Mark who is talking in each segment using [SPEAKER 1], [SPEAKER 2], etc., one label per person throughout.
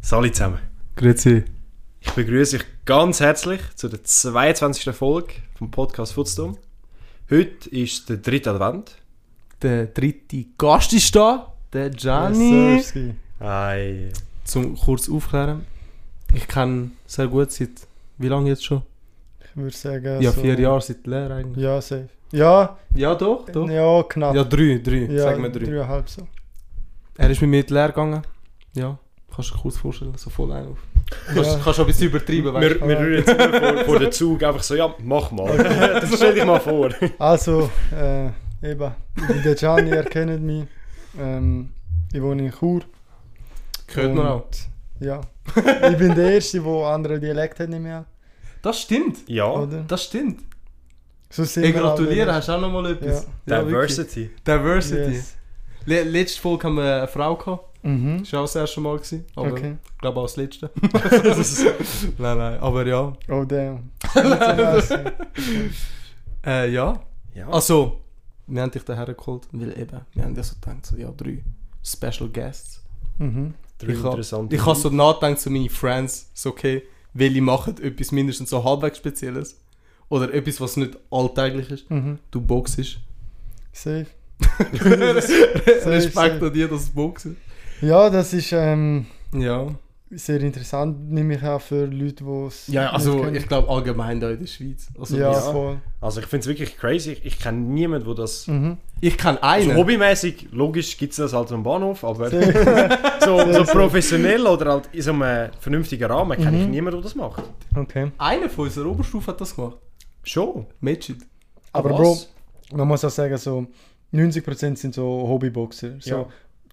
[SPEAKER 1] Sali zusammen.
[SPEAKER 2] Grüezi.
[SPEAKER 1] Ich begrüße euch ganz herzlich zu der 22. Folge vom Podcast Footstorm. Heute ist der dritte Advent.
[SPEAKER 2] Der dritte Gast ist da, der Gianni.
[SPEAKER 3] Yes, sir.
[SPEAKER 1] Ei.
[SPEAKER 2] Zum kurz aufklären. Ich kenne sehr gut seit, wie lange jetzt schon?
[SPEAKER 3] Ich würde sagen.
[SPEAKER 2] Ja,
[SPEAKER 3] so-
[SPEAKER 2] vier Jahre seit Lehr eigentlich.
[SPEAKER 3] Ja, safe. Ja,
[SPEAKER 2] Ja, doch, doch.
[SPEAKER 3] ja, knapp.
[SPEAKER 2] Ja, drei, drei,
[SPEAKER 3] Ja,
[SPEAKER 2] sagen wir drei.
[SPEAKER 3] Dreieinhalb so.
[SPEAKER 2] Er ist mit mir in die Lehre gegangen. Ja, kannst du dir kurz vorstellen, so voll ein auf. Kannst,
[SPEAKER 3] Ja.
[SPEAKER 2] kannst du ein bisschen übertreiben,
[SPEAKER 1] Wir,
[SPEAKER 2] weißt du?
[SPEAKER 1] wir rühren jetzt immer vor, vor den Zug einfach so, ja, mach mal. Das stell dich mal vor.
[SPEAKER 3] Also, äh, eben, ich bin der Gianni, ihr kennt mich. Ähm, ich wohne in Chur.
[SPEAKER 2] Hört man
[SPEAKER 3] Und-
[SPEAKER 2] auch.
[SPEAKER 3] Ja. Ich bin der Erste, der andere Dialekt hat nicht mehr.
[SPEAKER 2] Das stimmt,
[SPEAKER 1] Ja,
[SPEAKER 3] Oder?
[SPEAKER 2] das stimmt.
[SPEAKER 3] So sind
[SPEAKER 2] Ich
[SPEAKER 3] wir alle
[SPEAKER 2] gratuliere,
[SPEAKER 3] der-
[SPEAKER 2] hast du auch nochmal etwas. Ja, wirklich.
[SPEAKER 1] Diversity.
[SPEAKER 2] Diversity.
[SPEAKER 3] Yes.
[SPEAKER 2] Le letzte Folge haben wir eine Frau gehabt.
[SPEAKER 3] Mhm.
[SPEAKER 2] Das war auch das erste Mal, gewesen, aber
[SPEAKER 3] Okay.
[SPEAKER 2] ich glaube auch das letzte. nein, nein, aber ja.
[SPEAKER 3] Oh, damn. International.
[SPEAKER 2] Äh, ja.
[SPEAKER 1] Ja.
[SPEAKER 2] Also, wir haben dich daher geholt, weil eben, wir haben ja so gedacht, so, ja, drei Special Guests.
[SPEAKER 3] mhm.
[SPEAKER 1] Drei
[SPEAKER 2] ich ha-
[SPEAKER 1] interessante
[SPEAKER 2] Ich habe so nachgedacht zu meinen Friends, so okay, welche machen etwas mindestens so halbwegs Spezielles. Oder etwas, was nicht alltäglich ist.
[SPEAKER 3] Mhm.
[SPEAKER 2] Du boxest.
[SPEAKER 3] Safe.
[SPEAKER 2] Respekt
[SPEAKER 3] safe.
[SPEAKER 2] an dir, dass du boxest.
[SPEAKER 3] Ja, das ist ähm,
[SPEAKER 2] Ja.
[SPEAKER 3] sehr interessant, nehme ich auch für Leute, die es.
[SPEAKER 2] Ja, also
[SPEAKER 3] nicht
[SPEAKER 2] ich glaube allgemein da in der Schweiz. Also,
[SPEAKER 3] kennen. ja,
[SPEAKER 2] das-
[SPEAKER 3] voll.
[SPEAKER 1] Also ich finde es wirklich crazy. Ich, ich kenne niemanden, der das...
[SPEAKER 3] Mhm.
[SPEAKER 2] Ich kenne
[SPEAKER 1] Also
[SPEAKER 2] einen.
[SPEAKER 1] hobbymäßig, logisch gibt es das halt am Bahnhof, aber
[SPEAKER 3] Safe.
[SPEAKER 1] so, so
[SPEAKER 3] Sehr, sehr.
[SPEAKER 1] professionell oder halt in so einem vernünftigen Rahmen kenne ich
[SPEAKER 3] Mhm.
[SPEAKER 1] niemanden, der das macht.
[SPEAKER 3] Okay.
[SPEAKER 2] Einer von unserer Oberstufe hat das gemacht.
[SPEAKER 1] Schon.
[SPEAKER 2] Mädchen.
[SPEAKER 3] Aber
[SPEAKER 1] Was?
[SPEAKER 3] Bro, man muss auch sagen, so 90% sind so Hobbyboxer. So,
[SPEAKER 1] Ja.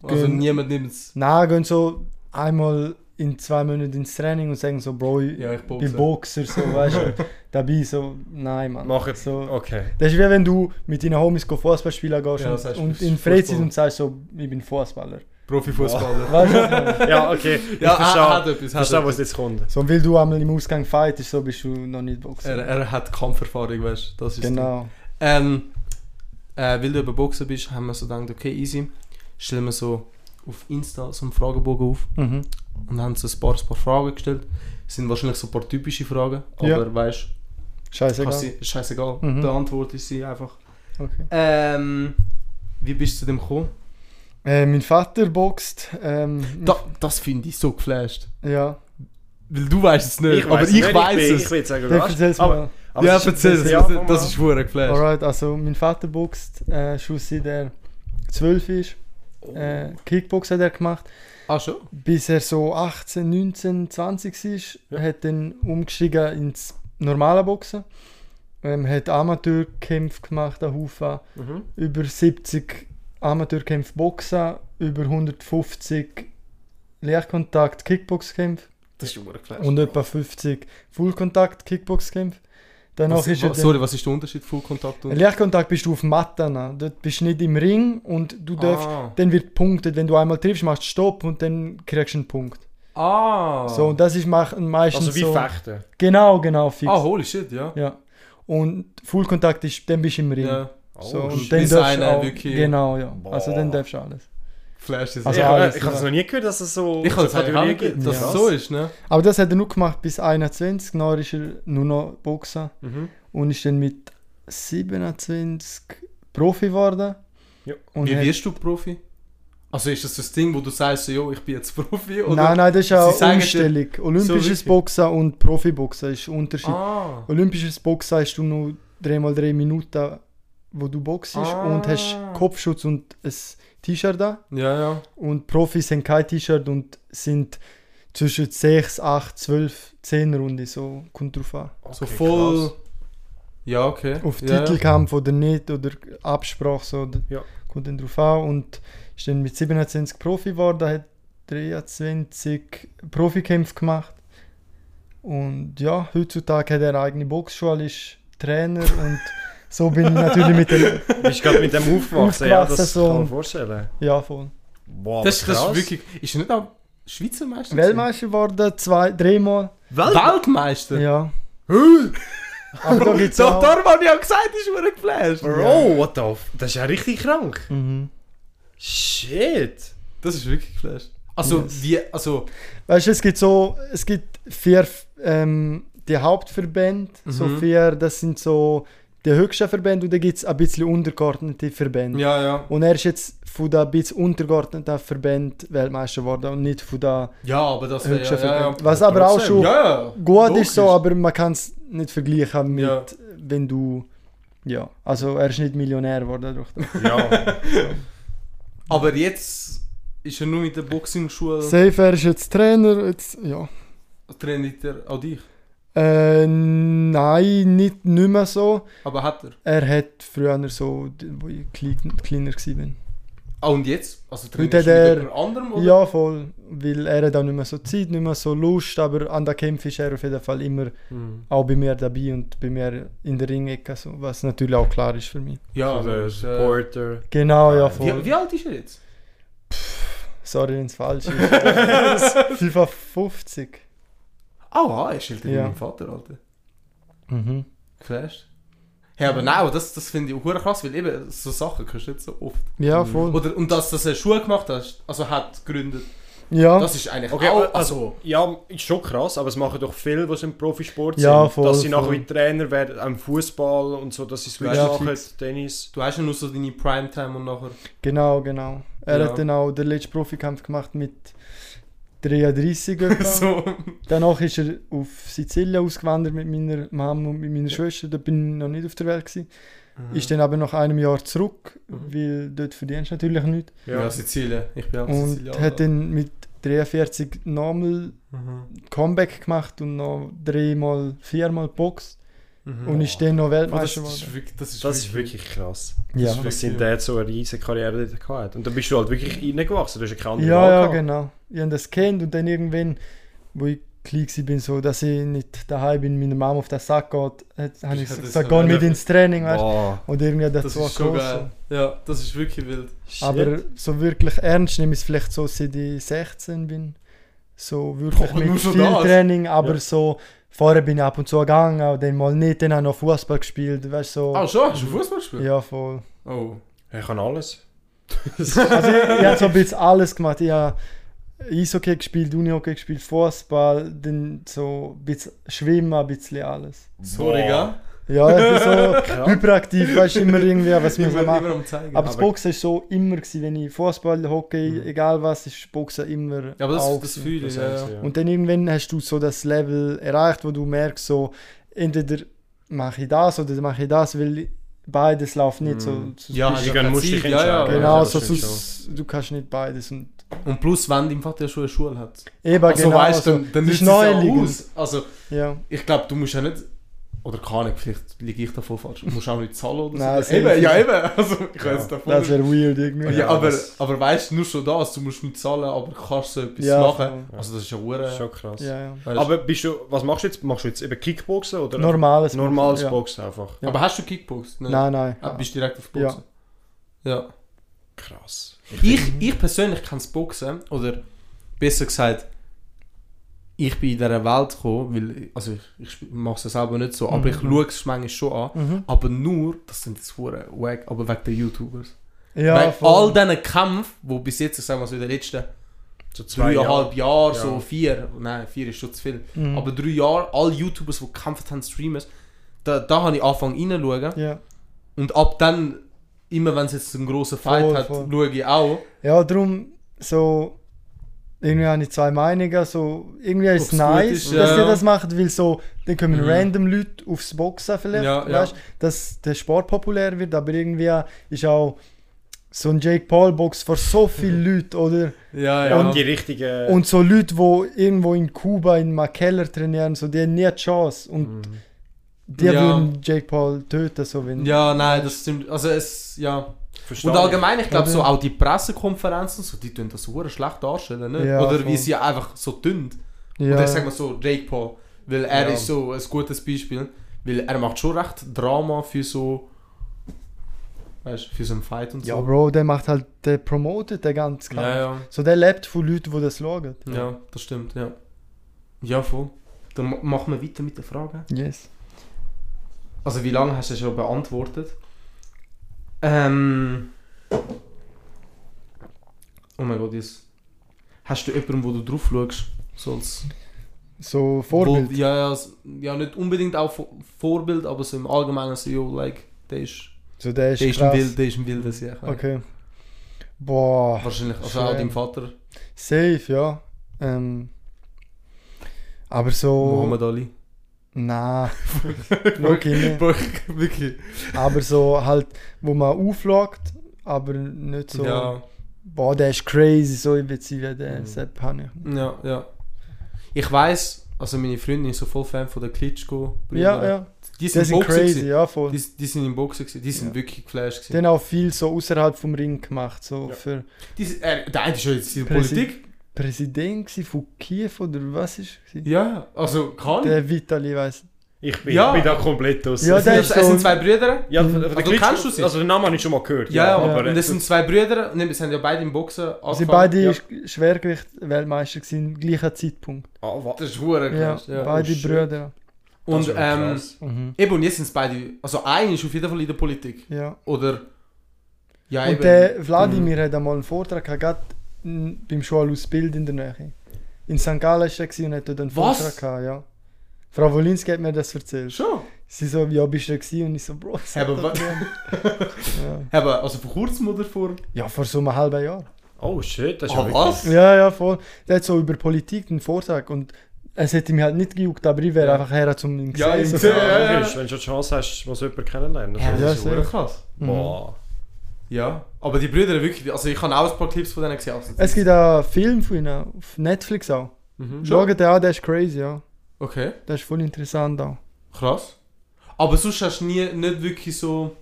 [SPEAKER 2] Also
[SPEAKER 3] Gön-
[SPEAKER 2] niemand nimmt es.
[SPEAKER 3] Nein, gehen so einmal in zwei Monaten ins Training und sagen so, Bro, ich
[SPEAKER 2] Ja, ich boxe.
[SPEAKER 3] bin Boxer, so, weißt du, dabei, so, nein, Mann.
[SPEAKER 1] Machen.
[SPEAKER 3] so.
[SPEAKER 1] Okay.
[SPEAKER 3] Das ist wie wenn du mit deinen Homies go Fußball spielen gehst
[SPEAKER 2] Ja,
[SPEAKER 3] und,
[SPEAKER 2] das heißt, du
[SPEAKER 3] und
[SPEAKER 2] bist
[SPEAKER 3] in Freizeit
[SPEAKER 2] Fußballer.
[SPEAKER 3] und sagst so, ich bin Fußballer.
[SPEAKER 2] Profifußballer.
[SPEAKER 3] Weißt du, was ich meine?
[SPEAKER 1] Ja, okay. Ich
[SPEAKER 2] Ja, ah,
[SPEAKER 1] verstehe,
[SPEAKER 2] er hat etwas. Hat
[SPEAKER 1] verstehe
[SPEAKER 2] etwas.
[SPEAKER 1] was jetzt kommt.
[SPEAKER 3] so, weil du einmal im Ausgang fightest, so bist du noch nicht Boxer.
[SPEAKER 2] Er, er hat Kampferfahrung, weißt du. Das ist
[SPEAKER 3] genau.
[SPEAKER 2] Ähm, äh, weil du eben Boxer bist, haben wir so gedacht, okay, easy. Stellen wir so auf Insta so einen Fragebogen auf
[SPEAKER 3] Mhm.
[SPEAKER 2] und haben so ein paar, ein paar Fragen gestellt. Es sind wahrscheinlich so ein paar typische Fragen, aber
[SPEAKER 3] Ja.
[SPEAKER 2] weißt du,
[SPEAKER 3] Scheißegal.
[SPEAKER 2] kannst sie- scheißegal.
[SPEAKER 3] Mhm.
[SPEAKER 2] Die Antwort ist sie einfach.
[SPEAKER 3] Okay.
[SPEAKER 2] Ähm, wie bist du zu dem gekommen?
[SPEAKER 3] Äh, mein Vater boxt. Ähm,
[SPEAKER 2] Da, das finde ich so geflasht.
[SPEAKER 3] ja.
[SPEAKER 2] Weil du weißt es nicht, aber
[SPEAKER 1] weiss
[SPEAKER 2] ich
[SPEAKER 1] nicht,
[SPEAKER 2] weiß
[SPEAKER 1] bin-
[SPEAKER 2] es.
[SPEAKER 1] Ich will sagen,
[SPEAKER 3] Dann erzähl's mal.
[SPEAKER 1] aber, aber
[SPEAKER 2] ja,
[SPEAKER 1] es ist-
[SPEAKER 2] erzähl es,
[SPEAKER 1] ja, komm
[SPEAKER 2] das
[SPEAKER 1] mal.
[SPEAKER 2] ist verdammt geflasht.
[SPEAKER 3] Alright, also mein Vater boxt äh, schon seit er 12 ist. Äh, Kickbox hat er gemacht.
[SPEAKER 2] Ah, schon?
[SPEAKER 3] Bis er so 18, 19, 20 ist,
[SPEAKER 1] Ja.
[SPEAKER 3] hat dann umgestiegen ins normale Boxen. Ähm, hat Amateurkämpfe gemacht, ein Haufen.
[SPEAKER 1] Mhm.
[SPEAKER 3] Über 70 Amateurkämpfe Boxen, über 150 Lehrkontakt Kickboxkämpfe
[SPEAKER 2] Das ist verdammt geflasht.
[SPEAKER 3] und etwa 50 Fullkontakt Kickboxkämpfe. Danach
[SPEAKER 2] Was,
[SPEAKER 3] ist
[SPEAKER 2] wa-
[SPEAKER 3] er dann-
[SPEAKER 2] sorry, was ist der Unterschied von Kontakt und...
[SPEAKER 3] Lichtkontakt bist du auf Matten. Dort bist du nicht im Ring und du darfst.
[SPEAKER 2] Ah.
[SPEAKER 3] Dann wird punktet. Wenn du einmal triffst, machst du Stopp und dann kriegst du einen Punkt.
[SPEAKER 2] Ah.
[SPEAKER 3] So, und das ist mach- meistens.
[SPEAKER 1] Also wie
[SPEAKER 3] so,
[SPEAKER 1] Fechten.
[SPEAKER 3] Genau, genau, fix.
[SPEAKER 2] Ah, holy shit, ja.
[SPEAKER 3] ja. Und Fullkontakt ist, dann bist du im Ring.
[SPEAKER 2] ja.
[SPEAKER 1] Oh,
[SPEAKER 3] So,
[SPEAKER 1] shit.
[SPEAKER 3] und dann
[SPEAKER 2] Bis
[SPEAKER 3] darfst du
[SPEAKER 2] einer
[SPEAKER 3] auch,
[SPEAKER 2] wirklich-
[SPEAKER 3] Genau, ja.
[SPEAKER 1] Boah.
[SPEAKER 3] Also dann darfst du alles.
[SPEAKER 2] Flash ist
[SPEAKER 3] Also
[SPEAKER 1] ich
[SPEAKER 2] ja.
[SPEAKER 3] alles,
[SPEAKER 1] äh, ich habe es
[SPEAKER 3] ja.
[SPEAKER 1] noch nie gehört, dass es so
[SPEAKER 2] Ich halt habe
[SPEAKER 1] so Kategorien
[SPEAKER 2] es
[SPEAKER 1] gibt.
[SPEAKER 2] dass
[SPEAKER 3] Ja.
[SPEAKER 2] es so ist, ne?
[SPEAKER 3] Aber das hat er nur gemacht bis 21. Dann ist er nur noch Boxer.
[SPEAKER 1] Mhm.
[SPEAKER 3] Und ist dann mit 27 Profi geworden.
[SPEAKER 1] Ja.
[SPEAKER 3] Und
[SPEAKER 2] Wie
[SPEAKER 3] hat-
[SPEAKER 2] wirst du Profi? Also ist das das Ding, wo du sagst, so, jo, ich bin jetzt Profi? Oder?
[SPEAKER 3] Nein, nein, das ist
[SPEAKER 2] Sie
[SPEAKER 3] auch
[SPEAKER 2] sagen dir-
[SPEAKER 3] Umstellung. Olympisches
[SPEAKER 2] wirklich?
[SPEAKER 3] Boxen und Profiboxen ist ein Unterschied.
[SPEAKER 2] Ah.
[SPEAKER 3] Olympisches Boxen hast du nur 3x3 Minuten, wo du boxst
[SPEAKER 2] Ah.
[SPEAKER 3] und hast Kopfschutz und ein T-Shirt da.
[SPEAKER 2] Ja, ja.
[SPEAKER 3] Und Profis haben kein T-Shirt und sind zwischen 6, 8, 12, 10 Runden. So kommt drauf an.
[SPEAKER 2] So
[SPEAKER 1] Okay,
[SPEAKER 2] voll...
[SPEAKER 1] krass.
[SPEAKER 2] Ja, okay.
[SPEAKER 3] Auf
[SPEAKER 2] ja, ja.
[SPEAKER 3] Titelkampf oder nicht oder Absprache. So, d-
[SPEAKER 1] Ja.
[SPEAKER 3] Kommt dann drauf an. Und ist dann mit 27 Profi geworden, hat 23 Profikämpfe gemacht. Und ja, heutzutage hat er eine eigene Boxschule, ist Trainer und so bin ich natürlich mit dem.
[SPEAKER 1] Du bist gerade mit dem aufgewachsen, ja, das
[SPEAKER 3] Aufgewachsen, so.
[SPEAKER 1] kann man vorstellen.
[SPEAKER 3] Ja, voll.
[SPEAKER 1] Wow,
[SPEAKER 2] Das, das ist
[SPEAKER 1] krass.
[SPEAKER 2] wirklich... Ist er nicht auch Schweizer Meister?
[SPEAKER 3] Weltmeister geworden, zwei, dreimal.
[SPEAKER 2] gewesen? Weltmeister?
[SPEAKER 3] Ja.
[SPEAKER 2] Huh?
[SPEAKER 3] Aber da gibt's
[SPEAKER 2] Doch,
[SPEAKER 3] auch.
[SPEAKER 2] darum habe ich ja gesagt, ist verdammt geflasht.
[SPEAKER 1] Bro, what the f... Das ist ja richtig krank.
[SPEAKER 3] Mhm.
[SPEAKER 1] Shit.
[SPEAKER 2] Das ist wirklich geflasht. Also,
[SPEAKER 3] Yes.
[SPEAKER 2] wie, also,
[SPEAKER 3] Weißt du, es gibt so, es gibt vier, ähm, die Hauptverbände, so
[SPEAKER 2] Mhm.
[SPEAKER 3] vier, das sind so die höchsten Verbände und dann gibt es ein bisschen untergeordnete Verbände.
[SPEAKER 2] ja, ja.
[SPEAKER 3] Und er ist jetzt von den ein bisschen untergeordneten Verbänden Weltmeister geworden und nicht von den
[SPEAKER 2] Ja, aber das wäre
[SPEAKER 3] höchsten
[SPEAKER 2] ja, ja, ja.
[SPEAKER 3] Verbänden. Was aber auch
[SPEAKER 1] Trotzdem,
[SPEAKER 3] schon
[SPEAKER 2] Ja, ja.
[SPEAKER 3] gut
[SPEAKER 2] logisch.
[SPEAKER 3] ist so, aber man kann es nicht vergleichen mit,
[SPEAKER 2] Ja.
[SPEAKER 3] wenn du, ja, also er ist nicht Millionär geworden dadurch.
[SPEAKER 1] Ja.
[SPEAKER 2] Aber jetzt ist er nur mit der Boxing-Schule
[SPEAKER 3] Safe, er ist jetzt Trainer, jetzt, ja.
[SPEAKER 2] trainiert er auch dich.
[SPEAKER 3] Äh, nein, nicht, nicht mehr so.
[SPEAKER 2] Aber hat er.
[SPEAKER 3] Er hat früher so, d- wo ich klein, kleiner war.
[SPEAKER 2] Ah, und jetzt? Also trainiert
[SPEAKER 3] hat
[SPEAKER 2] er
[SPEAKER 3] er-
[SPEAKER 2] mit jemand anderem? Oder?
[SPEAKER 3] Ja, voll. Weil er hat auch nicht mehr so Zeit, nicht mehr so Lust, aber an den Kämpfen ist er auf jeden Fall immer
[SPEAKER 2] Mhm.
[SPEAKER 1] Hm.
[SPEAKER 3] auch bei mir dabei und bei mir in der Ringecke, so, was natürlich auch klar ist für mich.
[SPEAKER 2] ja
[SPEAKER 1] also
[SPEAKER 2] das ist, äh,
[SPEAKER 1] Supporter.
[SPEAKER 3] Genau, ja,
[SPEAKER 1] Ja,
[SPEAKER 3] voll.
[SPEAKER 2] wie, wie alt ist er jetzt?
[SPEAKER 3] Sorry, wenn es falsch ist. FIFA 50.
[SPEAKER 2] Ah, er ist älter wie
[SPEAKER 3] Ja.
[SPEAKER 2] mein Vater, Alter.
[SPEAKER 3] Mhm.
[SPEAKER 2] Geflasht. Hey, aber nein, aber das, das finde ich auch verdammt krass, weil eben so Sachen kannst du nicht so oft.
[SPEAKER 3] Ja,
[SPEAKER 1] Mhm.
[SPEAKER 3] voll.
[SPEAKER 2] Oder, und dass, dass er Schuhe gemacht hat, also hat gegründet,
[SPEAKER 3] Ja,
[SPEAKER 2] das ist eigentlich
[SPEAKER 1] Okay,
[SPEAKER 2] auch,
[SPEAKER 1] also,
[SPEAKER 2] also,
[SPEAKER 1] ja, ist schon krass, aber es machen doch viele, die im Profisport
[SPEAKER 3] Ja,
[SPEAKER 1] sind,
[SPEAKER 3] voll,
[SPEAKER 1] dass sie
[SPEAKER 3] voll.
[SPEAKER 1] nachher wie Trainer werden, am Fußball und so, dass sie Switch
[SPEAKER 3] Ja,
[SPEAKER 1] machen,
[SPEAKER 3] fix.
[SPEAKER 1] Tennis.
[SPEAKER 2] du hast ja nur so deine Primetime und nachher,
[SPEAKER 3] genau, genau. Er
[SPEAKER 2] Ja.
[SPEAKER 3] hat dann auch den letzten Profikampf gemacht mit 33 etwa.
[SPEAKER 2] so,
[SPEAKER 3] Danach ist er auf Sizilien ausgewandert mit meiner Mama und mit meiner Schwester. Da bin ich noch nicht auf der Welt. Gewesen. Ist dann aber nach einem Jahr zurück,
[SPEAKER 2] Mhm.
[SPEAKER 3] weil dort verdienst du natürlich nichts.
[SPEAKER 2] ja. Sizilien, ich bin auch
[SPEAKER 3] Und
[SPEAKER 2] Sizilianer.
[SPEAKER 3] hat dann mit 43 nochmal
[SPEAKER 2] Mhm.
[SPEAKER 3] Comeback gemacht und noch dreimal, viermal Box
[SPEAKER 2] Mhm.
[SPEAKER 3] und ist dann noch
[SPEAKER 2] Oh, das,
[SPEAKER 3] Weltmeister
[SPEAKER 2] das,
[SPEAKER 3] geworden.
[SPEAKER 2] ist wirklich, das, ist
[SPEAKER 1] Das ist wirklich krass.
[SPEAKER 3] Ja.
[SPEAKER 2] ist
[SPEAKER 1] Dass sie der so eine riesige Karriere dort gehabt. Und dann bist du halt wirklich reingewachsen, du hast ja keine andere Wahl
[SPEAKER 3] Ja, ja,
[SPEAKER 1] gehabt.
[SPEAKER 3] genau. Ich habe das kennt und dann irgendwann, wo ich klein war, bin, so, dass ich nicht daheim bin, meiner Mama auf den Sack geht, hat- habe ich
[SPEAKER 2] das
[SPEAKER 3] gesagt,
[SPEAKER 2] so
[SPEAKER 3] geh mit
[SPEAKER 2] nervig.
[SPEAKER 3] ins Training, weißt
[SPEAKER 1] Boah.
[SPEAKER 3] du. Und irgendwie hat das,
[SPEAKER 2] Das
[SPEAKER 3] so
[SPEAKER 2] ist schon
[SPEAKER 3] gross.
[SPEAKER 2] geil. Ja, das ist wirklich wild.
[SPEAKER 3] Aber so wirklich ernst nehme ich es vielleicht so, seit ich 16 bin. So wirklich
[SPEAKER 2] Boah, nur
[SPEAKER 3] mit
[SPEAKER 2] schon
[SPEAKER 3] viel
[SPEAKER 2] das.
[SPEAKER 3] Training, aber
[SPEAKER 1] Ja.
[SPEAKER 3] so, vorher bin ich ab und zu gegangen, und dann mal nicht, dann habe ich noch Fußball gespielt, weißt Oh, du, so.
[SPEAKER 2] Ah, schon? Hast du Fußball gespielt?
[SPEAKER 3] ja, voll.
[SPEAKER 2] Oh.
[SPEAKER 1] Er kann alles.
[SPEAKER 3] Also ich, ich habe so ein bisschen alles gemacht. Ich habe Eishockey gespielt, Unihockey gespielt, Fußball, dann so ein bisschen Schwimmen, ein bisschen alles.
[SPEAKER 2] Sorry,
[SPEAKER 1] Boah.
[SPEAKER 2] gell?
[SPEAKER 3] Ja, ich bin so
[SPEAKER 1] Krass.
[SPEAKER 3] hyperaktiv, weißt du, immer irgendwie, was
[SPEAKER 2] Ich
[SPEAKER 3] muss
[SPEAKER 2] will
[SPEAKER 3] man machen.
[SPEAKER 2] lieber am zeigen.
[SPEAKER 3] Aber das
[SPEAKER 1] aber-
[SPEAKER 3] Boxen war so immer, gewesen, wenn ich Fußball, Hockey,
[SPEAKER 1] Mhm.
[SPEAKER 3] egal was, ist Boxen immer
[SPEAKER 2] Ja, aber das,
[SPEAKER 3] auch
[SPEAKER 2] das
[SPEAKER 3] gewesen.
[SPEAKER 2] fühle ich, ja. ja.
[SPEAKER 3] Und dann irgendwann hast du so das Level erreicht, wo du merkst, so entweder mache ich das oder mache ich das, weil beides läuft nicht so.
[SPEAKER 1] Mhm.
[SPEAKER 3] so
[SPEAKER 2] Ja,
[SPEAKER 3] bist-
[SPEAKER 2] also-
[SPEAKER 1] Irgendwann musst du dich
[SPEAKER 2] Prinzip, ja, ja.
[SPEAKER 1] entscheiden.
[SPEAKER 3] genau,
[SPEAKER 1] das
[SPEAKER 3] so,
[SPEAKER 1] stimmt
[SPEAKER 3] sonst- du kannst nicht beides. Und
[SPEAKER 2] Und plus, wenn dein Vater ja schon eine Schule hat.
[SPEAKER 3] eben,
[SPEAKER 2] also,
[SPEAKER 3] genau.
[SPEAKER 2] weißt du,
[SPEAKER 3] also,
[SPEAKER 2] dann, dann nützt
[SPEAKER 3] es ist
[SPEAKER 2] es ja auch
[SPEAKER 3] naheliegend.
[SPEAKER 2] aus. Also,
[SPEAKER 3] Ja,
[SPEAKER 2] ich glaube, du musst ja nicht... Oder keine Ahnung, vielleicht liege ich davon falsch. Du musst auch nicht zahlen oder
[SPEAKER 3] Nein,
[SPEAKER 2] so.
[SPEAKER 3] safe.
[SPEAKER 2] Eben, ja eben. Also, ich weiß
[SPEAKER 1] Ja,
[SPEAKER 2] davon
[SPEAKER 3] das
[SPEAKER 2] nicht.
[SPEAKER 3] wäre weird irgendwie.
[SPEAKER 2] Ja,
[SPEAKER 1] Ja,
[SPEAKER 2] aber,
[SPEAKER 1] das-
[SPEAKER 2] aber weißt du, nur schon das, du musst nicht zahlen, aber kannst so etwas
[SPEAKER 3] Ja,
[SPEAKER 2] machen.
[SPEAKER 1] voll.
[SPEAKER 2] Also das ist ja
[SPEAKER 1] Das ist
[SPEAKER 2] hure.
[SPEAKER 1] schon krass.
[SPEAKER 3] Ja, ja.
[SPEAKER 2] Weißt, aber,
[SPEAKER 1] Aber bist du, was machst du jetzt? Machst du jetzt eben Kickboxen oder?
[SPEAKER 3] Normales.
[SPEAKER 1] Normales
[SPEAKER 3] ja.
[SPEAKER 1] Boxen einfach.
[SPEAKER 3] ja.
[SPEAKER 2] aber hast du Kickbox?
[SPEAKER 3] Nein, nein.
[SPEAKER 2] Ah, bist du direkt auf Boxen? ja.
[SPEAKER 1] Krass.
[SPEAKER 2] Ich, ich persönlich kann das Boxen, oder besser gesagt, ich bin in dieser Welt gekommen, weil, also ich, ich mache es ja selber nicht so, aber ich
[SPEAKER 3] Mhm.
[SPEAKER 2] schaue es manchmal schon an.
[SPEAKER 3] Mhm.
[SPEAKER 2] Aber nur, das sind jetzt hure wack, aber wegen den YouTubers.
[SPEAKER 3] Ja,
[SPEAKER 2] wegen
[SPEAKER 3] voll.
[SPEAKER 2] all diesen Kämpfen, wo bis jetzt, ich sag mal so in den letzten
[SPEAKER 1] So
[SPEAKER 2] halt,
[SPEAKER 1] zwei Jahre.
[SPEAKER 2] dreieinhalb Jahren,
[SPEAKER 1] Ja.
[SPEAKER 2] so vier, nein, vier ist schon zu viel,
[SPEAKER 3] Mhm.
[SPEAKER 2] aber drei Jahre, alle YouTubers, die gekämpft haben, Streamers, da, da habe ich angefangen reinzuschauen.
[SPEAKER 3] ja.
[SPEAKER 2] Und ab dann, immer wenn es jetzt einen grossen Fight
[SPEAKER 3] Voll,
[SPEAKER 2] hat,
[SPEAKER 3] voll.
[SPEAKER 2] schaue ich auch.
[SPEAKER 3] Ja, darum, so, irgendwie habe ich zwei Meinungen, so, irgendwie ist
[SPEAKER 2] Ob's
[SPEAKER 3] es nice,
[SPEAKER 2] gut ist,
[SPEAKER 3] dass
[SPEAKER 2] ja.
[SPEAKER 3] ihr das macht, weil so, dann kommen
[SPEAKER 2] Mhm.
[SPEAKER 3] random Leute aufs Boxen vielleicht,
[SPEAKER 2] Ja, ja.
[SPEAKER 3] weißt, dass der Sport populär wird, aber irgendwie ist auch so ein Jake Paul Box vor so vielen Leuten, oder?
[SPEAKER 2] Mhm. Ja,
[SPEAKER 1] Ja, und die richtigen.
[SPEAKER 3] Und so Leute, wo irgendwo in Kuba, in Makeller trainieren, so, die haben nie eine Chance und
[SPEAKER 1] Mhm.
[SPEAKER 3] die
[SPEAKER 2] Ja.
[SPEAKER 3] würden Jake Paul töten, so, wenn...
[SPEAKER 2] Ja, nein, das stimmt. Also es, ja.
[SPEAKER 1] Verstehe
[SPEAKER 2] Und allgemein, ich glaube, so
[SPEAKER 3] Oder?
[SPEAKER 2] auch die Pressekonferenzen, so, die tun das hure schlecht darstellen, ne?
[SPEAKER 3] Ja,
[SPEAKER 2] Oder wie
[SPEAKER 3] voll.
[SPEAKER 2] sie einfach so tun.
[SPEAKER 3] Ja.
[SPEAKER 2] Oder ich sag mal so, Jake Paul, weil er
[SPEAKER 1] Ja.
[SPEAKER 2] ist so ein gutes Beispiel, weil er macht schon recht Drama für so, weißt du, für so einen Fight und
[SPEAKER 3] ja,
[SPEAKER 2] so.
[SPEAKER 3] Bro, der macht halt, der promotet den ganzen Kampf.
[SPEAKER 2] Ja, ja,
[SPEAKER 3] So, der lebt von Leuten, die das schauen.
[SPEAKER 2] ja, das stimmt, ja. Ja, voll. Dann ma- machen wir weiter mit der Frage.
[SPEAKER 3] Yes.
[SPEAKER 2] Also wie lange hast du schon beantwortet? Ähm. Oh mein Gott, jetzt. hast du jemanden, wo du drauf schaust? So als
[SPEAKER 3] So Vorbild.
[SPEAKER 2] Wo, ja, ja, s- ja, nicht unbedingt auch Vo- Vorbild, aber so im Allgemeinen so, yo, like, der ist,
[SPEAKER 3] so der ist
[SPEAKER 2] der ist ein
[SPEAKER 3] krass.
[SPEAKER 2] Wild, der ist ein Wildes, ja. ich weiss.
[SPEAKER 3] Okay. Boah,
[SPEAKER 2] Wahrscheinlich, also auch
[SPEAKER 3] Schwer.
[SPEAKER 2] dein Vater,
[SPEAKER 3] safe, ja. Ähm, aber so...
[SPEAKER 2] Muhammad Ali.
[SPEAKER 3] Nein, wirklich nicht.
[SPEAKER 2] Bro, Wirklich.
[SPEAKER 3] Aber so halt, wo man auflockt, aber nicht so...
[SPEAKER 2] Ja,
[SPEAKER 3] Boah, der ist crazy, so ich will sein wie der
[SPEAKER 1] Mhm.
[SPEAKER 3] Sepp habe ich.
[SPEAKER 2] ja, ja. Ich weiß also meine Freundin ist so voll Fan von der Klitschko.
[SPEAKER 3] Ja, ja.
[SPEAKER 2] Die
[SPEAKER 3] Die
[SPEAKER 2] sind,
[SPEAKER 3] sind
[SPEAKER 2] Boxer
[SPEAKER 3] crazy,
[SPEAKER 2] crazy.
[SPEAKER 3] ja voll.
[SPEAKER 2] Die, die sind im Boxen gewesen. Die sind
[SPEAKER 3] Ja.
[SPEAKER 2] wirklich geflasht
[SPEAKER 3] Die
[SPEAKER 2] gewesen.
[SPEAKER 3] haben auch viel so außerhalb vom Ring gemacht, so
[SPEAKER 1] Ja.
[SPEAKER 3] für
[SPEAKER 2] Die, sind- äh, der eine ist ja jetzt in der
[SPEAKER 3] Präsi-
[SPEAKER 2] Politik.
[SPEAKER 3] Präsident gewesen von Kiew oder was ist gewesen?
[SPEAKER 2] Ja, also kann ich.
[SPEAKER 3] Der Vitali weiß.
[SPEAKER 1] Ich bin,
[SPEAKER 2] Ja.
[SPEAKER 1] ich bin da komplett aus.
[SPEAKER 3] Ja,
[SPEAKER 2] Es sind,
[SPEAKER 3] der ist
[SPEAKER 2] es sind
[SPEAKER 3] so-
[SPEAKER 2] zwei Brüder.
[SPEAKER 1] Ja,
[SPEAKER 3] Mhm.
[SPEAKER 1] von- von der
[SPEAKER 2] Also
[SPEAKER 1] Klitschko-
[SPEAKER 2] kennst du sie?
[SPEAKER 1] Also den Namen habe ich schon mal gehört.
[SPEAKER 2] Ja, ja,
[SPEAKER 3] ja.
[SPEAKER 1] aber
[SPEAKER 2] Und es sind zwei Brüder. Und es sind ja beide im Boxen angefangen.
[SPEAKER 3] Sie beide
[SPEAKER 2] Ja.
[SPEAKER 3] Schwergewicht Weltmeister gewesen, gleicher Zeitpunkt.
[SPEAKER 1] Ah, wa-
[SPEAKER 2] Das ist hure
[SPEAKER 3] Ja,
[SPEAKER 2] krass. Ja.
[SPEAKER 3] beide
[SPEAKER 1] Oh, shit.
[SPEAKER 3] Brüder.
[SPEAKER 1] das
[SPEAKER 2] Und
[SPEAKER 1] ist ja
[SPEAKER 2] ähm,
[SPEAKER 1] krass.
[SPEAKER 3] Mhm.
[SPEAKER 2] eben, und jetzt sind es beide. Also einer ist auf jeden Fall in der Politik.
[SPEAKER 3] Ja.
[SPEAKER 2] Oder. Ja,
[SPEAKER 3] Und der Wladimir
[SPEAKER 2] Mhm.
[SPEAKER 3] hat einmal einen Vortrag gehabt, gerade n- beim Schulhaus Bild in der Nähe. In St. Gallen war er gewesen und hat dort einen
[SPEAKER 2] Was?
[SPEAKER 3] Vortrag gehabt, ja. Frau Wolinski hat mir das erzählt.
[SPEAKER 2] Schon.
[SPEAKER 3] Sie so, ja, bist du da gewesen? Und ich so, Bro, was
[SPEAKER 2] Ja, aber
[SPEAKER 3] hat
[SPEAKER 2] wa-
[SPEAKER 3] das denn? ja.
[SPEAKER 2] Aber also vor kurzem oder vor.
[SPEAKER 3] ja, vor so einem halben Jahr.
[SPEAKER 1] Oh shit, das ist
[SPEAKER 2] Ah,
[SPEAKER 1] ja
[SPEAKER 2] was?
[SPEAKER 3] Ja, ja, voll. Der hat so über Politik einen Vortrag und es hätte mich halt nicht gejuckt, aber ich wäre
[SPEAKER 2] Ja.
[SPEAKER 3] einfach her zum ihn
[SPEAKER 2] Ja,
[SPEAKER 3] sehen,
[SPEAKER 2] ihn
[SPEAKER 3] so.
[SPEAKER 2] sehen,
[SPEAKER 1] Ja,
[SPEAKER 2] Ja, ja.
[SPEAKER 1] logisch, Wenn du schon die Chance hast, muss jemanden kennenlernen.
[SPEAKER 2] Ja,
[SPEAKER 1] Also,
[SPEAKER 3] ja, Mhm.
[SPEAKER 2] das ist
[SPEAKER 3] sehr.
[SPEAKER 2] hure krass.
[SPEAKER 1] Boah.
[SPEAKER 2] Ja. Aber die Brüder wirklich. Also ich habe auch ein paar Clips von denen gesehen. Also,
[SPEAKER 3] Es gibt einen Film von ihnen, auf Netflix auch.
[SPEAKER 2] mhm.
[SPEAKER 3] Schau dir an, der ist crazy, ja.
[SPEAKER 2] Okay.
[SPEAKER 3] Der ist voll interessant auch.
[SPEAKER 2] Krass. Aber sonst hast du nie, nicht wirklich so.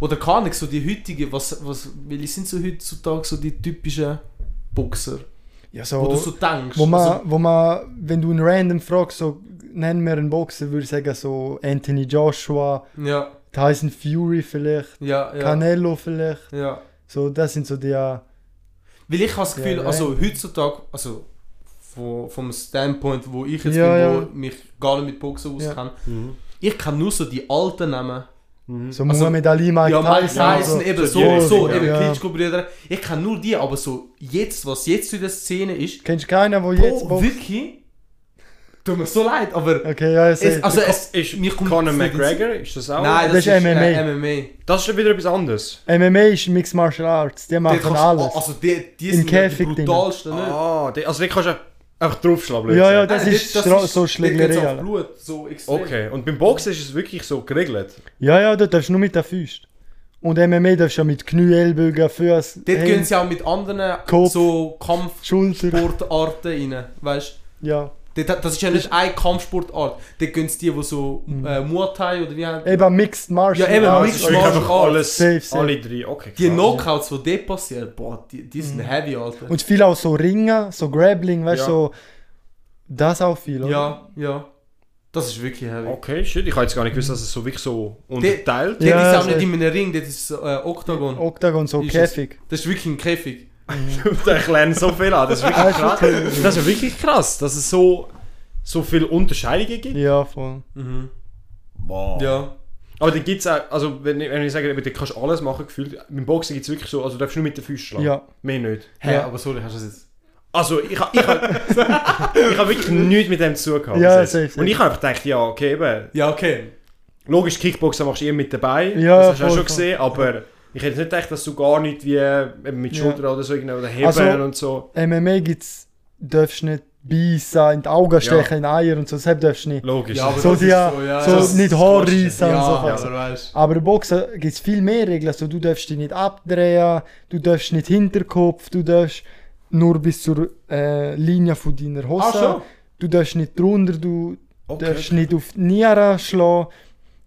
[SPEAKER 2] Oder keine Ahnung, so die heutigen, was, was, welche sind so heutzutage so die typischen Boxer,
[SPEAKER 3] Ja,
[SPEAKER 2] wo du so
[SPEAKER 3] so,
[SPEAKER 2] denkst.
[SPEAKER 3] wo man,
[SPEAKER 2] also,
[SPEAKER 3] wo man, wenn du einen random fragst, so, nenn mir einen Boxer, würde ich sagen, so Anthony Joshua,
[SPEAKER 2] ja,
[SPEAKER 3] Tyson Fury vielleicht,
[SPEAKER 2] ja, ja.
[SPEAKER 3] Canelo vielleicht,
[SPEAKER 2] ja.
[SPEAKER 3] so, das sind so die, äh,
[SPEAKER 2] Weil ich habe das
[SPEAKER 3] Ja,
[SPEAKER 2] Gefühl,
[SPEAKER 3] nein.
[SPEAKER 2] also heutzutage, also vom, vom Standpoint, wo ich jetzt
[SPEAKER 3] Ja,
[SPEAKER 2] bin, wo
[SPEAKER 3] ja.
[SPEAKER 2] mich gar nicht mit Boxen
[SPEAKER 3] Ja.
[SPEAKER 2] auskenne,
[SPEAKER 1] Mhm.
[SPEAKER 2] ich kann nur so die alten Namen.
[SPEAKER 1] Mhm.
[SPEAKER 3] so
[SPEAKER 2] Also-
[SPEAKER 3] Muhammad Ali, Mike
[SPEAKER 2] ja, Mike
[SPEAKER 3] Tyson,
[SPEAKER 2] Tyson,
[SPEAKER 3] so.
[SPEAKER 2] eben
[SPEAKER 1] So
[SPEAKER 2] so,
[SPEAKER 1] die
[SPEAKER 2] so,
[SPEAKER 1] Richtung,
[SPEAKER 2] eben
[SPEAKER 3] ja.
[SPEAKER 2] Klitschko-Brüder. Ich kann nur die, aber so jetzt, was jetzt in der Szene ist,
[SPEAKER 3] Kennst du keinen, der jetzt
[SPEAKER 2] oh,
[SPEAKER 3] boxt?
[SPEAKER 2] wirklich, tut mir so leid, aber
[SPEAKER 3] Okay, ja, ich
[SPEAKER 2] es,
[SPEAKER 3] sehe.
[SPEAKER 2] also es,
[SPEAKER 1] Ist
[SPEAKER 2] mir kommt
[SPEAKER 1] Conor
[SPEAKER 2] es nicht
[SPEAKER 1] McGregor, ist das auch?
[SPEAKER 2] ins- Nein, das,
[SPEAKER 3] Das
[SPEAKER 2] ist,
[SPEAKER 3] ist
[SPEAKER 2] äh,
[SPEAKER 3] MMA.
[SPEAKER 2] MMA.
[SPEAKER 1] Das ist schon wieder etwas anderes.
[SPEAKER 3] MMA ist Mixed Martial Arts, die
[SPEAKER 2] Die
[SPEAKER 3] machen
[SPEAKER 2] kannst-
[SPEAKER 3] alles.
[SPEAKER 2] Also die, die
[SPEAKER 3] Im
[SPEAKER 2] sind ja die
[SPEAKER 3] Käfig drin.
[SPEAKER 2] brutalsten, ne?
[SPEAKER 1] Ah, die- also den kannst du einfach draufschlagen.
[SPEAKER 3] Ja,
[SPEAKER 1] jetzt.
[SPEAKER 3] ja, das
[SPEAKER 2] Nein,
[SPEAKER 3] ist stra- so
[SPEAKER 2] dort geht's auf
[SPEAKER 3] Schlägerei. Alter.
[SPEAKER 2] Blut, so extrem.
[SPEAKER 1] Okay, und beim Boxen ist es wirklich so geregelt.
[SPEAKER 3] Ja, ja, da darfst du nur mit der Faust. Und MMA darfst du ja mit Knie, Ellbogen, Füße,
[SPEAKER 2] Dort gehen
[SPEAKER 3] Hände,
[SPEAKER 2] sie auch mit anderen
[SPEAKER 3] Kopf.
[SPEAKER 2] so Kampfsportarten
[SPEAKER 3] Schulter.
[SPEAKER 2] rein, weißt
[SPEAKER 3] Ja.
[SPEAKER 2] du? Dort- Das ist ja nicht eine Kampfsportart. Dort gehen sie die, die so
[SPEAKER 3] Mhm.
[SPEAKER 2] äh, Muay Thai oder wie heißt
[SPEAKER 3] Eben Mixed Martial
[SPEAKER 2] Ja, eben
[SPEAKER 1] Ah,
[SPEAKER 3] Arts.
[SPEAKER 1] es
[SPEAKER 2] Mixed
[SPEAKER 1] ist wirklich
[SPEAKER 2] Martial
[SPEAKER 1] einfach
[SPEAKER 2] Arts.
[SPEAKER 1] alles,
[SPEAKER 3] Safe, safe.
[SPEAKER 1] alle drei. Okay,
[SPEAKER 2] Die
[SPEAKER 1] krass.
[SPEAKER 2] Knockouts, die dort passieren, boah, die, die
[SPEAKER 3] Mhm.
[SPEAKER 2] sind heavy, Alter.
[SPEAKER 3] Und viel auch so Ringen, so Grappling, weißt
[SPEAKER 1] Ja.
[SPEAKER 3] du, so. Das auch viel, oder?
[SPEAKER 2] ja, ja. Das ist wirklich heavy.
[SPEAKER 1] Okay, shit, ich habe jetzt gar nicht gewusst, dass es so wirklich so unterteilt
[SPEAKER 2] Dort
[SPEAKER 3] Ja,
[SPEAKER 2] ist es auch
[SPEAKER 3] sehr.
[SPEAKER 2] nicht in einem Ring, dort ist es äh, Oktagon.
[SPEAKER 3] Octagon, so
[SPEAKER 2] Ist
[SPEAKER 3] Käfig.
[SPEAKER 2] Das ist wirklich ein Käfig.
[SPEAKER 1] ich lerne so viel an. Das ist wirklich krass. Das ist wirklich krass, dass es so, so viele Unterscheidungen gibt.
[SPEAKER 3] Ja, voll.
[SPEAKER 2] Mhm.
[SPEAKER 1] Wow.
[SPEAKER 2] Ja.
[SPEAKER 1] Aber dann gibt es auch, also wenn, ich- wenn ich sage, eben, dann kannst du alles machen, gefühlt. Beim Boxen gibt es wirklich so, also du darfst nur mit den Füßen schlagen.
[SPEAKER 3] Ja.
[SPEAKER 1] Mehr nicht.
[SPEAKER 2] Hä,
[SPEAKER 3] Ja.
[SPEAKER 2] aber sorry, hast du das jetzt?
[SPEAKER 1] Also ich habe ich hab, ich hab wirklich nichts mit dem zu tun gehabt.
[SPEAKER 3] Ja,
[SPEAKER 1] bis jetzt.
[SPEAKER 3] safe, safe.
[SPEAKER 1] Und ich habe einfach gedacht, ja, okay, eben.
[SPEAKER 2] Ja, okay.
[SPEAKER 1] Logisch, Kickboxen machst du eher mit dabei.
[SPEAKER 3] Ja,
[SPEAKER 1] das hast du auch
[SPEAKER 3] voll,
[SPEAKER 1] schon
[SPEAKER 3] voll.
[SPEAKER 1] gesehen, aber ich hätte nicht gedacht, dass du gar nicht wie eben mit
[SPEAKER 3] Ja.
[SPEAKER 1] Schulter oder so irgendwo oder Hebeln
[SPEAKER 3] Also-
[SPEAKER 1] und so.
[SPEAKER 3] MMA gibt's, darfst nicht beißen, in die Augen stechen, in die Eier und so, deshalb darfst du nicht.
[SPEAKER 1] Logisch.
[SPEAKER 2] Ja, aber
[SPEAKER 3] So,
[SPEAKER 2] das
[SPEAKER 3] die,
[SPEAKER 2] ist
[SPEAKER 3] ja,
[SPEAKER 2] so, ja,
[SPEAKER 3] so
[SPEAKER 2] das ist
[SPEAKER 3] nicht
[SPEAKER 1] das
[SPEAKER 3] Haare
[SPEAKER 1] Coolste.
[SPEAKER 3] reissen und so.
[SPEAKER 2] Ja,
[SPEAKER 3] Fals.
[SPEAKER 2] aber weißt
[SPEAKER 3] Aber im Boxen gibt es viel mehr Regeln. Also, du darfst dich nicht abdrehen, du darfst nicht Hinterkopf, du darfst nur bis zur äh, Linie von deiner Hose.
[SPEAKER 2] Ah, schon?
[SPEAKER 3] Du darfst nicht drunter, du
[SPEAKER 1] Okay.
[SPEAKER 3] darfst nicht auf die Nieren schlagen.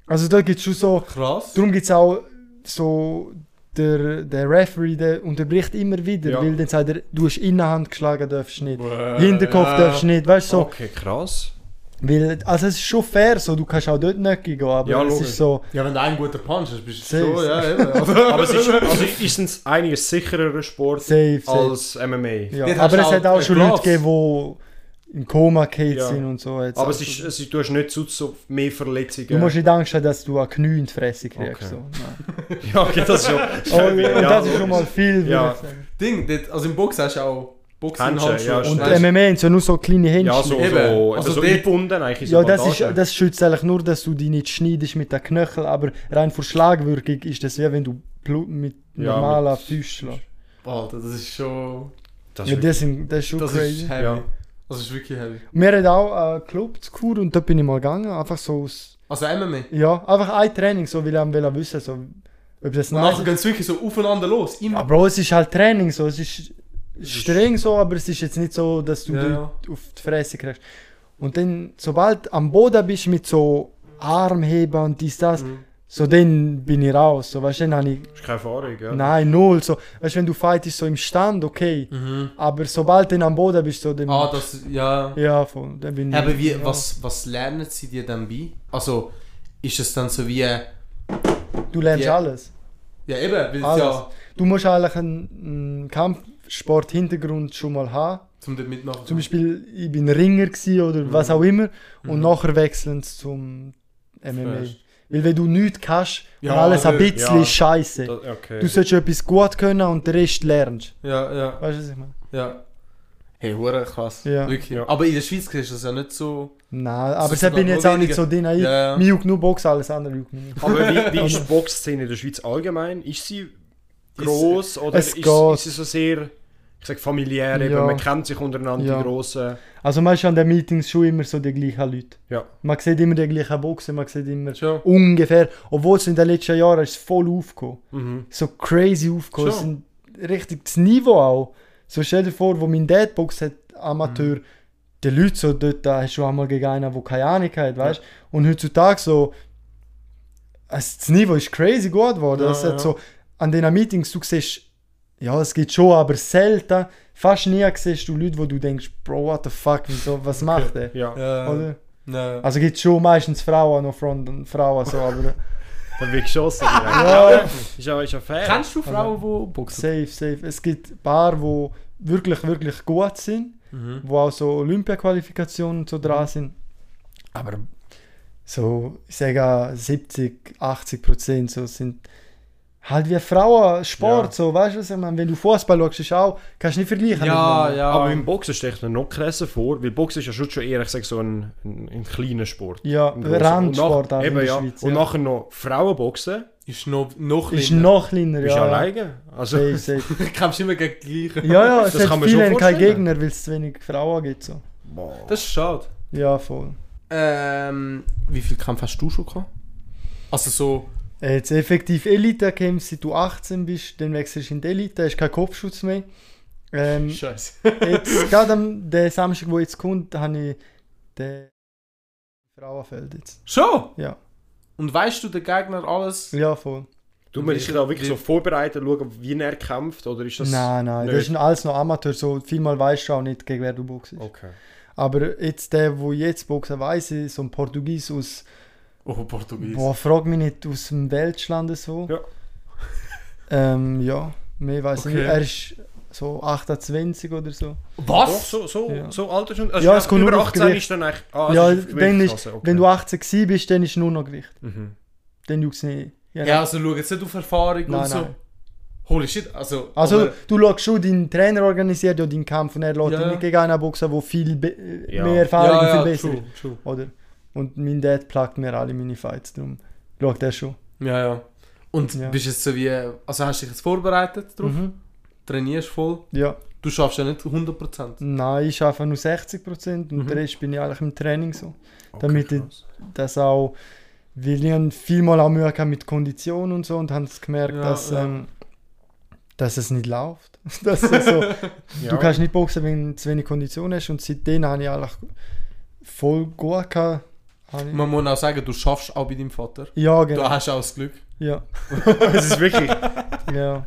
[SPEAKER 3] Also da gibt es schon so...
[SPEAKER 2] Krass.
[SPEAKER 3] Darum gibt es auch so... Der, der Referee der unterbricht immer wieder,
[SPEAKER 1] Ja. Äh,
[SPEAKER 3] weil dann sagt er, du hast Innenhand geschlagen, darfst nicht.
[SPEAKER 2] Bäh,
[SPEAKER 3] Hinterkopf
[SPEAKER 2] ja.
[SPEAKER 3] darfst nicht, weißt du so.
[SPEAKER 1] Okay, krass.
[SPEAKER 3] Weil, also es ist schon fair, so, du kannst auch dort nicht gehen, aber
[SPEAKER 1] Ja,
[SPEAKER 3] es
[SPEAKER 1] logisch.
[SPEAKER 3] ist so...
[SPEAKER 2] Ja, wenn du einen guten Punch hast, bist du
[SPEAKER 3] Safe.
[SPEAKER 2] so, ja, eben.
[SPEAKER 1] Aber es ist, also ist es einiges sicherer Sport
[SPEAKER 3] Safe, safe.
[SPEAKER 1] als MMA.
[SPEAKER 3] Ja,
[SPEAKER 2] Dort hast
[SPEAKER 3] aber
[SPEAKER 2] du
[SPEAKER 3] es
[SPEAKER 2] auch
[SPEAKER 3] hat auch
[SPEAKER 2] ein
[SPEAKER 3] schon
[SPEAKER 2] Glas.
[SPEAKER 3] Leute gegeben, die im Koma gefallen
[SPEAKER 1] Ja.
[SPEAKER 3] sind und so. Jetzt
[SPEAKER 1] Aber
[SPEAKER 3] auch
[SPEAKER 1] es ist, äh,
[SPEAKER 3] so.
[SPEAKER 1] es ist, du hast nicht so, so mehr Verletzungen.
[SPEAKER 3] Du musst nicht Angst haben, dass du eine Knie in die Fresse kriegst.
[SPEAKER 1] Okay.
[SPEAKER 3] So. Nein.
[SPEAKER 1] ja, okay, das ist schon.
[SPEAKER 3] Oh, und
[SPEAKER 1] Ja,
[SPEAKER 3] das ist schon
[SPEAKER 1] logisch.
[SPEAKER 3] mal viel, würde
[SPEAKER 1] Ja.
[SPEAKER 3] ich sagen.
[SPEAKER 2] Ding, dort, also im Box hast du auch Boxen
[SPEAKER 1] Handschuhe,
[SPEAKER 2] Handschuhe.
[SPEAKER 1] ja,
[SPEAKER 3] Und
[SPEAKER 1] schnell.
[SPEAKER 2] Nein,
[SPEAKER 1] M-
[SPEAKER 3] MMA sind so nur so kleine Händchen.
[SPEAKER 1] Ja, so, so,
[SPEAKER 2] Eben.
[SPEAKER 1] eben.
[SPEAKER 2] Also
[SPEAKER 1] so
[SPEAKER 2] dort-
[SPEAKER 1] eingebunden eigentlich in so
[SPEAKER 3] Ja, das, ist,
[SPEAKER 1] Bandagen.
[SPEAKER 3] das schützt eigentlich nur, dass du dich nicht schneidest mit den Knöcheln, aber rein vor Schlagwirkung ist das wie wenn du Blut mit
[SPEAKER 1] Ja,
[SPEAKER 3] normaler
[SPEAKER 1] mit-
[SPEAKER 3] Faust schlägst.
[SPEAKER 2] Alter, das ist schon...
[SPEAKER 1] Das
[SPEAKER 3] Ja,
[SPEAKER 1] ist-
[SPEAKER 3] das, sind, das ist schon
[SPEAKER 2] Das
[SPEAKER 3] crazy.
[SPEAKER 2] ist heavy.
[SPEAKER 1] Ja.
[SPEAKER 2] Das ist wirklich heavy.
[SPEAKER 3] Wir hatten auch einen Club zu Kur und dort bin ich mal gegangen, einfach so aus...
[SPEAKER 2] Also MMA.
[SPEAKER 3] Ja, einfach ein Training, so weil ich am wollte wissen, so, ob das
[SPEAKER 2] Und
[SPEAKER 3] nice
[SPEAKER 2] nachher gehen sie wirklich so aufeinander los. Immer.
[SPEAKER 3] Ja, Bro, es ist halt Training so, es ist streng so, aber es ist jetzt nicht so, dass du
[SPEAKER 2] Ja,
[SPEAKER 3] dort auf die Fresse kriegst. Und dann, sobald du am Boden bist mit so Armheben und dies, das,
[SPEAKER 2] Mhm.
[SPEAKER 3] so dann bin ich raus. So, weißt du, dann habe ich,
[SPEAKER 1] ist keine Erfahrung, ja.
[SPEAKER 3] nein, null. So, weißt du, wenn du fightest so im Stand, okay,
[SPEAKER 2] Mhm.
[SPEAKER 3] aber sobald du dann am Boden bist, so dann.
[SPEAKER 2] Ah, das... Ja.
[SPEAKER 3] ja, voll, dann bin ich.
[SPEAKER 2] Aber wie,
[SPEAKER 3] ja.
[SPEAKER 2] was, was lernen sie dir dann bei? Also, ist es dann so wie... Ja,
[SPEAKER 3] Du lernst
[SPEAKER 2] Ja.
[SPEAKER 3] alles.
[SPEAKER 2] eben, weil es
[SPEAKER 3] Alles.
[SPEAKER 2] ja...
[SPEAKER 3] Du musst eigentlich einen, einen Kampfsport-Hintergrund schon mal haben.
[SPEAKER 2] Zum dort mitmachen.
[SPEAKER 3] Zum Beispiel, ich bin Ringer gsi oder was
[SPEAKER 2] Mhm.
[SPEAKER 3] auch immer. Und nachher wechseln sie zum MMA.
[SPEAKER 2] Verstehst.
[SPEAKER 3] Weil wenn du nichts kannst,
[SPEAKER 2] Ja,
[SPEAKER 3] und alles ein
[SPEAKER 2] nö,
[SPEAKER 3] bisschen
[SPEAKER 1] ja.
[SPEAKER 3] ist scheiße.
[SPEAKER 1] Das, okay.
[SPEAKER 3] Du solltest etwas gut können und den Rest lernst.
[SPEAKER 2] Ja, ja,
[SPEAKER 3] Weißt du, was ich meine?
[SPEAKER 2] ja. Hey, hure krass.
[SPEAKER 3] Ja.
[SPEAKER 2] Wirklich.
[SPEAKER 1] Ja.
[SPEAKER 2] Aber in der Schweiz siehst du das ja nicht so...
[SPEAKER 3] Nein, aber
[SPEAKER 2] ist
[SPEAKER 3] ich bin
[SPEAKER 2] noch
[SPEAKER 3] jetzt auch nicht so drin. Ich,
[SPEAKER 2] Ja, ja.
[SPEAKER 3] Mir juckt nur Boxen, alles andere juckt mich nicht.
[SPEAKER 1] Aber wie, wie ist die Boxszene in der Schweiz allgemein? Ist sie gross oder
[SPEAKER 3] es
[SPEAKER 1] ist,
[SPEAKER 3] geht.
[SPEAKER 1] ist sie so sehr, ich sag familiär, eben,
[SPEAKER 3] Ja.
[SPEAKER 1] man kennt sich untereinander,
[SPEAKER 3] Ja.
[SPEAKER 1] die Grossen.
[SPEAKER 3] Also man ist an den Meetings schon immer so die gleichen Leute.
[SPEAKER 1] Ja.
[SPEAKER 3] Man sieht immer die gleichen Boxen, man sieht immer
[SPEAKER 2] Schon.
[SPEAKER 3] ungefähr, obwohl es in den letzten Jahren ist voll aufgekommen.
[SPEAKER 1] Mhm.
[SPEAKER 3] so crazy aufgekommen.
[SPEAKER 2] Schon.
[SPEAKER 3] Es sind richtig das Niveau auch. So stell dir vor, wo mein Dad boxt hat, Amateur,
[SPEAKER 2] Mhm.
[SPEAKER 3] die Leute so dort, da hast du einmal gegen einen, der keine Ahnung hat, weißt du? Und heutzutage so, also das Niveau ist crazy gut geworden.
[SPEAKER 2] Ja,
[SPEAKER 3] es hat
[SPEAKER 2] ja.
[SPEAKER 3] so, an diesen Meetings, du siehst, ja, es geht schon, aber selten, fast nie siehst du Leute, wo du denkst, Bro, what the fuck, wieso, was macht der?
[SPEAKER 1] Ja.
[SPEAKER 2] Ja,
[SPEAKER 3] Oder?
[SPEAKER 2] Nein.
[SPEAKER 3] Also gibt schon meistens Frauen noch Front und Frauen so, aber
[SPEAKER 1] Dann wird geschossen. ja.
[SPEAKER 3] ja,
[SPEAKER 1] Ist ja, ist ja fair.
[SPEAKER 2] Kennst du Frauen, die boxen?
[SPEAKER 3] safe, safe. Es gibt ein paar, die wirklich, wirklich gut sind.
[SPEAKER 2] Mhm.
[SPEAKER 3] wo auch so Olympia-Qualifikationen und so dran sind. Aber so, ich sage auch 70, 80 Prozent so sind halt wie Frauen Sport,
[SPEAKER 1] Ja.
[SPEAKER 3] so, weißt du was ich meine? Wenn du Fußball schaust, ist auch, kannst du nicht
[SPEAKER 2] Ja,
[SPEAKER 3] vergleichen. miteinander.
[SPEAKER 2] ja.
[SPEAKER 1] Aber im Boxen stelle ich mir noch krasser vor, weil Boxen ist ja schon, schon eher, ich sag so ein, ein, ein kleiner Sport.
[SPEAKER 3] Ja,
[SPEAKER 1] Ein grosser.
[SPEAKER 3] Randsport
[SPEAKER 1] Und nach-
[SPEAKER 3] auch in
[SPEAKER 1] eben,
[SPEAKER 3] der
[SPEAKER 1] ja.
[SPEAKER 3] Schweiz,
[SPEAKER 1] Und
[SPEAKER 3] ja.
[SPEAKER 1] nachher noch Frauenboxen,
[SPEAKER 2] Ist noch, noch
[SPEAKER 3] Ist
[SPEAKER 2] kleiner.
[SPEAKER 3] noch kleiner,
[SPEAKER 1] bist ja
[SPEAKER 3] ja.
[SPEAKER 1] alleine. Also,
[SPEAKER 3] Safe, safe.
[SPEAKER 2] Du kämpfst immer gegen die gleichen.
[SPEAKER 3] Ja, ja, es
[SPEAKER 1] Das kann
[SPEAKER 3] hat
[SPEAKER 1] man schon
[SPEAKER 3] viele keine
[SPEAKER 1] vorstellen.
[SPEAKER 3] Gegner, weil es zu wenig Frauen gibt. So.
[SPEAKER 1] boah.
[SPEAKER 2] Das ist schade.
[SPEAKER 3] Ja, voll.
[SPEAKER 2] Ähm, wie viel Kämpfe hast du schon gehabt? Also so...
[SPEAKER 3] Äh, Jetzt effektiv Elite kämpfst, seit du 18 bist, dann wechselst du in die Elite, hast keinen Kopfschutz mehr.
[SPEAKER 2] Hm.
[SPEAKER 3] Ähm,
[SPEAKER 2] Scheiße.
[SPEAKER 3] jetzt, gerade am der Samstag, wo jetzt kommt, habe ich den Frauenfeld jetzt.
[SPEAKER 2] Schon?
[SPEAKER 3] Ja.
[SPEAKER 2] Und weißt du den Gegner alles?
[SPEAKER 3] Ja, voll.
[SPEAKER 1] Du musst dich da wirklich so vorbereiten, schauen, wie er kämpft, oder ist das...
[SPEAKER 3] nein, nein, das
[SPEAKER 1] nicht?
[SPEAKER 3] ist alles noch Amateur, so vielmal weißt du auch nicht, gegen wer du boxst.
[SPEAKER 1] Okay.
[SPEAKER 3] Aber jetzt der, wo jetzt boxen, weiss ich, so ein Portugies aus,
[SPEAKER 2] Oh, Portugies.
[SPEAKER 3] boah, frag mich nicht, aus dem Weltschland so.
[SPEAKER 1] Ja.
[SPEAKER 3] Ähm, ja, mehr weiß ich
[SPEAKER 2] Okay.
[SPEAKER 3] nicht. Er ist so 28 oder so.
[SPEAKER 1] Doch,
[SPEAKER 2] Was?
[SPEAKER 1] so, so,
[SPEAKER 3] Ja.
[SPEAKER 1] so alt ist schon.
[SPEAKER 3] Ja, es kommt
[SPEAKER 1] über
[SPEAKER 3] nur auf
[SPEAKER 1] 18
[SPEAKER 3] Gewicht.
[SPEAKER 1] ist dann eigentlich. Ah, es
[SPEAKER 3] ja,
[SPEAKER 1] ist auf
[SPEAKER 3] dann
[SPEAKER 1] Gewicht,
[SPEAKER 3] ist,
[SPEAKER 1] also, okay.
[SPEAKER 3] wenn du 18 gewesen bist, dann ist nur noch Gewicht.
[SPEAKER 1] Mhm.
[SPEAKER 3] Dann juckt es nicht.
[SPEAKER 2] Ja,
[SPEAKER 3] Genau.
[SPEAKER 2] also schau jetzt nicht auf Erfahrung und
[SPEAKER 3] Nein,
[SPEAKER 2] so.
[SPEAKER 3] nein.
[SPEAKER 2] Holy shit, also...
[SPEAKER 3] Also
[SPEAKER 2] aber-
[SPEAKER 3] du schaust schon, dein Trainer organisiert ja deinen Kampf und er lässt
[SPEAKER 2] Ja.
[SPEAKER 3] dich nicht gegen einen boxen, der viel be- äh,
[SPEAKER 1] Ja.
[SPEAKER 3] mehr Erfahrung
[SPEAKER 2] ja,
[SPEAKER 3] und
[SPEAKER 2] ja,
[SPEAKER 3] viel besser
[SPEAKER 2] true, true.
[SPEAKER 3] ist. Oder? Und mein Dad plagt mir alle meine Fights, darum schaut er schon.
[SPEAKER 2] Ja, ja. Und
[SPEAKER 3] Ja.
[SPEAKER 2] bist jetzt so wie... Also hast du dich jetzt vorbereitet drauf?
[SPEAKER 3] Mhm.
[SPEAKER 2] Trainierst voll?
[SPEAKER 3] Ja,
[SPEAKER 2] Du schaffst ja nicht 100%.
[SPEAKER 3] nein, ich arbeite nur 60% und
[SPEAKER 2] Mhm.
[SPEAKER 3] den Rest bin ich eigentlich im Training so.
[SPEAKER 1] Okay,
[SPEAKER 3] Damit ich-
[SPEAKER 1] krass.
[SPEAKER 3] Das auch, weil ich habe vielmal auch Mühe gehabt mit Kondition und so und haben gemerkt,
[SPEAKER 2] Ja,
[SPEAKER 3] dass,
[SPEAKER 2] ja.
[SPEAKER 3] Ähm, dass es nicht läuft. dass es so,
[SPEAKER 1] ja.
[SPEAKER 3] Du kannst nicht boxen, wenn du zu wenig Kondition hast und seitdem habe ich eigentlich voll gut gehabt. Habe ich-
[SPEAKER 2] Man muss auch sagen, du schaffst auch bei deinem Vater.
[SPEAKER 3] Ja,
[SPEAKER 2] Du
[SPEAKER 3] genau.
[SPEAKER 2] hast auch das Glück.
[SPEAKER 3] Ja,
[SPEAKER 1] Es ist wirklich.
[SPEAKER 3] ja.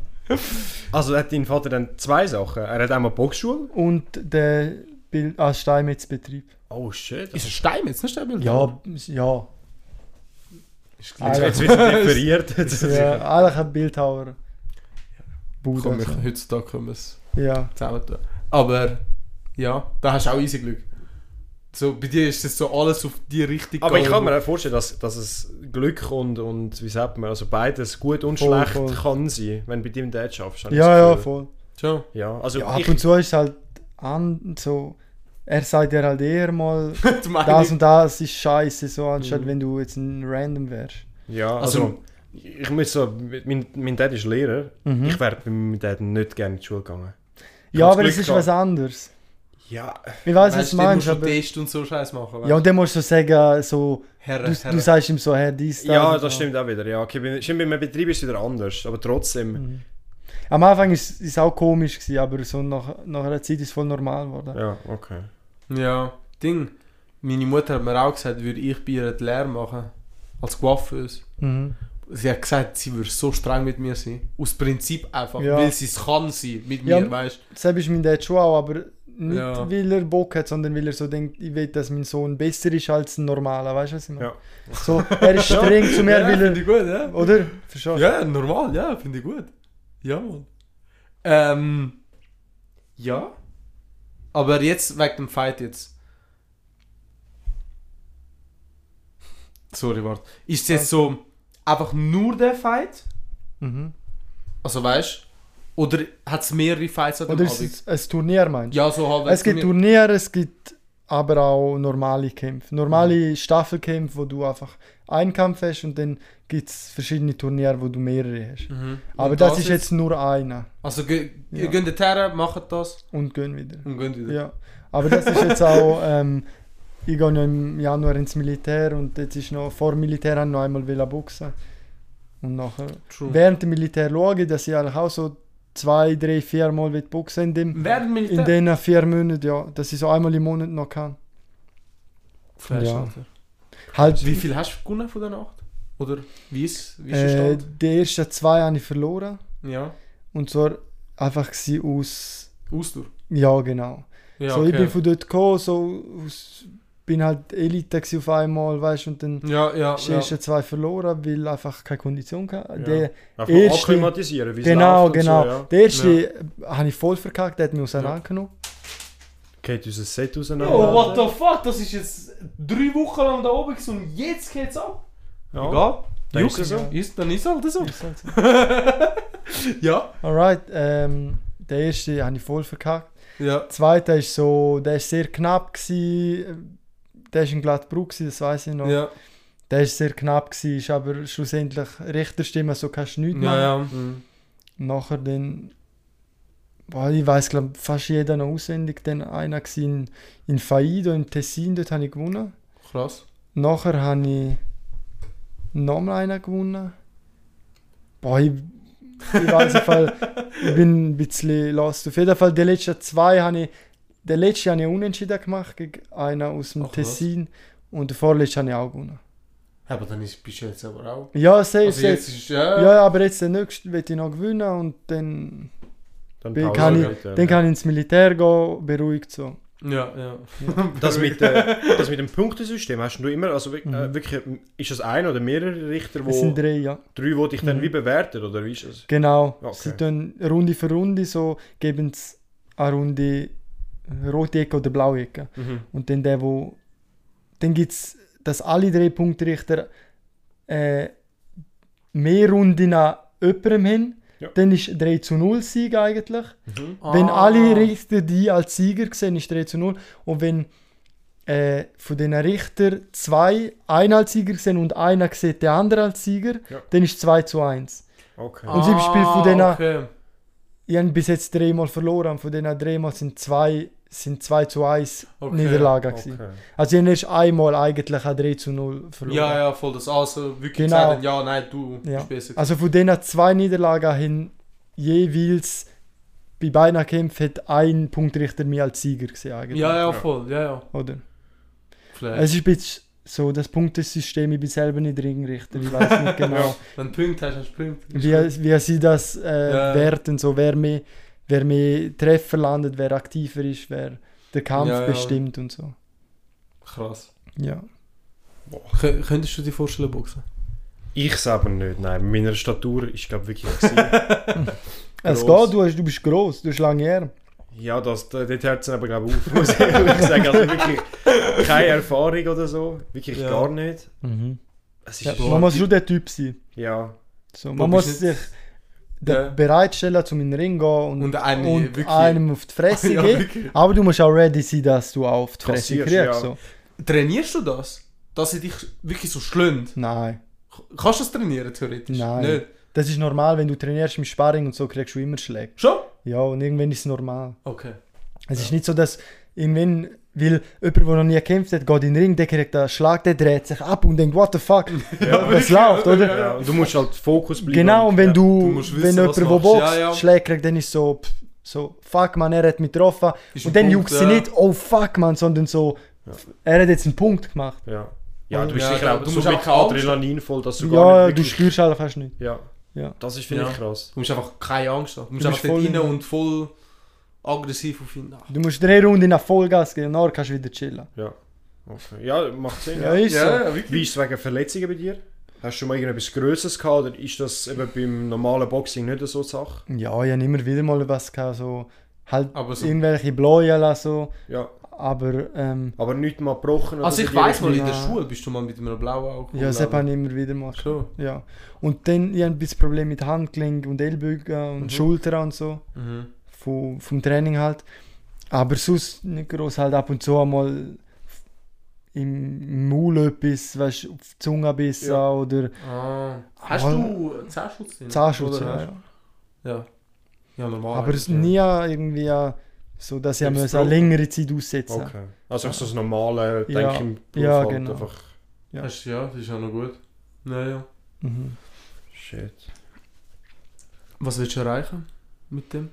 [SPEAKER 1] Also hat dein Vater dann zwei Sachen. Er hat einmal Boxschule.
[SPEAKER 3] Und der Bild als Steinmetzbetrieb.
[SPEAKER 1] Oh shit.
[SPEAKER 2] Ist ein Stein jetzt, nicht ein
[SPEAKER 3] Ja, ja.
[SPEAKER 2] Ist
[SPEAKER 1] jetzt
[SPEAKER 2] gleich.
[SPEAKER 1] jetzt wird es differiert. Jetzt-
[SPEAKER 3] ja eigentlich ein Bildhauer. Bude.
[SPEAKER 2] Komm, wir,
[SPEAKER 3] So.
[SPEAKER 2] heutzutage können wir es
[SPEAKER 3] Ja.
[SPEAKER 2] zusammen tun. Aber ja, da hast du auch easy Glück. So, bei dir ist das so alles auf die richtige
[SPEAKER 1] Aber ich kann mir auch vorstellen, dass, dass es Glück und, und wie sagt man, also beides gut und
[SPEAKER 3] Voll,
[SPEAKER 1] schlecht
[SPEAKER 3] voll.
[SPEAKER 1] kann sein, wenn du bei deinem Dad schaffst. habe ich
[SPEAKER 3] ja,
[SPEAKER 1] das
[SPEAKER 3] ja,
[SPEAKER 1] Gefühl.
[SPEAKER 3] voll.
[SPEAKER 2] Schon.
[SPEAKER 1] ja. Also
[SPEAKER 3] Ja, ab
[SPEAKER 1] ich,
[SPEAKER 3] und zu ist es halt an, so, er sagt dir halt eher mal,
[SPEAKER 2] Die Meinung.
[SPEAKER 3] das und das ist scheiße, so anstatt wenn du jetzt ein Random wärst.
[SPEAKER 1] Ja,
[SPEAKER 2] Also-
[SPEAKER 1] also, ich muss so, mein, mein Dad ist Lehrer.
[SPEAKER 3] Mhm.
[SPEAKER 1] Ich wäre mit meinem Dad nicht gerne in die Schule gegangen. Ich
[SPEAKER 3] Ja,
[SPEAKER 1] hab
[SPEAKER 3] aber
[SPEAKER 1] das
[SPEAKER 3] es
[SPEAKER 1] Glück
[SPEAKER 3] ist was
[SPEAKER 1] gehabt.
[SPEAKER 3] anderes.
[SPEAKER 1] Ja,
[SPEAKER 3] Ich weiß,
[SPEAKER 2] Weißt
[SPEAKER 3] was du
[SPEAKER 2] du, musst
[SPEAKER 3] meinst,
[SPEAKER 2] du
[SPEAKER 3] aber...
[SPEAKER 2] Test und so Scheiß machen.
[SPEAKER 3] Ja, und dann musst du so sagen, so,
[SPEAKER 2] Herr,
[SPEAKER 3] du,
[SPEAKER 2] Herr.
[SPEAKER 3] du sagst ihm so, hey, dies, das.
[SPEAKER 1] ja
[SPEAKER 3] und
[SPEAKER 1] das
[SPEAKER 3] so.
[SPEAKER 1] stimmt auch wieder. Ja, okay, bei, stimmt, bei einem Betrieb ist es wieder anders, aber trotzdem.
[SPEAKER 3] Mhm. Am Anfang ist es auch komisch, gewesen, aber so nach, nach einer Zeit ist es voll normal geworden.
[SPEAKER 1] Ja, okay.
[SPEAKER 2] Ja, Ding. Meine Mutter hat mir auch gesagt, würde ich bei ihr die Lehre machen. Als Coiffeuse.
[SPEAKER 3] Mhm.
[SPEAKER 2] Sie hat gesagt, sie würde so streng mit mir sein. Aus Prinzip einfach.
[SPEAKER 3] Ja.
[SPEAKER 2] Weil sie es kann sein mit
[SPEAKER 3] Ja.
[SPEAKER 2] mir, weißt du.
[SPEAKER 3] Selbst ist mein Dad schon auch, aber nicht
[SPEAKER 2] Ja.
[SPEAKER 3] weil er Bock hat, sondern weil er so denkt, ich will, dass mein Sohn besser ist als ein normaler, weißt du, was ich meine?
[SPEAKER 1] Ja.
[SPEAKER 3] So, er ist streng zu mir,
[SPEAKER 2] ja,
[SPEAKER 3] weil
[SPEAKER 2] finde
[SPEAKER 3] er.
[SPEAKER 2] ich gut, ja.
[SPEAKER 3] Oder? Verstehst du?
[SPEAKER 2] Ja, normal, ja, finde ich gut. Ja, Mann. Ähm. Ja. Aber jetzt wegen dem Fight jetzt. Sorry, warte. Ist es jetzt so einfach nur der Fight?
[SPEAKER 3] Mhm.
[SPEAKER 2] Also weißt du? Oder hat es mehrere Fights an dem
[SPEAKER 3] Oder ist
[SPEAKER 2] Abend?
[SPEAKER 3] es ein Turnier, meinst du?
[SPEAKER 2] also Ja, so halb.
[SPEAKER 3] es gibt Turniere, es gibt aber auch normale Kämpfe. Normale
[SPEAKER 2] Mhm.
[SPEAKER 3] Staffelkämpfe, wo du einfach einen Kampf hast und dann gibt es verschiedene Turniere, wo du mehrere hast.
[SPEAKER 2] Mhm.
[SPEAKER 3] Aber
[SPEAKER 2] Und
[SPEAKER 3] das, ist jetzt nur einer
[SPEAKER 2] Also ge
[SPEAKER 3] Ja.
[SPEAKER 2] ihr geht her, macht das
[SPEAKER 3] und gehen wieder.
[SPEAKER 2] und geht wieder.
[SPEAKER 3] Ja, aber das ist jetzt auch, ähm, ich gehe ja im Januar ins Militär und jetzt ist noch, vor dem Militär habe ich noch einmal wollen boxen. Und nachher,
[SPEAKER 2] True.
[SPEAKER 3] während dem Militär schaue ich, dass ich eigentlich auch so zwei, drei, vier Mal will boxen in, dem,
[SPEAKER 2] Während
[SPEAKER 3] in
[SPEAKER 2] Militär.
[SPEAKER 3] den vier Monaten, ja, dass ich so einmal im Monat noch kann.
[SPEAKER 2] Flash,
[SPEAKER 3] Ja.
[SPEAKER 2] Alter.
[SPEAKER 3] Halt,
[SPEAKER 2] Wie viel hast du gewonnen von der Nacht? Oder wie ist, wie ist der
[SPEAKER 3] äh,
[SPEAKER 2] Stand?
[SPEAKER 3] die ersten zwei habe ich verloren
[SPEAKER 2] Ja.
[SPEAKER 3] und zwar einfach sie aus,
[SPEAKER 2] Ausdauer.
[SPEAKER 3] ja genau.
[SPEAKER 2] Ja,
[SPEAKER 3] so, ich
[SPEAKER 2] okay.
[SPEAKER 3] bin von dort gekommen, so aus, bin halt Elite gewesen auf einmal, weißt du, und dann
[SPEAKER 2] ja, ja,
[SPEAKER 3] Die
[SPEAKER 2] ja.
[SPEAKER 3] ersten zwei verloren, weil einfach keine Kondition hatte.
[SPEAKER 1] Ja.
[SPEAKER 3] Der,
[SPEAKER 1] Einfach
[SPEAKER 3] Erste-
[SPEAKER 1] akklimatisieren, wie es
[SPEAKER 3] genau,
[SPEAKER 1] läuft und
[SPEAKER 3] genau.
[SPEAKER 1] So, ja.
[SPEAKER 3] Der erste habe ich voll verkackt, der hat mich auseinandergenommen.
[SPEAKER 1] Geht unser Set auseinander.
[SPEAKER 2] Oh, what the fuck? Das ist jetzt drei Wochen lang da oben gewesen und jetzt geht's ab.
[SPEAKER 1] Ja.
[SPEAKER 2] Egal.
[SPEAKER 1] Dann
[SPEAKER 2] Juckt
[SPEAKER 1] ist es so.
[SPEAKER 2] Ist, dann ist halt so.
[SPEAKER 3] Ich sag's.
[SPEAKER 2] ja.
[SPEAKER 3] Alright, ähm, der erste habe ich voll verkackt.
[SPEAKER 2] Ja.
[SPEAKER 3] Der zweite ist so, der ist sehr knapp gewesen. Der ist ein glatter Bruch, gewesen, das weiß ich noch.
[SPEAKER 2] Ja.
[SPEAKER 3] Der ist sehr knapp gewesen, ist aber schlussendlich Richterstimme, so kannst du nichts machen.
[SPEAKER 2] Ja, ja.
[SPEAKER 1] Mhm.
[SPEAKER 3] Nachher dann, boah, ich weiß glaube fast jeder noch auswendig, dann einer war in, in Faido im Tessin, dort habe ich gewonnen.
[SPEAKER 2] Krass.
[SPEAKER 3] Nachher habe ich nochmal einen gewonnen. Boah, ich, ich weiß auf jeden Fall, ich bin ein bisschen lost. Auf jeden Fall, die letzten zwei habe ich, den letzten habe ich unentschieden gemacht gegen einen aus dem
[SPEAKER 2] Ach, was?
[SPEAKER 3] Tessin und den vorletzten habe ich auch gewonnen.
[SPEAKER 2] Ja, aber dann ist, bist du jetzt aber auch.
[SPEAKER 3] Ja, safe,
[SPEAKER 2] Also
[SPEAKER 3] safe.
[SPEAKER 2] jetzt ist ja.
[SPEAKER 3] ja, ja, aber jetzt den nächsten will ich noch gewinnen und dann,
[SPEAKER 1] Dann
[SPEAKER 3] bin,
[SPEAKER 1] Pause
[SPEAKER 3] kann, ich,
[SPEAKER 1] bitte.
[SPEAKER 3] dann kann ich ins Militär gehen, beruhigt so.
[SPEAKER 2] Ja, ja.
[SPEAKER 1] Das mit, äh, das mit dem Punktesystem hast du immer, also wirk- äh,
[SPEAKER 3] Mhm.
[SPEAKER 1] wirklich, ist das ein oder mehrere Richter, wo
[SPEAKER 3] Es sind drei, ja.
[SPEAKER 1] drei, die dich dann
[SPEAKER 3] Mhm.
[SPEAKER 1] wie bewerten, oder wie ist das?
[SPEAKER 3] Genau.
[SPEAKER 1] Okay.
[SPEAKER 3] Sie tun Runde für Runde so, geben sie eine Runde rote Ecke oder blaue Ecke.
[SPEAKER 2] Mhm.
[SPEAKER 3] Und dann der, wo. Dann gibt es, dass alle drei Punktrichter äh, mehr Runden an jemandem haben.
[SPEAKER 1] Ja.
[SPEAKER 3] Dann ist 3 zu 0 Sieg eigentlich.
[SPEAKER 2] Ah.
[SPEAKER 3] Wenn alle Richter die als Sieger sehen, ist 3 zu 0. Und wenn äh, von den Richtern zwei einen als Sieger sehen und einer sieht den anderen als Sieger,
[SPEAKER 1] Ja.
[SPEAKER 3] dann ist 2 zu 1.
[SPEAKER 1] Okay.
[SPEAKER 3] und sie im Spiel von denen-
[SPEAKER 2] Ah, Okay.
[SPEAKER 3] Ich habe bis jetzt dreimal verloren. Von diesen dreimal sind zwei, sind zwei zu 1
[SPEAKER 2] Okay,
[SPEAKER 3] Niederlagen. gewesen.
[SPEAKER 1] okay.
[SPEAKER 3] Also ich habe erst einmal eigentlich auch 3 zu 0 verloren.
[SPEAKER 2] Ja, ja, voll das. Also wirklich
[SPEAKER 3] Genau.
[SPEAKER 2] sagen, ja, nein, du
[SPEAKER 3] Ja.
[SPEAKER 2] bist besser.
[SPEAKER 3] Also von diesen zwei Niederlagen hin jeweils bei beiden Kämpfen hat ein Punktrichter mich als Sieger gesehen. Eigentlich.
[SPEAKER 2] ja, ja,
[SPEAKER 1] Ja.
[SPEAKER 2] voll, ja, ja.
[SPEAKER 3] Oder?
[SPEAKER 2] Vielleicht.
[SPEAKER 3] Es ist ein bisschen so, das Punktesystem, ich bin selber nicht Ringrichter, ich weiß nicht genau,
[SPEAKER 2] Wenn du Punkt hast, hast du Punkt.
[SPEAKER 3] wie, wie sie das äh,
[SPEAKER 2] Ja.
[SPEAKER 3] werten, so wer mehr, wer mehr Treffer landet, wer aktiver ist, wer den Kampf
[SPEAKER 2] Ja, ja.
[SPEAKER 3] bestimmt und so.
[SPEAKER 2] Krass.
[SPEAKER 3] Ja.
[SPEAKER 2] Kö- Könntest du dir vorstellen, Boxen?
[SPEAKER 1] Ich selber nicht, nein. Mit meiner Statur ist, glaube ich, wirklich gewesen.
[SPEAKER 3] Es
[SPEAKER 1] Gross.
[SPEAKER 3] geht, du, hast, du bist gross, du hast lange Arme.
[SPEAKER 1] Ja, das, da- dort hört es aber, glaube ich, auf, muss ich ehrlich sagen. Also wirklich keine Erfahrung oder so. Wirklich
[SPEAKER 2] Ja.
[SPEAKER 1] gar nicht. Es ist
[SPEAKER 3] Ja, man muss schon der Typ sein.
[SPEAKER 1] ja.
[SPEAKER 3] So,
[SPEAKER 2] Wo
[SPEAKER 3] man muss
[SPEAKER 2] bist
[SPEAKER 3] sich der
[SPEAKER 2] Ja.
[SPEAKER 3] Bereitsteller zum in den Ring gehen und,
[SPEAKER 2] Und einen wirklich-
[SPEAKER 3] einem auf die Fresse
[SPEAKER 2] Ja,
[SPEAKER 3] gehen.
[SPEAKER 2] wirklich.
[SPEAKER 3] Aber du musst auch ready sein, dass du auch auf die Fresse
[SPEAKER 1] Kassierst,
[SPEAKER 3] kriegst.
[SPEAKER 1] ja.
[SPEAKER 3] So.
[SPEAKER 2] Trainierst du das? Dass sie dich wirklich so schlönt?
[SPEAKER 3] Nein.
[SPEAKER 2] Kannst du das trainieren, theoretisch?
[SPEAKER 3] Nein.
[SPEAKER 2] Nicht?
[SPEAKER 3] Das ist normal, wenn du trainierst im Sparring und so kriegst du immer Schläge.
[SPEAKER 2] Schon?
[SPEAKER 3] Ja, und irgendwann ist es normal.
[SPEAKER 2] Okay.
[SPEAKER 3] Es ist nicht so, dass irgendwann, weil jemand, der noch nie gekämpft hat, geht in den Ring, der kriegt einen Schlag, der dreht sich ab und denkt, what the fuck, was
[SPEAKER 2] wirklich,
[SPEAKER 3] läuft,
[SPEAKER 2] ja,
[SPEAKER 3] oder?
[SPEAKER 1] Ja, und du musst halt Fokus bleiben.
[SPEAKER 3] Genau, und wenn
[SPEAKER 2] du
[SPEAKER 3] du,
[SPEAKER 2] musst wissen,
[SPEAKER 3] wenn jemand,
[SPEAKER 2] was
[SPEAKER 3] der
[SPEAKER 2] machst.
[SPEAKER 3] boxt, Schläge
[SPEAKER 2] Ja, ja.
[SPEAKER 3] kriegt, dann ist so, pff, so, fuck man, er hat mich getroffen.
[SPEAKER 2] Ist ein
[SPEAKER 3] und dann
[SPEAKER 2] Punkt,
[SPEAKER 3] juckt sie
[SPEAKER 2] ja.
[SPEAKER 3] nicht, oh fuck man, sondern so, er hat jetzt einen Punkt gemacht.
[SPEAKER 1] Ja. ja, du bist
[SPEAKER 2] Ja,
[SPEAKER 1] sicher
[SPEAKER 2] ja,
[SPEAKER 1] auch
[SPEAKER 2] du
[SPEAKER 1] so
[SPEAKER 2] musst
[SPEAKER 1] mit
[SPEAKER 2] auch keine Angst
[SPEAKER 1] Adrenalin voll, dass du gar
[SPEAKER 3] ja,
[SPEAKER 1] nicht
[SPEAKER 3] du
[SPEAKER 1] wirklich...
[SPEAKER 3] spürst halt fast nicht.
[SPEAKER 1] Ja,
[SPEAKER 3] Ja.
[SPEAKER 1] das ist, finde
[SPEAKER 2] Ja.
[SPEAKER 1] ich, krass.
[SPEAKER 2] Du musst einfach keine Angst haben. Du musst
[SPEAKER 3] Du bist
[SPEAKER 2] einfach dort
[SPEAKER 3] voll
[SPEAKER 2] rein
[SPEAKER 3] in-
[SPEAKER 2] und voll aggressiv auf ihn.
[SPEAKER 3] Du musst drei Runden nach Vollgas gehen, danach kannst du wieder chillen.
[SPEAKER 1] Ja. Okay. Ja, macht Sinn.
[SPEAKER 3] Ja,
[SPEAKER 1] ja.
[SPEAKER 3] ist so.
[SPEAKER 1] Wie ist es wegen Verletzungen bei dir? Hast du schon mal irgendetwas Größeres gehabt oder ist das eben beim normalen Boxing nicht so eine Sache?
[SPEAKER 3] Ja, ich habe immer wieder mal was gehabt, so, halt
[SPEAKER 2] Aber so-
[SPEAKER 3] irgendwelche Bläuen oder so,
[SPEAKER 1] Ja.
[SPEAKER 3] aber, ähm,
[SPEAKER 1] Aber nicht mal gebrochen
[SPEAKER 2] Also
[SPEAKER 1] oder
[SPEAKER 2] ich weiß mal,
[SPEAKER 1] direkt-
[SPEAKER 2] in der
[SPEAKER 3] Nein.
[SPEAKER 2] Schule bist du mal mit einem blauen Auge
[SPEAKER 3] Ja, das hat man immer wieder mal.
[SPEAKER 2] Schon.
[SPEAKER 3] Ja. Und dann, ich habe ein bisschen Probleme mit Handgelenk und Ellbogen und
[SPEAKER 2] Mhm.
[SPEAKER 3] Schulter und so,
[SPEAKER 2] Mhm.
[SPEAKER 3] vom, vom Training halt. Aber sonst nicht groß halt ab und zu einmal im Maul etwas, weißt du, auf die Zunge bissen
[SPEAKER 1] Ja.
[SPEAKER 3] oder
[SPEAKER 2] Ah. Hast
[SPEAKER 3] Aber-
[SPEAKER 2] du Zahnschutz drin?
[SPEAKER 3] Zahnschutz.
[SPEAKER 2] Oder
[SPEAKER 3] Ja,
[SPEAKER 2] hast-
[SPEAKER 3] ja.
[SPEAKER 2] Ja. Ja, normal.
[SPEAKER 3] Aber es
[SPEAKER 2] ja.
[SPEAKER 3] nie irgendwie äh, so, dass ich
[SPEAKER 1] Ist
[SPEAKER 3] muss eine
[SPEAKER 1] gebrochen.
[SPEAKER 3] längere Zeit aussetzen musste.
[SPEAKER 1] Okay. Also so das normale Denken
[SPEAKER 3] Ja.
[SPEAKER 1] im Beruf
[SPEAKER 3] Ja,
[SPEAKER 1] halt
[SPEAKER 3] genau.
[SPEAKER 1] einfach...
[SPEAKER 3] Ja.
[SPEAKER 2] Hast, ja, das ist ja noch gut. Naja.
[SPEAKER 3] Mhm.
[SPEAKER 1] Shit.
[SPEAKER 2] Was willst du erreichen mit dem?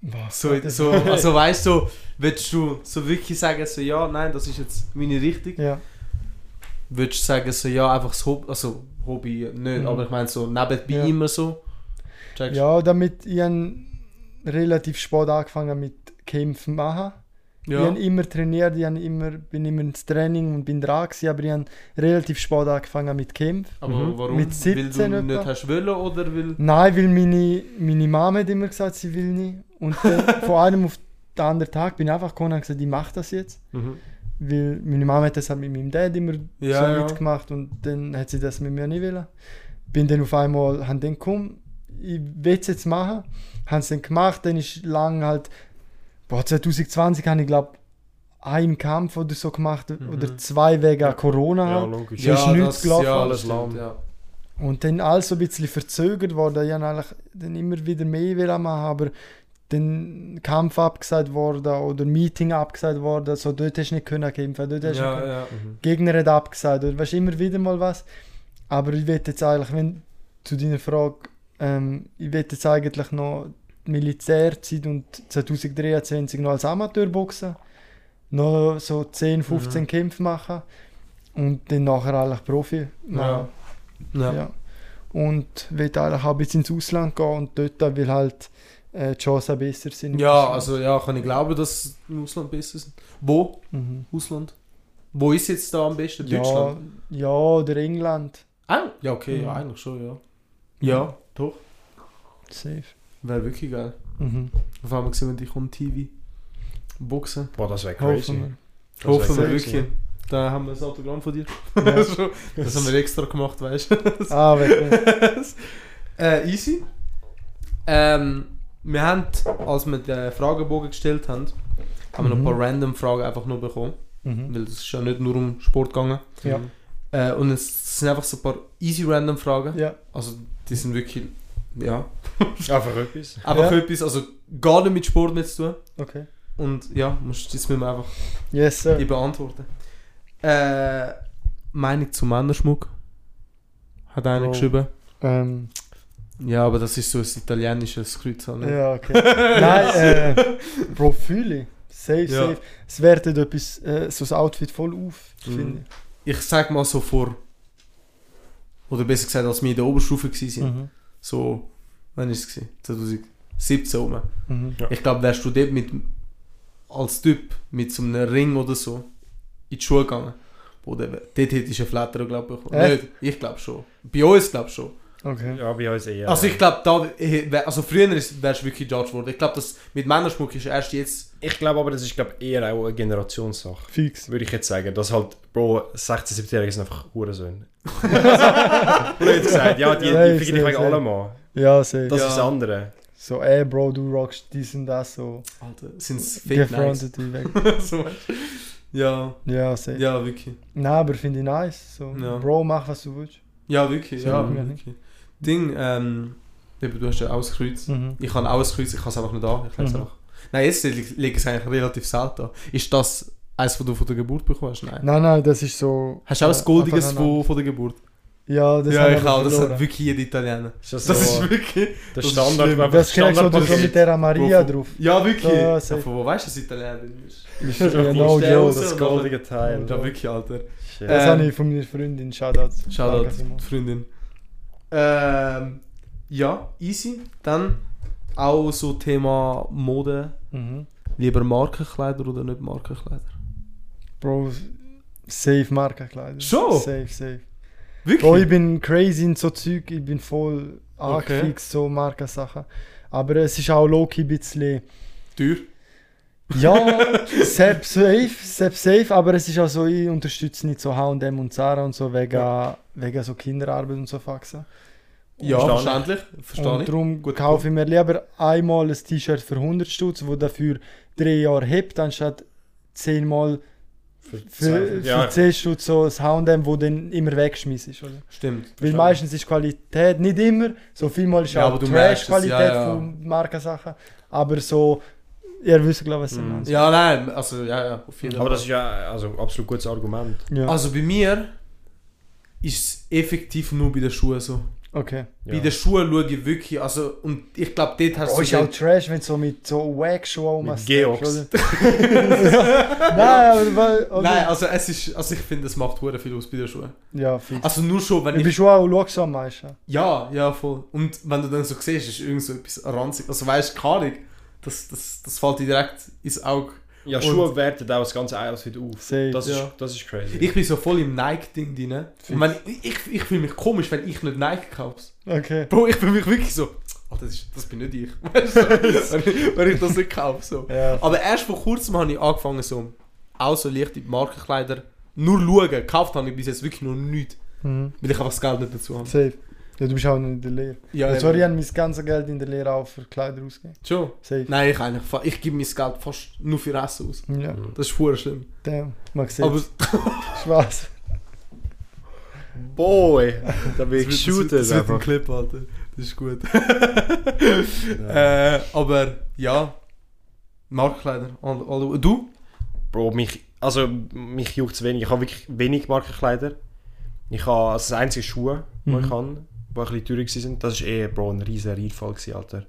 [SPEAKER 3] Was?
[SPEAKER 2] So, so, also weißt du, so, willst du so wirklich sagen, so ja, nein, das ist jetzt meine Richtung?
[SPEAKER 3] Ja.
[SPEAKER 2] Würdest du sagen, so ja, einfach das Hobby, also Hobby nicht,
[SPEAKER 3] Mhm.
[SPEAKER 2] aber ich meine so nebenbei
[SPEAKER 3] Ja.
[SPEAKER 2] immer so. Checkst
[SPEAKER 3] ja, damit ich habe relativ spät angefangen mit Kämpfen machen.
[SPEAKER 2] du?
[SPEAKER 3] Ich habe immer trainiert, ich habe immer, bin immer ins Training und bin dran gewesen, aber ich habe relativ spät angefangen mit Kämpfen.
[SPEAKER 2] Aber
[SPEAKER 1] Mhm.
[SPEAKER 2] warum?
[SPEAKER 3] Mit 17
[SPEAKER 2] Weil du nicht
[SPEAKER 3] etwa?
[SPEAKER 2] hast wollen oder weil...
[SPEAKER 3] Nein, weil meine, meine Mama hat immer gesagt, sie will nicht. Und dann von einem auf den anderen Tag bin ich einfach gekommen und habe gesagt, ich mache das jetzt.
[SPEAKER 1] Mhm.
[SPEAKER 3] Weil meine Mama hat das halt mit meinem Dad immer
[SPEAKER 2] Ja,
[SPEAKER 3] so
[SPEAKER 2] ja.
[SPEAKER 3] mitgemacht und dann hat sie das mit mir nicht wollen. Bin dann auf einmal, haben dann komm, ich will es jetzt machen. Haben es dann gemacht, dann ist lang halt, boah, 2020 habe ich glaube einen Kampf oder so gemacht oder zwei wegen Corona
[SPEAKER 1] Ja,
[SPEAKER 3] halt.
[SPEAKER 1] logisch.
[SPEAKER 3] Ja. ist nichts
[SPEAKER 2] das-
[SPEAKER 3] gelaufen.
[SPEAKER 2] Ja,
[SPEAKER 1] Alles
[SPEAKER 2] das stimmt,
[SPEAKER 1] lahm.
[SPEAKER 2] ja.
[SPEAKER 3] Und dann alles so ein bisschen verzögert worden. Ich wollte eigentlich dann immer wieder mehr wollen machen, aber dann Kampf abgesagt worden oder Meeting abgesagt worden. So, dort hast du nicht können kämpfen, dort hast du nicht
[SPEAKER 2] Ja,
[SPEAKER 3] können.
[SPEAKER 2] ja.
[SPEAKER 3] Gegner hat abgesagt oder weißt immer wieder mal was. Aber ich will jetzt eigentlich, wenn zu deiner Frage, ähm, ich will jetzt eigentlich noch die Militärzeit und 2023 noch als Amateur boxen, noch so 10, 15
[SPEAKER 2] Mhm.
[SPEAKER 3] Kämpfe machen und dann nachher eigentlich Profi machen. Ja.
[SPEAKER 2] Ja.
[SPEAKER 3] Und will eigentlich auch ein bisschen ins Ausland gehen und dort will halt äh, die Chancen besser sind. im
[SPEAKER 2] Ja,
[SPEAKER 3] Ausland.
[SPEAKER 2] also ja, kann ich glauben, dass es im Ausland besser ist. Wo?
[SPEAKER 3] Mhm.
[SPEAKER 2] Ausland? Wo ist jetzt da am besten?
[SPEAKER 3] Ja,
[SPEAKER 2] Deutschland?
[SPEAKER 3] ja, oder England.
[SPEAKER 2] Ah, ja, okay, ja,
[SPEAKER 3] Mhm.
[SPEAKER 2] eigentlich schon, ja. Ja, doch.
[SPEAKER 3] Safe.
[SPEAKER 2] Wäre wirklich geil.
[SPEAKER 3] Mhm.
[SPEAKER 2] Auf einmal sehen wir dich on TV boxen.
[SPEAKER 1] Boah, das wäre
[SPEAKER 3] Hoffen
[SPEAKER 1] crazy.
[SPEAKER 3] wir.
[SPEAKER 1] Das wär
[SPEAKER 2] Hoffen wir
[SPEAKER 1] crazy.
[SPEAKER 2] wirklich. Da haben wir das Autogramm von dir.
[SPEAKER 3] Ja.
[SPEAKER 2] So, das haben wir extra gemacht, weißt du?
[SPEAKER 3] Ah, wirklich.
[SPEAKER 2] äh, easy. Ähm, wir haben, als wir den Fragebogen gestellt haben, haben wir noch ein
[SPEAKER 3] Mhm.
[SPEAKER 2] paar random Fragen einfach nur bekommen.
[SPEAKER 3] Mhm.
[SPEAKER 2] Weil es ist ja nicht nur um Sport gegangen.
[SPEAKER 3] Ja.
[SPEAKER 2] Äh, und es sind einfach so ein paar easy random Fragen.
[SPEAKER 3] Ja.
[SPEAKER 2] Also die sind wirklich, ja,
[SPEAKER 1] Einfach etwas.
[SPEAKER 2] einfach
[SPEAKER 3] Ja.
[SPEAKER 2] etwas, also gar nicht mit Sport mehr zu tun.
[SPEAKER 3] Okay.
[SPEAKER 2] Und ja, musst, das müssen wir einfach
[SPEAKER 3] Yes,
[SPEAKER 2] die
[SPEAKER 3] sir.
[SPEAKER 2] beantworten. Äh, Meinung zu Männerschmuck? Hat einer
[SPEAKER 3] Bro.
[SPEAKER 2] geschrieben.
[SPEAKER 3] Ähm,
[SPEAKER 2] Ja, aber das ist so ein italienisches Kreuz. Ne?
[SPEAKER 3] ja, okay. Nein, äh, Bro, fühle ich. Safe,
[SPEAKER 2] Ja.
[SPEAKER 3] safe. Es wertet etwas, äh, so das Outfit voll auf,
[SPEAKER 2] Mhm.
[SPEAKER 3] finde
[SPEAKER 2] Ich sag mal so vor, oder besser gesagt, als wir in der Oberstufe
[SPEAKER 3] ich.
[SPEAKER 2] waren,
[SPEAKER 3] Mhm.
[SPEAKER 2] so, wann ist es? gewesen? 2017 rum.
[SPEAKER 3] Mhm.
[SPEAKER 2] Ich glaube, wärst du dort mit, als Typ mit so einem Ring oder so in die Schule gegangen. Oder dort hättest du einen Flatter, glaube ich, bekommen.
[SPEAKER 3] Echt?
[SPEAKER 2] Nicht, ich glaube schon. Bei uns glaube ich schon.
[SPEAKER 3] Okay.
[SPEAKER 1] Ja, bei uns eher.
[SPEAKER 2] Also ich glaube, da, eh, wär- also früher ist- wärst du wirklich judged worden. Ich glaube, das mit Männerschmuck ist erst jetzt...
[SPEAKER 1] ich glaube aber, das ist glaub, eher auch eine Generationssache.
[SPEAKER 3] Fix.
[SPEAKER 1] Würde ich jetzt sagen, dass halt, Bro, 16-, 17-Jährige sind einfach Hurensöhne. Blöd
[SPEAKER 2] Blöd.
[SPEAKER 1] gesagt, ja, die,
[SPEAKER 3] Nein,
[SPEAKER 1] die ficken dich
[SPEAKER 3] sehr,
[SPEAKER 1] wegen
[SPEAKER 3] sehr.
[SPEAKER 1] allem an.
[SPEAKER 3] Ja, safe.
[SPEAKER 1] Das
[SPEAKER 2] Ja.
[SPEAKER 1] ist das andere.
[SPEAKER 3] So, ey, Bro, du rockst dies und das so.
[SPEAKER 2] Alter, sind's fake nice.
[SPEAKER 3] Gefrontet die weg.
[SPEAKER 2] so, weißt du? ja,
[SPEAKER 3] Ja, safe.
[SPEAKER 2] ja, wirklich.
[SPEAKER 3] Nein, aber finde ich nice. So,
[SPEAKER 2] Ja.
[SPEAKER 3] Bro, mach was du willst.
[SPEAKER 2] Ja, wirklich,
[SPEAKER 3] So,
[SPEAKER 2] ja,
[SPEAKER 3] ja.
[SPEAKER 2] wirklich. Ding, ähm, eben, du hast ja auskreuz.
[SPEAKER 3] Mhm.
[SPEAKER 2] Ich habe auskreuz, ich kann es einfach nicht an. Ich kann's
[SPEAKER 3] Mhm.
[SPEAKER 2] einfach. Nein, jetzt lege ich es eigentlich relativ selten an. Ist das eins, was du von der Geburt bekommst? Nein.
[SPEAKER 3] Nein, nein, das ist so.
[SPEAKER 2] Hast du auch
[SPEAKER 3] Ja,
[SPEAKER 2] ein goldiges
[SPEAKER 3] einfach aneinander.
[SPEAKER 2] von, von der Geburt?
[SPEAKER 3] Ja, das
[SPEAKER 2] ja,
[SPEAKER 3] haben
[SPEAKER 2] ich
[SPEAKER 3] wir
[SPEAKER 2] auch. Das hat
[SPEAKER 3] verloren.
[SPEAKER 2] wirklich jeder Italiener.
[SPEAKER 1] Ist das,
[SPEAKER 2] Das
[SPEAKER 1] so
[SPEAKER 2] ist wirklich...
[SPEAKER 1] der
[SPEAKER 2] ist
[SPEAKER 1] Standard,
[SPEAKER 2] schlimm.
[SPEAKER 1] einfach
[SPEAKER 3] Das kennst du so
[SPEAKER 1] Standardpaket.
[SPEAKER 3] mit der Maria
[SPEAKER 2] Wovon?
[SPEAKER 3] drauf.
[SPEAKER 2] Ja, wirklich.
[SPEAKER 3] Ja,
[SPEAKER 2] Ja,
[SPEAKER 3] safe.
[SPEAKER 2] von wo weißt du, dass du Italiener bist?
[SPEAKER 3] Ja, no
[SPEAKER 2] Stell
[SPEAKER 3] joke.
[SPEAKER 2] raus.
[SPEAKER 1] Das goldige Teil.
[SPEAKER 2] Ja, wirklich, Alter.
[SPEAKER 1] Shit.
[SPEAKER 3] Das
[SPEAKER 2] Ähm,
[SPEAKER 3] habe ich von meiner Freundin. Shoutout.
[SPEAKER 2] Shoutout,
[SPEAKER 3] Danke vielmals.
[SPEAKER 2] Freundin. Ähm, ja, easy. Dann auch so Thema Mode.
[SPEAKER 3] Mhm.
[SPEAKER 2] Lieber Markenkleider oder nicht Markenkleider?
[SPEAKER 3] Bro, safe Markenkleider.
[SPEAKER 2] Schon?
[SPEAKER 3] Safe, safe.
[SPEAKER 2] Wirklich?
[SPEAKER 3] Bro, Oh, ich bin crazy in so Zeug, ich bin voll angefixt, so Markensachen. Aber es ist auch low-key ein bisschen.
[SPEAKER 2] Teuer.
[SPEAKER 3] Ja, selbst safe, selbst safe, aber es ist auch so, ich unterstütze nicht so HM und Zara und so wegen, wegen so Kinderarbeit und so Faxen.
[SPEAKER 2] Ja,
[SPEAKER 1] Verstehe
[SPEAKER 2] verständlich. Verstehe
[SPEAKER 3] und
[SPEAKER 2] ich.
[SPEAKER 3] darum
[SPEAKER 2] Guter
[SPEAKER 3] kaufe ich mir lieber einmal ein T-Shirt für 100 Stutz, wo dafür drei Jahre hebt, anstatt zehnmal
[SPEAKER 1] Für,
[SPEAKER 3] für, für
[SPEAKER 1] ja,
[SPEAKER 3] 10 Stutz so ein H&M, wo dann immer wegschmissen ist, oder?
[SPEAKER 2] Stimmt.
[SPEAKER 3] Weil
[SPEAKER 2] verstehe.
[SPEAKER 3] meistens ist Qualität, nicht immer, so vielmal ist
[SPEAKER 2] Ja,
[SPEAKER 3] auch
[SPEAKER 2] aber du merkst es,
[SPEAKER 3] Trash-Qualität
[SPEAKER 2] ja, ja.
[SPEAKER 3] von Markensachen, aber so, ihr wisst glaube ich, was ich
[SPEAKER 1] Mhm.
[SPEAKER 3] meine.
[SPEAKER 2] Ja, nein, also ja, ja, auf jeden
[SPEAKER 1] aber
[SPEAKER 2] Fall.
[SPEAKER 1] das ist ja also, ein absolut gutes Argument.
[SPEAKER 3] Ja,
[SPEAKER 2] Also bei mir ist es effektiv nur bei den Schuhen so.
[SPEAKER 3] okay.
[SPEAKER 1] Ja.
[SPEAKER 2] Bei den Schuhen schaue ich wirklich, also, und ich glaube, dort hast
[SPEAKER 3] Oh,
[SPEAKER 2] du...
[SPEAKER 3] ist auch
[SPEAKER 2] den-
[SPEAKER 3] Trash, wenn du so mit so Wack-Show
[SPEAKER 1] Mit
[SPEAKER 3] machst.
[SPEAKER 1] Geox.
[SPEAKER 3] Nein, aber weil. oder?
[SPEAKER 2] Nein, also es ist, also ich finde, es macht hure viel aus bei den Schuhen.
[SPEAKER 3] Ja, fix.
[SPEAKER 2] Also nur schon, wenn
[SPEAKER 3] du
[SPEAKER 2] ich...
[SPEAKER 3] bist schon auch schaust am meisten.
[SPEAKER 2] Ja, ja, voll. Und wenn du dann so siehst, ist irgend so etwas ranzig. Also weißt du, keine Ahnung, das, das, das fällt dir direkt ins Auge.
[SPEAKER 1] Ja, Schuhe werten auch das ganze Outfit auf.
[SPEAKER 3] Safe.
[SPEAKER 1] Das,
[SPEAKER 2] Ja.
[SPEAKER 1] ist, das ist crazy.
[SPEAKER 2] Ich bin so voll im Nike-Ding drin. Und wenn, ich, ich fühle mich komisch, wenn ich nicht Nike kaufe.
[SPEAKER 3] Okay.
[SPEAKER 2] Bro, ich fühle mich wirklich so, oh, das, ist, das bin nicht ich. Weißt du, so, wenn, ich, wenn ich das nicht kaufe. So.
[SPEAKER 3] Ja.
[SPEAKER 2] Aber erst vor kurzem habe ich angefangen, so, auch so leichte Markenkleider nur schauen. Gekauft habe ich bis jetzt wirklich noch nichts,
[SPEAKER 3] Mhm.
[SPEAKER 2] weil ich einfach das Geld nicht dazu habe.
[SPEAKER 3] Safe. Ja, du bist auch noch in der Lehre.
[SPEAKER 2] Ja,
[SPEAKER 3] Ja, sorry, ich
[SPEAKER 2] eben.
[SPEAKER 3] habe mein ganzes Geld in der Lehre auch für Kleider ausgegeben.
[SPEAKER 2] Schon.
[SPEAKER 3] Safe.
[SPEAKER 2] Nein, ich eigentlich, fa- ich gebe mein Geld fast nur für Essen aus.
[SPEAKER 3] Ja,
[SPEAKER 2] Das ist verdammt schlimm.
[SPEAKER 3] damn. Man sieht
[SPEAKER 2] Aber
[SPEAKER 3] Aber Spaß.
[SPEAKER 1] Boy, da bin ich
[SPEAKER 2] das
[SPEAKER 1] geshootet
[SPEAKER 2] wird, das wird ein
[SPEAKER 1] einfach.
[SPEAKER 2] Clip, Alter. Das ist gut. äh, aber ja, Markenkleider. All, all, du?
[SPEAKER 1] Bro, mich, also, mich juckt es wenig. Ich habe wirklich wenig Markenkleider. Ich habe also das einzige Schuhe, die
[SPEAKER 3] Mhm.
[SPEAKER 1] ich habe, die ein bisschen teurer waren. Das war eh, Bro, ein riesen Reinfall, gewesen, Alter.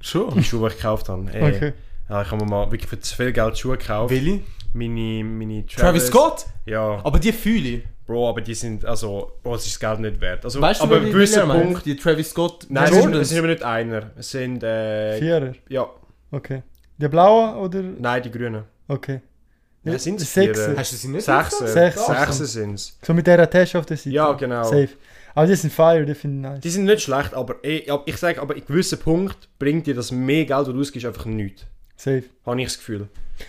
[SPEAKER 2] Schon.
[SPEAKER 3] Oh.
[SPEAKER 1] Die Schuhe, die ich gekauft habe. Ey.
[SPEAKER 3] Okay.
[SPEAKER 1] Ja, ich habe mir mal wirklich für zu viel Geld Schuhe gekauft.
[SPEAKER 2] Willi?
[SPEAKER 1] Meine, meine
[SPEAKER 2] Travis Scott?
[SPEAKER 1] Ja,
[SPEAKER 2] Aber die fühle ich.
[SPEAKER 1] Bro, aber die sind, also, Bro, es ist das Geld nicht wert. Also,
[SPEAKER 2] Weißt du,
[SPEAKER 1] aber
[SPEAKER 2] wer
[SPEAKER 1] ein
[SPEAKER 2] die
[SPEAKER 1] gewisser
[SPEAKER 2] Willi meint?
[SPEAKER 1] Punkt.
[SPEAKER 2] Die Travis Scott
[SPEAKER 1] Nein, es sind,
[SPEAKER 2] Jordans.
[SPEAKER 1] es sind aber nicht einer. Es sind, äh,
[SPEAKER 3] Vierer.
[SPEAKER 1] ja,
[SPEAKER 3] Okay. Der blaue oder.
[SPEAKER 1] nein, die Grünen.
[SPEAKER 3] Okay.
[SPEAKER 1] Ja, sind's
[SPEAKER 3] Sechser.
[SPEAKER 1] Vierer?
[SPEAKER 2] Hast du sie nicht?
[SPEAKER 1] Sechser.
[SPEAKER 3] Sechser.
[SPEAKER 1] Sechser sind es.
[SPEAKER 3] So mit dieser Tasche auf der Seite.
[SPEAKER 1] Ja, genau.
[SPEAKER 3] Safe. Aber die sind fire, die finde ich nice.
[SPEAKER 1] Die sind nicht schlecht, aber eh, ab- ich sage, aber in gewissen Punkt bringt dir das mehr Geld, das du ausgibst, einfach nichts.
[SPEAKER 3] Safe.
[SPEAKER 1] Habe ich das Gefühl.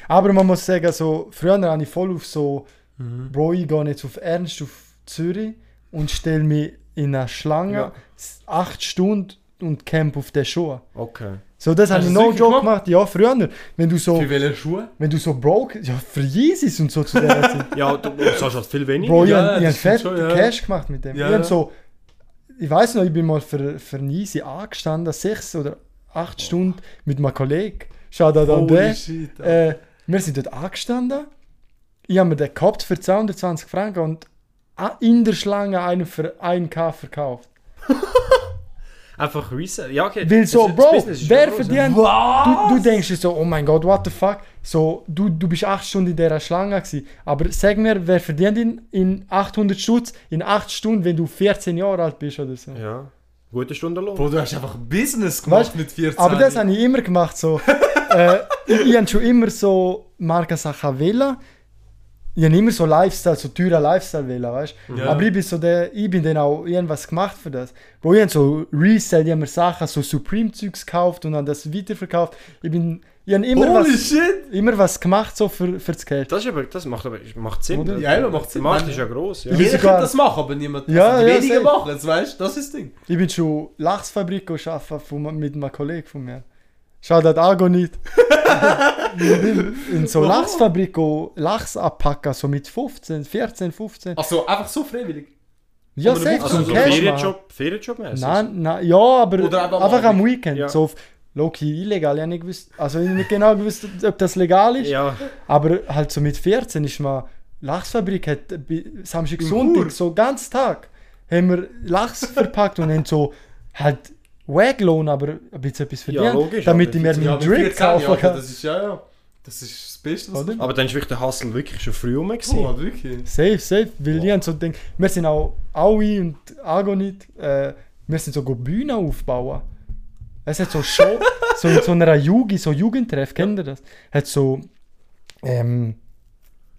[SPEAKER 3] Aber man muss sagen, so, früher habe ich voll auf so,
[SPEAKER 2] Mhm.
[SPEAKER 3] Bro, ich gehe jetzt auf Ernst auf Zürich und stelle mich in eine Schlange,
[SPEAKER 1] Ja.
[SPEAKER 3] s- acht Stunden und camp auf den Schuhen.
[SPEAKER 1] Okay.
[SPEAKER 3] So, das habe
[SPEAKER 2] Hast
[SPEAKER 3] ich
[SPEAKER 2] du
[SPEAKER 3] no
[SPEAKER 2] das wirklich
[SPEAKER 3] joke gemacht. Ja, früher. Wenn du so,
[SPEAKER 2] Für welche Schuhe?
[SPEAKER 3] wenn du so broke, ja, für Jesus und so zu der Zeit.
[SPEAKER 1] Ja, du du zahlst halt viel weniger.
[SPEAKER 3] Bro, ich
[SPEAKER 2] Ja,
[SPEAKER 3] habe
[SPEAKER 2] das
[SPEAKER 3] hab
[SPEAKER 2] stimmt
[SPEAKER 3] fett
[SPEAKER 2] schon, ja.
[SPEAKER 3] Cash gemacht mit dem.
[SPEAKER 2] Ja,
[SPEAKER 3] ich
[SPEAKER 2] ja.
[SPEAKER 3] hab so, ich weiß noch, ich bin mal für, für einen Easy angestanden, sechs oder acht Stunden mit meinem Kollegen. Schau da an den.
[SPEAKER 2] shit. Alter.
[SPEAKER 3] Äh, wir sind dort angestanden. Ich habe mir den gehabt für 220 Franken und a- in der Schlange einen für 1K verkauft.
[SPEAKER 1] Einfach Resell. Ja, okay.
[SPEAKER 3] Weil so,
[SPEAKER 1] Das- das
[SPEAKER 3] Bro,
[SPEAKER 1] Business ist
[SPEAKER 3] wer
[SPEAKER 1] schon groß,
[SPEAKER 3] verdient... Du, du denkst dir so, oh mein Gott, what the fuck. So, du, du bist 8 Stunden in dieser Schlange gewesen. Aber sag mir, wer verdient in, in 800 Stutz in 8 Stunden, wenn du 14 Jahre alt bist oder so.
[SPEAKER 1] Ja. ja. Guter Stundenlohn.
[SPEAKER 2] Bro, du hast einfach Business gemacht
[SPEAKER 3] Weißt-
[SPEAKER 2] mit 14.
[SPEAKER 3] Aber das habe ich immer gemacht. So. äh, ich ich habe schon immer so Markensachen wählen. ich habe immer so Lifestyle, so teuren Lifestyle wählen, weißt du?
[SPEAKER 2] Ja.
[SPEAKER 3] Aber ich bin so der, ich bin dann auch irgendwas gemacht für das. Bro, ich habe so Resell, ich habe mir Sachen, so Supreme-Zeugs gekauft und dann das weiterverkauft. Ich bin, ich habe immer
[SPEAKER 2] Holy
[SPEAKER 3] was,
[SPEAKER 2] shit!
[SPEAKER 3] immer was gemacht so für, für das Geld.
[SPEAKER 1] Das, ist aber, das macht aber macht Sinn.
[SPEAKER 3] Oder?
[SPEAKER 1] oder?
[SPEAKER 2] Ja, eben, macht Sinn.
[SPEAKER 1] Der Markt ist ja gross. Ja.
[SPEAKER 3] bin
[SPEAKER 2] Jeder
[SPEAKER 3] sogar-
[SPEAKER 2] kann das machen, aber niemand.
[SPEAKER 3] Ja,
[SPEAKER 2] also die
[SPEAKER 3] ja,
[SPEAKER 2] wenigen
[SPEAKER 3] safe.
[SPEAKER 2] machen es, weißt du? Das ist das Ding.
[SPEAKER 3] Ich bin schon Lachsfabrik arbeiten von, mit einem Kollegen von mir. Schaut das auch nicht. Ich bin in so
[SPEAKER 2] Warum?
[SPEAKER 3] Lachsfabrik go Lachs abpacken, so mit 15, 14, 15.
[SPEAKER 2] Also einfach so freiwillig.
[SPEAKER 3] Ja,
[SPEAKER 2] aber du
[SPEAKER 3] safe,
[SPEAKER 2] brauchst
[SPEAKER 1] Also so
[SPEAKER 3] zum
[SPEAKER 2] Cash
[SPEAKER 3] Cash machen.
[SPEAKER 1] Ferienjob, Ferienjob-mässig.
[SPEAKER 3] Nein, nein, ja, aber
[SPEAKER 2] Oder einfach
[SPEAKER 3] einfach,
[SPEAKER 2] am
[SPEAKER 3] am
[SPEAKER 2] Abend.
[SPEAKER 3] Weekend.
[SPEAKER 1] Ja.
[SPEAKER 3] So auf Loki illegal, ich habe nicht gewusst, also ich hab nicht genau gewusst, ob das legal ist.
[SPEAKER 1] Ja,
[SPEAKER 3] Aber halt so mit 14 ist mal Lachsfabrik hat äh, bi- Samstag,
[SPEAKER 2] Chur.
[SPEAKER 3] Sonntag, so ganz Tag haben wir Lachs verpackt und haben so halt Weglohn, aber ein bisschen etwas verdient,
[SPEAKER 1] logisch,
[SPEAKER 3] damit
[SPEAKER 1] aber
[SPEAKER 3] ich mir
[SPEAKER 1] das-
[SPEAKER 3] meinen
[SPEAKER 2] aber
[SPEAKER 3] Drink
[SPEAKER 2] 14 Jahre,
[SPEAKER 3] kaufen
[SPEAKER 2] Alter,
[SPEAKER 3] kann.
[SPEAKER 2] Das ist ja, ja. Das ist das Beste, was
[SPEAKER 3] Oder?
[SPEAKER 1] aber dann ist wirklich der Hustle wirklich schon früh rum.
[SPEAKER 2] du
[SPEAKER 1] gewesen.
[SPEAKER 2] machen wirklich.
[SPEAKER 3] Safe, safe, weil ich hab so denkt, wir sind auch Aui und Agonit, äh, wir sind so go Bühne aufbauen. Es hat so Show, so in so einer Jugend, so Jugendtreff, kennt ihr das? Hat so, ähm,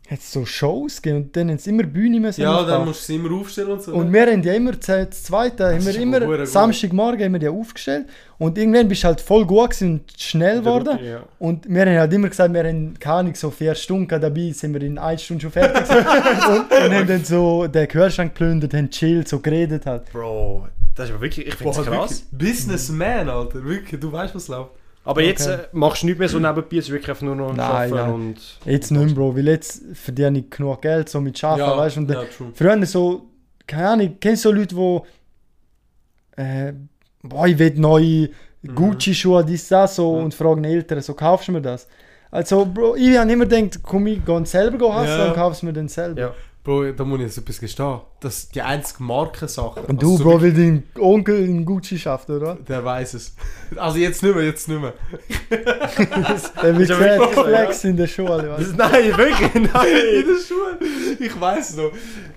[SPEAKER 3] hat so Shows gegeben und dann haben sie immer Bühne müssen
[SPEAKER 2] Ja,
[SPEAKER 3] aufbauen.
[SPEAKER 2] dann musst du es immer aufstellen und so.
[SPEAKER 3] Und wir haben ja immer seit das zweite, äh, haben
[SPEAKER 2] ist
[SPEAKER 3] wir
[SPEAKER 2] aber
[SPEAKER 3] immer
[SPEAKER 2] verdammt gut.
[SPEAKER 3] Samstagmorgen haben wir die aufgestellt und irgendwann bist du halt voll gut gewesen und schnell geworden.
[SPEAKER 1] ja.
[SPEAKER 3] Und wir haben halt immer gesagt, wir haben keine Ahnung, so vier Stunden gehabt, dabei, sind wir in einer Stunde schon fertig gewesen. und, und haben dann so den Kühlschrank geplündert, haben chillt, so geredet halt.
[SPEAKER 1] Bro, das ist aber wirklich, ich finde
[SPEAKER 2] Boah,
[SPEAKER 1] es krass.
[SPEAKER 2] wirklich. Businessman, Alter. Wirklich, du weißt, was läuft.
[SPEAKER 1] Aber jetzt äh, machst du nicht mehr so nebenbei, es ist wirklich einfach nur noch
[SPEAKER 3] Nein,
[SPEAKER 1] Arbeiten
[SPEAKER 3] nein.
[SPEAKER 1] und...
[SPEAKER 3] Jetzt nicht mehr, Bro, weil jetzt verdiene ich genug Geld so mit Schaffen, Ah, weißt du? Und
[SPEAKER 2] ja,
[SPEAKER 3] dann,
[SPEAKER 2] true.
[SPEAKER 3] Früher so, keine Ahnung, kennst du so Leute, die äh, boah, ich will neue
[SPEAKER 2] Mhm.
[SPEAKER 3] Gucci-Schuhe, dies, das, so und fragen die Eltern, so kaufst du mir das? Also, Bro, ich habe immer gedacht, komm, ich geh selber go hustlen
[SPEAKER 2] Ja.
[SPEAKER 3] und kauf's mir dann selber.
[SPEAKER 1] Ja.
[SPEAKER 2] Bro, da muss ich jetzt etwas gestehen. Das ist die einzige Markensache.
[SPEAKER 3] Und
[SPEAKER 2] Also
[SPEAKER 3] du,
[SPEAKER 2] so
[SPEAKER 3] Bro,
[SPEAKER 2] wirklich-
[SPEAKER 3] will dein Onkel in Gucci schaffen, oder?
[SPEAKER 2] Der weiß es. Also jetzt nicht mehr, jetzt nicht mehr.
[SPEAKER 3] Der wird
[SPEAKER 1] Ja, wirklich,
[SPEAKER 3] gesagt,
[SPEAKER 1] ja.
[SPEAKER 3] Flex in der Schule, weißt du?
[SPEAKER 1] Nein, wirklich,
[SPEAKER 2] in
[SPEAKER 1] nein!
[SPEAKER 2] der Schule. Ich weiß noch.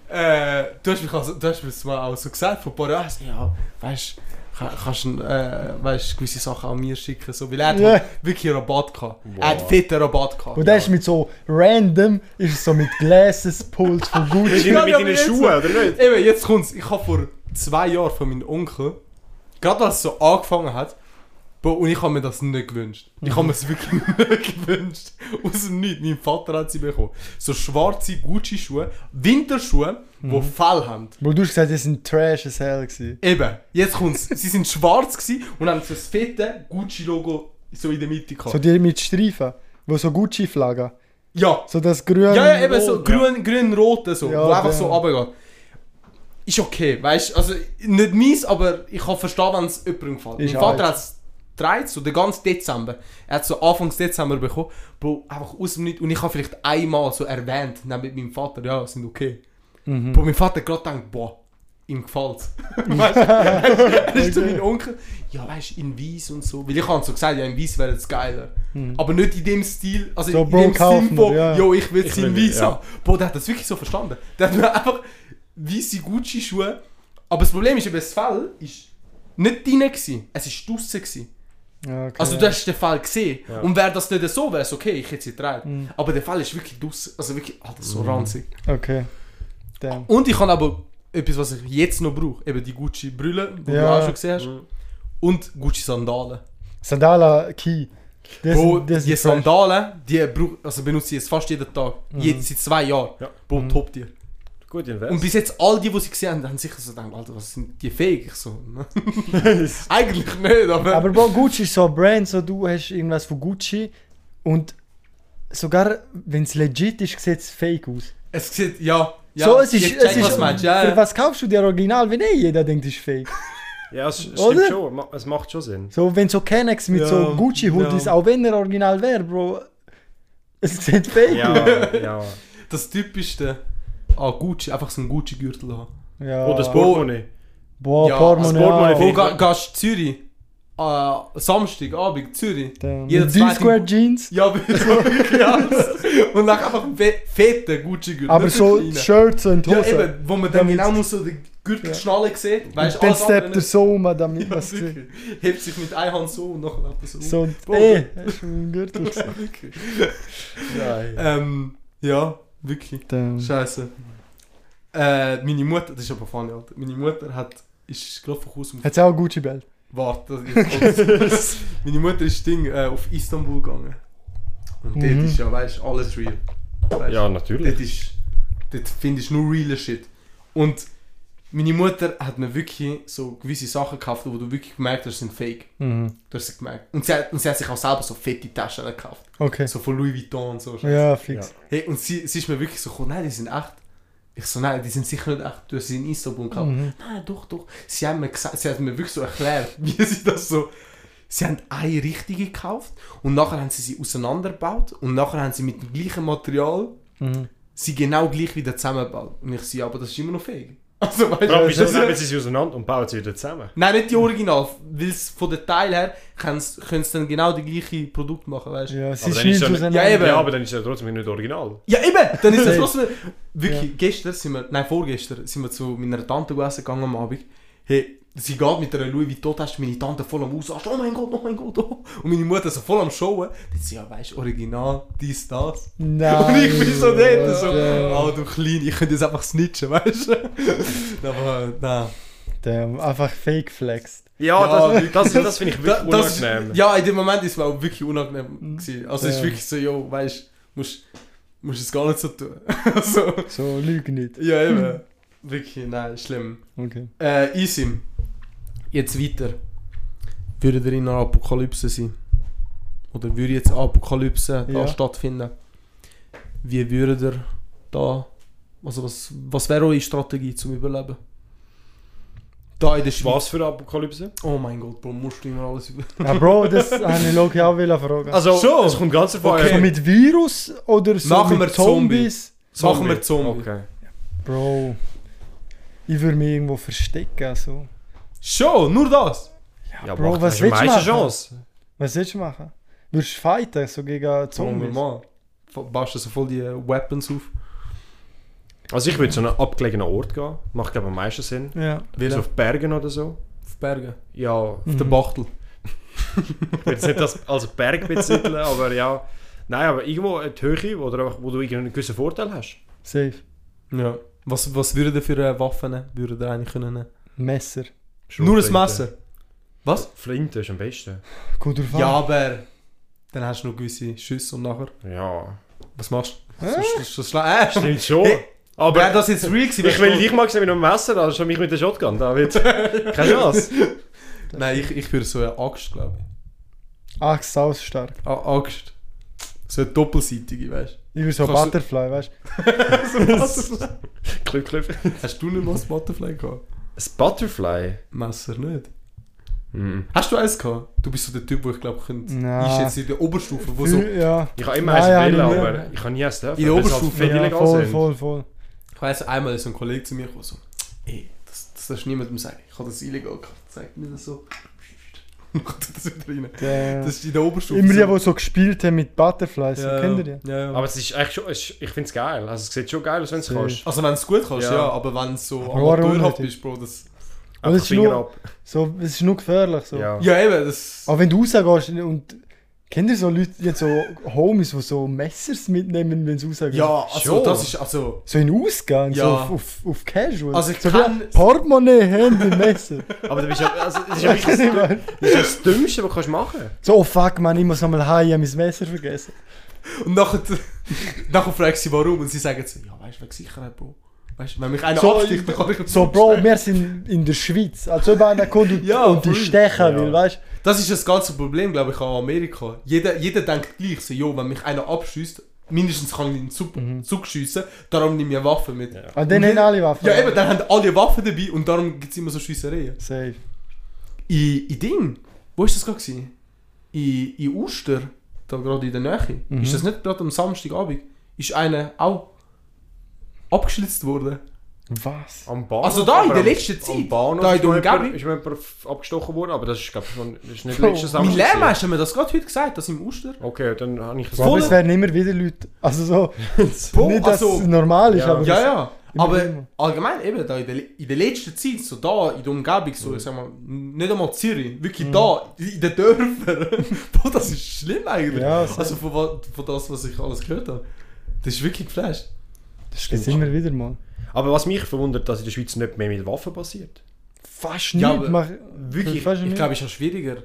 [SPEAKER 2] Äh, du hast mich also, du hast mir das mal auch so gesagt vor ein paar Jahren. hast du, Ja, weißt du, kannst du äh, weißt, gewisse Sachen an mir schicken. So, weil er hat
[SPEAKER 3] Ja.
[SPEAKER 2] halt wirklich einen Rabatt gehabt. Er hat einen fetten Rabatt gehabt.
[SPEAKER 3] Und der ist mit so random, ist es so mit Glasses pulled von
[SPEAKER 1] Mit
[SPEAKER 3] Gucci.
[SPEAKER 1] deinen-
[SPEAKER 2] Ja,
[SPEAKER 1] mit
[SPEAKER 2] aber
[SPEAKER 1] deinen
[SPEAKER 2] jetzt-
[SPEAKER 1] Schuhen, oder nicht?
[SPEAKER 2] Eben, jetzt kommt's. Ich habe vor zwei Jahren von meinem Onkel, gerade als es so angefangen hat, Bro, und ich habe mir das nicht gewünscht. Ich habe mir es wirklich nicht gewünscht. Aus dem Nichts. Mein Vater hat sie bekommen. So schwarze Gucci-Schuhe, Winterschuhe, die Fell haben.
[SPEAKER 3] Bro, du hast gesagt, die sind trash as hell gewesen.
[SPEAKER 2] Eben, jetzt kommt's. sie sind schwarz gewesen und haben so das fette Gucci-Logo so in der Mitte gehabt.
[SPEAKER 3] So die mit Streifen, wo so Gucci-Flaggen.
[SPEAKER 2] ja.
[SPEAKER 3] So das grüne.
[SPEAKER 2] Ja, ja, eben so
[SPEAKER 1] ja.
[SPEAKER 2] grün, grün-rote, so,
[SPEAKER 3] Ja, genau.
[SPEAKER 2] wo einfach
[SPEAKER 3] der-
[SPEAKER 2] so runtergeht. Ist okay, weißt du? Also nicht meins, aber ich kann verstehen, wenn es jemandem gefällt.
[SPEAKER 3] Ist
[SPEAKER 2] mein Vater
[SPEAKER 3] alt.
[SPEAKER 2] hat es gedreht, so den ganzen Dezember. Er hat so Anfangs Dezember bekommen, Bro, einfach aus dem Nichts. Und ich habe vielleicht einmal so erwähnt, dann mit meinem Vater, ja, sind okay.
[SPEAKER 3] Mhm.
[SPEAKER 2] Bro, mein Vater hat gerade gedacht, boah, ihm gefällt Weißt du? Er ist zu meinem Onkel, ja, weißt du, in Weiß und so. Weil ich habe so gesagt, ja, in Weiß wäre es geiler. Aber nicht in dem Stil, also
[SPEAKER 3] Mhm. So,
[SPEAKER 2] in
[SPEAKER 3] Bro,
[SPEAKER 2] dem
[SPEAKER 3] kauf
[SPEAKER 2] Sinn von,
[SPEAKER 3] mir, ja.
[SPEAKER 2] yo, Oh, ich will
[SPEAKER 1] Ich
[SPEAKER 2] sein
[SPEAKER 1] will-
[SPEAKER 2] Weiß
[SPEAKER 1] ja.
[SPEAKER 2] haben. Boah, der hat das wirklich so verstanden. Der hat mir einfach weiße Gucci-Schuhe. Aber das Problem ist, eben, das Fell ist nicht drin, gewesen. es ist draussen. Gewesen.
[SPEAKER 3] Ja, Ah, okay,
[SPEAKER 2] Also
[SPEAKER 3] ja.
[SPEAKER 2] du hast den Fall gesehen. Und wäre das nicht so, wäre es okay, ich hätte sie getragen.
[SPEAKER 3] Mhm.
[SPEAKER 2] Aber der Fall ist wirklich draussen. Also wirklich, Alter, so ranzig.
[SPEAKER 3] Okay. Damn.
[SPEAKER 2] Und ich habe aber etwas, was ich jetzt noch brauche. Eben die Gucci-Brille, die du
[SPEAKER 3] Ja. Mhm.
[SPEAKER 2] auch schon gesehen hast. Und Gucci-Sandalen.
[SPEAKER 3] Sandala Key. Das,
[SPEAKER 2] Bro,
[SPEAKER 3] das
[SPEAKER 2] die
[SPEAKER 3] ist fresh. Mhm.
[SPEAKER 2] Sandalen, die brauch, also benutze ich jetzt fast jeden Tag. Je, seit zwei Jahren.
[SPEAKER 1] Ja.
[SPEAKER 2] Bro, top dir.
[SPEAKER 1] Gut,
[SPEAKER 2] Und
[SPEAKER 1] Invest.
[SPEAKER 2] bis jetzt, all die, die sie gesehen haben, haben sicher so gedacht, Alter, was sind die fähig? Ich so, ne? Eigentlich nicht, aber...
[SPEAKER 3] Aber Bro, Gucci ist so ein Brand, so du hast irgendwas von Gucci und sogar wenn es legit ist, sieht es fake aus.
[SPEAKER 2] es sieht, ja... ja
[SPEAKER 3] so, es ist,
[SPEAKER 2] ich check,
[SPEAKER 3] es ist
[SPEAKER 2] was du meinst, ja,
[SPEAKER 3] für
[SPEAKER 2] ja.
[SPEAKER 3] was kaufst du dir Original, wenn eh jeder denkt, es ist fake?
[SPEAKER 1] Ja, es stimmt
[SPEAKER 3] Oder?
[SPEAKER 1] schon, ma- es macht schon Sinn.
[SPEAKER 3] So, wenn so Kennex mit
[SPEAKER 2] Ja,
[SPEAKER 3] so gucci hoodies ist,
[SPEAKER 2] ja.
[SPEAKER 3] auch wenn er original wäre, Bro, es sieht fake aus.
[SPEAKER 1] Ja, ja.
[SPEAKER 2] Das Typischste an Gucci, einfach so einen Gucci-Gürtel haben.
[SPEAKER 3] Ja.
[SPEAKER 1] Oder das Portemonnaie.
[SPEAKER 3] Boah,
[SPEAKER 2] Ja,
[SPEAKER 3] Portemonnaie.
[SPEAKER 1] das Portemonnaie
[SPEAKER 3] auch.
[SPEAKER 2] Wo
[SPEAKER 1] finde
[SPEAKER 2] ga, gehst du Zürich? Äh, Samstag, Abend, Zürich.
[SPEAKER 3] Damn.
[SPEAKER 2] Jeder
[SPEAKER 3] Mit D-Square
[SPEAKER 2] zweite...
[SPEAKER 3] Jeans.
[SPEAKER 2] Ja, so wirklich alles. Und dann einfach fe fette Gucci-Gürtel.
[SPEAKER 3] Aber
[SPEAKER 2] nicht
[SPEAKER 3] so
[SPEAKER 2] kleine.
[SPEAKER 3] Shirts und
[SPEAKER 2] Ja,
[SPEAKER 3] Hosen.
[SPEAKER 2] eben, wo man dann
[SPEAKER 3] Damit-
[SPEAKER 2] genau nur so den Gürtel
[SPEAKER 3] Ja.
[SPEAKER 2] schnallen sieht. Weißt
[SPEAKER 3] dann
[SPEAKER 2] alles andere
[SPEAKER 3] steppt er
[SPEAKER 2] nicht.
[SPEAKER 3] so um, damit man
[SPEAKER 2] Ja,
[SPEAKER 3] es sieht.
[SPEAKER 2] wirklich. Hebt sich mit einer Hand so und nachher läuft er so. um.
[SPEAKER 3] So, und,
[SPEAKER 2] Boah.
[SPEAKER 3] ey, hast du meinen Gürtel gesehen?
[SPEAKER 2] Wirklich. Ähm, ja. Wirklich.
[SPEAKER 3] Der,
[SPEAKER 2] Scheiße. Äh, meine Mutter, das ist aber funny, Alter. Meine Mutter hat, ist gerade von Haus auf...
[SPEAKER 3] hat sie auch Gucci Belt?
[SPEAKER 2] Warte, das ist Meine Mutter ist Ding äh, auf Istanbul gegangen. Und
[SPEAKER 3] Mhm.
[SPEAKER 2] dort ist ja, weißt du, alles real. Weißt,
[SPEAKER 1] Ja, natürlich.
[SPEAKER 2] Dort, ist, dort findest du nur realer Shit. Und meine Mutter hat mir wirklich so gewisse Sachen gekauft, wo du wirklich gemerkt hast, sind fake.
[SPEAKER 3] Mhm.
[SPEAKER 2] Du hast sie gemerkt. Und sie, hat, und sie hat sich auch selber so fette Taschen gekauft.
[SPEAKER 3] Okay.
[SPEAKER 2] So von Louis Vuitton und so.
[SPEAKER 3] Ja, fix.
[SPEAKER 2] Hey, und sie, sie ist mir wirklich so gekommen, nein, die sind echt. Ich so, nein, die sind sicher nicht echt. Du hast sie in Istanbul gekauft.
[SPEAKER 3] Mhm.
[SPEAKER 2] Nein, doch, doch. Sie haben mir gesagt, sie hat mir wirklich so erklärt, wie sie das so. Sie haben eine richtige gekauft und nachher haben sie sie auseinandergebaut und nachher haben sie mit dem gleichen Material
[SPEAKER 3] Mhm.
[SPEAKER 2] sie genau gleich wieder zusammengebaut. Und ich sehe, aber das ist immer noch fake. Also, weißt
[SPEAKER 1] Frage, wieso
[SPEAKER 2] das-
[SPEAKER 1] nehmen sie sie auseinander und bauen sie wieder zusammen?
[SPEAKER 2] Nein, nicht die Original, weil es von den Teilen her können sie dann genau die gleiche Produkt machen, weißt du?
[SPEAKER 3] Ja, sie
[SPEAKER 1] Aber dann ist
[SPEAKER 3] schneiden
[SPEAKER 1] ja-
[SPEAKER 3] auseinander.
[SPEAKER 2] Ja, eben.
[SPEAKER 1] Ja, aber dann ist ja trotzdem nicht original.
[SPEAKER 2] Ja, eben! Dann ist das
[SPEAKER 3] Safe.
[SPEAKER 2] trotzdem. Wirklich, gestern sind wir, nein, vorgestern sind wir zu meiner Tante essen gegangen am Abend. Hey, sie geht mit einer Louis Vuitton-Tasche, meine Tante voll am Ausarschen, oh mein Gott, oh mein Gott, oh. Und meine Mutter so voll am Showen. Dann sie, ja, weißt du, original, dies, das.
[SPEAKER 3] Nein.
[SPEAKER 2] Und ich bin so dort, so,
[SPEAKER 3] Alter.
[SPEAKER 2] oh du Klein, ich könnte jetzt einfach snitchen, weißt du? Aber, äh, nein.
[SPEAKER 3] Der einfach fake flexed.
[SPEAKER 1] Ja,
[SPEAKER 2] das-
[SPEAKER 1] das, das, finde ich wirklich
[SPEAKER 2] Da- das ist-
[SPEAKER 1] unangenehm.
[SPEAKER 2] Ja, in dem Moment ist es mir auch wirklich unangenehm. Gewesen. Also, es ist
[SPEAKER 3] Ja.
[SPEAKER 2] wirklich so, jo, weißt du, musst, musst es gar nicht so tun. also,
[SPEAKER 3] So, lüge nicht.
[SPEAKER 2] ja, eben. Wirklich, nein, schlimm.
[SPEAKER 3] Okay.
[SPEAKER 2] Äh, Isim, jetzt weiter. Würde ihr in einer Apokalypse sein? Oder würde jetzt eine Apokalypse da
[SPEAKER 3] Ja.
[SPEAKER 2] stattfinden? Wie würde ihr da. Also, was, was wäre eure Strategie zum Überleben? Da in der Schweiz.
[SPEAKER 1] Was für eine Apokalypse?
[SPEAKER 2] Oh mein Gott, Bro, musst du immer alles über.
[SPEAKER 3] Ja, Bro, das habe ich Loki auch wollen fragen. Also,
[SPEAKER 1] Also,
[SPEAKER 2] Schon?
[SPEAKER 1] es kommt ganz davon
[SPEAKER 2] Okay.
[SPEAKER 1] an.
[SPEAKER 3] mit Virus oder so
[SPEAKER 2] Machen
[SPEAKER 3] mit
[SPEAKER 2] wir Zombie.
[SPEAKER 3] Zombies?
[SPEAKER 2] Machen wir Zombie.
[SPEAKER 1] Okay.
[SPEAKER 3] Bro, ich würde mich irgendwo verstecken. So.
[SPEAKER 2] Schon, nur das.
[SPEAKER 1] Ja,
[SPEAKER 3] Bro,
[SPEAKER 1] macht-
[SPEAKER 3] was
[SPEAKER 1] hast
[SPEAKER 3] willst du
[SPEAKER 1] die meiste
[SPEAKER 3] machen?
[SPEAKER 1] Chance?
[SPEAKER 3] Was willst du machen? Würdest du fighten, so
[SPEAKER 2] Oh,
[SPEAKER 3] gegen Zombies?
[SPEAKER 2] Normal. Basteln so voll die äh, Weapons auf.
[SPEAKER 1] Also ich würde zu einem abgelegenen Ort gehen. Macht, glaube ich, am meisten Sinn.
[SPEAKER 3] Ja.
[SPEAKER 1] So
[SPEAKER 2] Auf,
[SPEAKER 1] auf Bergen oder so.
[SPEAKER 2] auf Bergen.
[SPEAKER 1] Ja,
[SPEAKER 2] Auf der
[SPEAKER 3] Mhm.
[SPEAKER 2] Bachtel.
[SPEAKER 1] ich würde es nicht als, als Berg betiteln, aber ja. Nein, aber irgendwo eine Höhe, wo du, einfach- wo du irgendeinen gewissen Vorteil hast.
[SPEAKER 3] Safe.
[SPEAKER 2] Ja. Was, was würde ihr für äh, Waffen nehmen? Würde ihr eigentlich können nehmen?
[SPEAKER 3] Messer.
[SPEAKER 2] Nur ein
[SPEAKER 1] Schrotflinte.
[SPEAKER 2] Messer. Was?
[SPEAKER 1] Flinte ist am besten.
[SPEAKER 3] Gut drauf an.
[SPEAKER 2] Ja, aber dann hast du noch gewisse Schüsse und nachher.
[SPEAKER 1] Ja.
[SPEAKER 2] Was machst du?
[SPEAKER 3] Äh?
[SPEAKER 2] So, so, so schla- äh, stimmt.
[SPEAKER 1] Stimmt schon.
[SPEAKER 2] Hey,
[SPEAKER 1] Aber
[SPEAKER 2] Wäre das jetzt real gewesen?
[SPEAKER 1] ich
[SPEAKER 2] wärst
[SPEAKER 1] will
[SPEAKER 2] du-
[SPEAKER 1] dich mal sehen mit einem Messer, also schon mich mit der Shotgun, David. Keine Chance.
[SPEAKER 2] Nein, ich, ich würde so eine Axt, glaube ich.
[SPEAKER 3] Ach, sausstark.
[SPEAKER 2] A Axt. So eine doppelseitige, weißt
[SPEAKER 3] Ich würde so
[SPEAKER 2] Kannst du-
[SPEAKER 3] Butterfly, weißt du?
[SPEAKER 2] du?
[SPEAKER 1] Klipp, klipp.
[SPEAKER 2] hast du nicht mal ein Butterfly gehabt?
[SPEAKER 1] Ein Butterfly?
[SPEAKER 2] Messer nicht.
[SPEAKER 1] Mhm.
[SPEAKER 2] Hast du eins gehabt? Du bist so der Typ, wo ich glaube, könnte
[SPEAKER 3] Nein.
[SPEAKER 2] einschätzen in der Oberstufe, wo so...
[SPEAKER 3] Ja.
[SPEAKER 1] Ich habe immer
[SPEAKER 3] Nein, Ah, ja,
[SPEAKER 1] eins Bilder,
[SPEAKER 3] nicht mehr.
[SPEAKER 1] aber ich habe nie eins dürfen.
[SPEAKER 2] In der
[SPEAKER 1] weil es
[SPEAKER 2] Oberstufe,
[SPEAKER 1] Halt
[SPEAKER 3] ja
[SPEAKER 1] ja,
[SPEAKER 3] voll,
[SPEAKER 1] sind.
[SPEAKER 3] voll, voll.
[SPEAKER 2] Ich weiss, einmal ist so ein Kollege zu mir gekommen, so, ey, das, das darfst du niemandem sagen. Ich habe das illegal gehabt. Zeig mir das so. Und dann tut das wieder rein.
[SPEAKER 3] Der,
[SPEAKER 2] Das ist in der Oberstufe.
[SPEAKER 3] immer die, die so gespielt haben mit Butterflies,
[SPEAKER 2] Ja,
[SPEAKER 3] kennt ihr
[SPEAKER 2] ja.
[SPEAKER 3] die?
[SPEAKER 2] Ja, ja.
[SPEAKER 1] Aber es ist echt schon, es ist, ich finde es geil. Also es sieht schon geil aus, wenn du es
[SPEAKER 3] Sehr.
[SPEAKER 1] kannst.
[SPEAKER 2] also wenn du es gut kannst, ja,
[SPEAKER 1] Ja.
[SPEAKER 2] aber wenn du so
[SPEAKER 3] Aber warum
[SPEAKER 2] amateurhaft
[SPEAKER 3] nicht?
[SPEAKER 2] bist, Bro, das...
[SPEAKER 3] Aber
[SPEAKER 1] Einfach
[SPEAKER 3] es ist
[SPEAKER 1] Finger
[SPEAKER 3] nur-
[SPEAKER 1] ab.
[SPEAKER 3] So, es ist nur gefährlich. So.
[SPEAKER 1] Ja.
[SPEAKER 2] Ja, eben, das...
[SPEAKER 3] Aber wenn du rausgehst und. Kennt ihr so Leute, die haben so Homies, die so Messers mitnehmen, wenn sie rausgehen?
[SPEAKER 2] Ja, also
[SPEAKER 1] Schon.
[SPEAKER 2] das ist, also...
[SPEAKER 3] So in Ausgang, so
[SPEAKER 2] Ja.
[SPEAKER 3] auf, auf, auf Casual.
[SPEAKER 2] Also ich
[SPEAKER 3] so
[SPEAKER 2] kann-
[SPEAKER 3] wie Portemonnaie, Handy, Messer.
[SPEAKER 1] Aber du bist ja, also, es ist ja wirklich
[SPEAKER 3] Weißt
[SPEAKER 1] das,
[SPEAKER 3] du, was ich meine?
[SPEAKER 1] das, ist ja das Dümmste, was du kannst machen kannst.
[SPEAKER 3] so, oh fuck, man, ich muss nochmal heim, ich habe mein Messer vergessen.
[SPEAKER 2] Und nachher, nachher fragst du sie warum und sie sagen so, ja, weißt du, wegen Sicherheit, Bro. Weißt du, wenn mich einer
[SPEAKER 3] So,
[SPEAKER 2] absticht, dann kann ich... ihn
[SPEAKER 3] So, Bro,
[SPEAKER 2] zurückstecken.
[SPEAKER 3] wir sind in der Schweiz. Als ob einer kommt und,
[SPEAKER 2] Ja,
[SPEAKER 3] und dich
[SPEAKER 2] voll.
[SPEAKER 3] stechen
[SPEAKER 1] Ja.
[SPEAKER 3] will, weißt du?
[SPEAKER 2] Das ist das ganze Problem, glaube ich, an Amerika. Jeder, jeder denkt gleich so, jo, wenn mich einer abschießt, mindestens kann ich ihn zu- zugeschiessen, darum nehme ich eine Waffe mit. Ja,
[SPEAKER 3] Und dann
[SPEAKER 2] Und
[SPEAKER 3] haben alle Waffen.
[SPEAKER 2] eben, dann haben alle Waffen dabei und darum gibt es immer so Schiessereien.
[SPEAKER 3] Safe.
[SPEAKER 2] In, in Ding, wo ist das gerade? gewesen? In, in Oster, da gerade in der Nähe,
[SPEAKER 3] Mhm.
[SPEAKER 2] ist das nicht gerade am Samstagabend, ist einer auch abgeschlitzt worden.
[SPEAKER 3] Was?
[SPEAKER 1] Am Bahnhof,
[SPEAKER 2] Also da in
[SPEAKER 1] aber
[SPEAKER 2] der
[SPEAKER 1] am-
[SPEAKER 2] letzten Zeit,
[SPEAKER 1] Am Bahnhof
[SPEAKER 2] da in
[SPEAKER 1] ist
[SPEAKER 2] der
[SPEAKER 1] mir jemand-
[SPEAKER 2] Umgebung.
[SPEAKER 1] ist mir jemand f- abgestochen worden, aber das ist, glaube ich, schon- das ist nicht
[SPEAKER 3] Bro,
[SPEAKER 1] letztes
[SPEAKER 2] Mein
[SPEAKER 1] Samstag. gewesen.
[SPEAKER 2] Lehrmeister hat mir das gerade heute gesagt, das im Oster.
[SPEAKER 1] Okay, dann habe ich es
[SPEAKER 3] Bro, aber es
[SPEAKER 2] Voll-
[SPEAKER 3] werden immer wieder Leute. Also so,
[SPEAKER 2] Bro,
[SPEAKER 3] nicht, dass
[SPEAKER 2] also-
[SPEAKER 3] es normal ist,
[SPEAKER 1] Ja.
[SPEAKER 3] aber.
[SPEAKER 2] Ja, ja.
[SPEAKER 3] Immer
[SPEAKER 2] Aber
[SPEAKER 3] immer.
[SPEAKER 2] allgemein eben, da in, der, in der letzten Zeit, so da in der Umgebung, so, ich sag mal, nicht einmal Zürich, wirklich
[SPEAKER 3] Mhm.
[SPEAKER 2] da, in den Dörfern. Boah, das ist schlimm eigentlich.
[SPEAKER 3] Ja, sehr.
[SPEAKER 2] also von, wa- von das, was ich alles gehört habe. Das ist wirklich geflasht.
[SPEAKER 1] Das
[SPEAKER 3] Das immer wieder mal.
[SPEAKER 1] Aber was mich verwundert, dass in der Schweiz nicht mehr mit Waffen passiert.
[SPEAKER 3] Fast
[SPEAKER 2] Ja,
[SPEAKER 3] nicht.
[SPEAKER 2] aber
[SPEAKER 3] mach,
[SPEAKER 1] wirklich,
[SPEAKER 3] fast
[SPEAKER 2] Ich
[SPEAKER 3] nicht.
[SPEAKER 2] glaube, es ist ja schwieriger.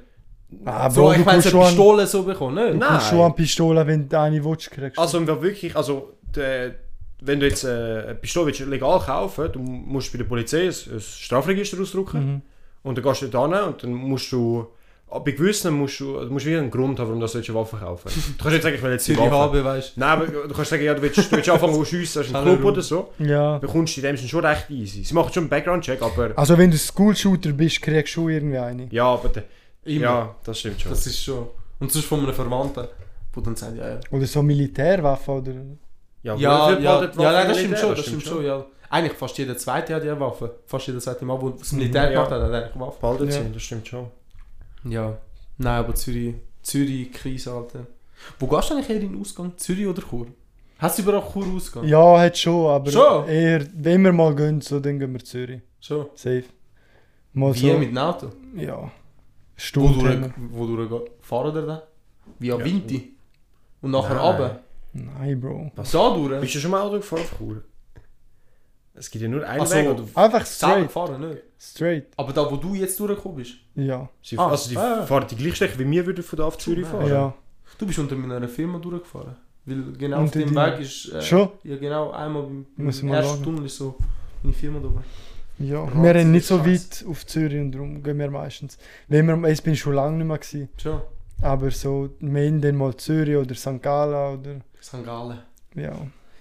[SPEAKER 3] ah,
[SPEAKER 2] so,
[SPEAKER 3] Bro,
[SPEAKER 2] ich
[SPEAKER 3] du
[SPEAKER 2] meine,
[SPEAKER 3] kommst
[SPEAKER 2] so
[SPEAKER 3] schon,
[SPEAKER 2] eine
[SPEAKER 3] an,
[SPEAKER 2] Pistole so bekommen, ne? nicht?
[SPEAKER 1] Nein.
[SPEAKER 3] kommst schon an Pistole, wenn du eine willst, kriegst du.
[SPEAKER 1] Also wenn wir wirklich, also der- wenn du jetzt äh, eine Pistole willst, legal kaufen, du musst bei der Polizei ein, ein Strafregister ausdrucken
[SPEAKER 3] Mhm.
[SPEAKER 1] und dann gehst du dort hin und dann musst du ah, bei gewissen musst du, du musst wieder einen Grund haben, warum du eine Waffe kaufen willst. Du kannst nicht sagen, ich will jetzt eine
[SPEAKER 2] Zürich
[SPEAKER 1] Waffe.
[SPEAKER 2] habe, weißt
[SPEAKER 1] Nein, aber du kannst sagen, ja, du willst, du willst anfangen zu schiessen, hast einen
[SPEAKER 2] Hallo.
[SPEAKER 1] Club oder so.
[SPEAKER 3] ja.
[SPEAKER 1] Dann kommst du in dem Sinne schon recht easy. Sie machen schon einen Background-Check, aber
[SPEAKER 2] Ah.
[SPEAKER 3] Also wenn du School-Shooter bist, kriegst du schon irgendwie eine.
[SPEAKER 1] ja, aber der-
[SPEAKER 2] du. Immer.
[SPEAKER 1] ja, das stimmt schon.
[SPEAKER 2] Das ist schon. Und sonst von einem Verwandten, der dann sagt, ja, ja.
[SPEAKER 3] Oder so Militärwaffe oder...
[SPEAKER 1] Ja,
[SPEAKER 2] Ja,
[SPEAKER 1] wie- wie
[SPEAKER 2] ja, ja,
[SPEAKER 1] badet Waffen
[SPEAKER 2] nein, das
[SPEAKER 1] Militär?
[SPEAKER 2] stimmt schon, das stimmt schon, ja. Eigentlich fast jeder zweite hat ja eine Waffe. Fast jeder zweite Mann, der das Militär
[SPEAKER 1] Mhm, ja.
[SPEAKER 2] gemacht hat, hat eigentlich eine Waffe.
[SPEAKER 1] Behalten
[SPEAKER 3] Ja.
[SPEAKER 1] sind, das stimmt schon.
[SPEAKER 2] Ja. Nein, aber Zürich, Zürich, Krise, Alter. Wo gehst du eigentlich eher in den Ausgang? Zürich oder Chur? Hast du überall Chur Ausgang?
[SPEAKER 3] Ja, hat schon, aber
[SPEAKER 2] Schon?
[SPEAKER 3] eher, wenn wir mal gehen, so, dann gehen wir Zürich.
[SPEAKER 2] Schon.
[SPEAKER 3] Safe. Mal
[SPEAKER 1] Also,
[SPEAKER 2] Wie
[SPEAKER 3] so,
[SPEAKER 2] mit dem Auto?
[SPEAKER 3] ja.
[SPEAKER 2] Wo
[SPEAKER 3] Stunde.
[SPEAKER 2] durch,
[SPEAKER 3] haben
[SPEAKER 2] wo durch fahren wir dann? Via
[SPEAKER 1] Ja.
[SPEAKER 2] Vinti. Und nachher
[SPEAKER 1] Nein.
[SPEAKER 2] runter.
[SPEAKER 3] wir. Nein, Bro.
[SPEAKER 1] Was?
[SPEAKER 2] Da durch.
[SPEAKER 1] Bist du schon mal Auto gefahren? Cool. Es gibt ja nur einen
[SPEAKER 2] Ach so.
[SPEAKER 1] Weg. Ah, Oder
[SPEAKER 2] Selber
[SPEAKER 3] Einfach straight.
[SPEAKER 2] fahren, nicht?
[SPEAKER 3] Straight.
[SPEAKER 2] Aber da, wo du jetzt durchgekommen bist,
[SPEAKER 3] Ja.
[SPEAKER 1] sie,
[SPEAKER 2] Ah,
[SPEAKER 1] also die
[SPEAKER 2] ah.
[SPEAKER 1] fahren die gleiche Strecke wie wir würden von da auf Zürich
[SPEAKER 2] Ja.
[SPEAKER 1] fahren.
[SPEAKER 3] Ja.
[SPEAKER 2] du bist unter meiner Firma durchgefahren. Weil genau
[SPEAKER 3] Und
[SPEAKER 2] auf dem
[SPEAKER 3] die-
[SPEAKER 2] Weg ist... Äh,
[SPEAKER 3] Schon?
[SPEAKER 2] Ja, genau. Einmal beim
[SPEAKER 3] Muss
[SPEAKER 2] im
[SPEAKER 3] man
[SPEAKER 2] ersten
[SPEAKER 3] schauen.
[SPEAKER 2] Tunnel ist so meine Firma drüber.
[SPEAKER 3] Ja.
[SPEAKER 2] Rot
[SPEAKER 3] Wir haben nicht
[SPEAKER 2] ist
[SPEAKER 3] so
[SPEAKER 2] scheiße.
[SPEAKER 3] weit auf Zürich und darum gehen wir meistens. Wenn wir, ich bin schon lange nicht mehr gewesen,
[SPEAKER 2] Schon.
[SPEAKER 3] aber so, wir haben dann mal Zürich oder St. Gallen oder,
[SPEAKER 2] St. Gallen.
[SPEAKER 3] ja.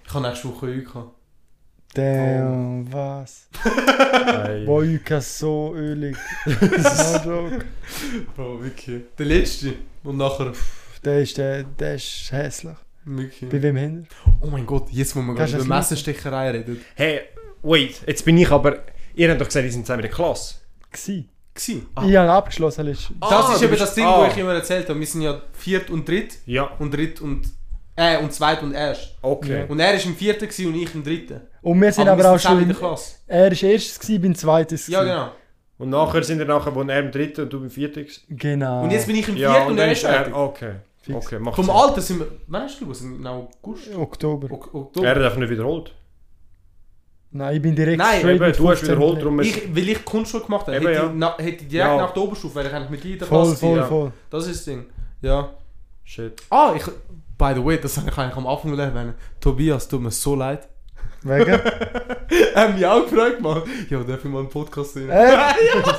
[SPEAKER 2] Ich habe nächste Woche Öl gehabt.
[SPEAKER 3] Damn,
[SPEAKER 2] Oh.
[SPEAKER 3] was?
[SPEAKER 1] Nein.
[SPEAKER 3] Boah, Jukka ist so ölig. no joke.
[SPEAKER 2] Bro, Oh, wirklich. Der letzte. Und nachher...
[SPEAKER 3] Der ist, der, der ist hässlich.
[SPEAKER 2] Wirklich.
[SPEAKER 3] Bei wem haben
[SPEAKER 2] Oh mein Gott, jetzt wo wir
[SPEAKER 3] Kannst
[SPEAKER 2] gerade
[SPEAKER 3] du
[SPEAKER 2] über
[SPEAKER 3] das machen?
[SPEAKER 2] Messerstecherei reden.
[SPEAKER 1] Hey, wait, jetzt bin ich aber. Ihr habt doch gesagt, ihr sind zusammen in der Klasse.
[SPEAKER 3] wir?
[SPEAKER 2] Gsi.
[SPEAKER 1] Ah.
[SPEAKER 3] Ich habe abgeschlossen letztes
[SPEAKER 1] Ah,
[SPEAKER 2] das ist
[SPEAKER 1] du
[SPEAKER 2] eben
[SPEAKER 1] bist-
[SPEAKER 2] das Ding,
[SPEAKER 1] ah.
[SPEAKER 2] wo ich immer erzählt habe. Wir sind ja viert und dritt
[SPEAKER 1] Ja,
[SPEAKER 2] und dritt und... Äh, und zweit und erst.
[SPEAKER 1] okay.
[SPEAKER 2] Und er war im vierten gewesen und ich im dritten.
[SPEAKER 3] Und wir sind
[SPEAKER 2] wir
[SPEAKER 3] aber, auch
[SPEAKER 2] zusammen
[SPEAKER 3] schon.
[SPEAKER 2] in
[SPEAKER 3] Im,
[SPEAKER 2] der Klasse.
[SPEAKER 3] er war erstes, gewesen, bin zweites.
[SPEAKER 2] Ja,
[SPEAKER 3] gewesen.
[SPEAKER 2] genau.
[SPEAKER 1] Und nachher sind wir nachher, wo er im dritten und du im vierten. warst?
[SPEAKER 3] Genau.
[SPEAKER 2] Und jetzt bin ich im
[SPEAKER 1] Ja,
[SPEAKER 2] vierten
[SPEAKER 1] und
[SPEAKER 2] und
[SPEAKER 1] dann
[SPEAKER 2] er
[SPEAKER 1] ist
[SPEAKER 2] ist fertig.
[SPEAKER 1] er. Okay.
[SPEAKER 3] Fix.
[SPEAKER 1] Okay, macht
[SPEAKER 2] Vom
[SPEAKER 1] Sinn.
[SPEAKER 2] Alter sind wir... Wann hast du gewusst? Im August?
[SPEAKER 3] Oktober.
[SPEAKER 2] Ok-
[SPEAKER 1] Er
[SPEAKER 2] Oktober?
[SPEAKER 1] hat einfach nicht wiederholt.
[SPEAKER 3] Nein, ich bin direkt
[SPEAKER 2] Nein,
[SPEAKER 3] straight
[SPEAKER 1] Eben,
[SPEAKER 3] mit
[SPEAKER 1] du hast
[SPEAKER 3] 15
[SPEAKER 1] wiederholt,
[SPEAKER 3] gelegt.
[SPEAKER 1] darum ist.
[SPEAKER 2] Ich, weil ich Kunstschule gemacht habe.
[SPEAKER 1] Eben,
[SPEAKER 2] hätte,
[SPEAKER 1] ja.
[SPEAKER 2] ich na, hätte ich direkt
[SPEAKER 1] Ja.
[SPEAKER 2] nach der Oberstufe, wäre ich eigentlich mit dir in der
[SPEAKER 3] Voll,
[SPEAKER 2] Klasse
[SPEAKER 3] voll,
[SPEAKER 1] ja.
[SPEAKER 3] voll.
[SPEAKER 2] Das ist das Ding. Ja.
[SPEAKER 1] Shit.
[SPEAKER 2] Ah, ich... By the way, das habe ich eigentlich am Anfang gelernt. wenn- Tobias, tut mir so leid.
[SPEAKER 3] Wegen?
[SPEAKER 2] Er hat mich auch gefragt, Mann. Ja, darf ich mal einen Podcast sehen?
[SPEAKER 3] Äh?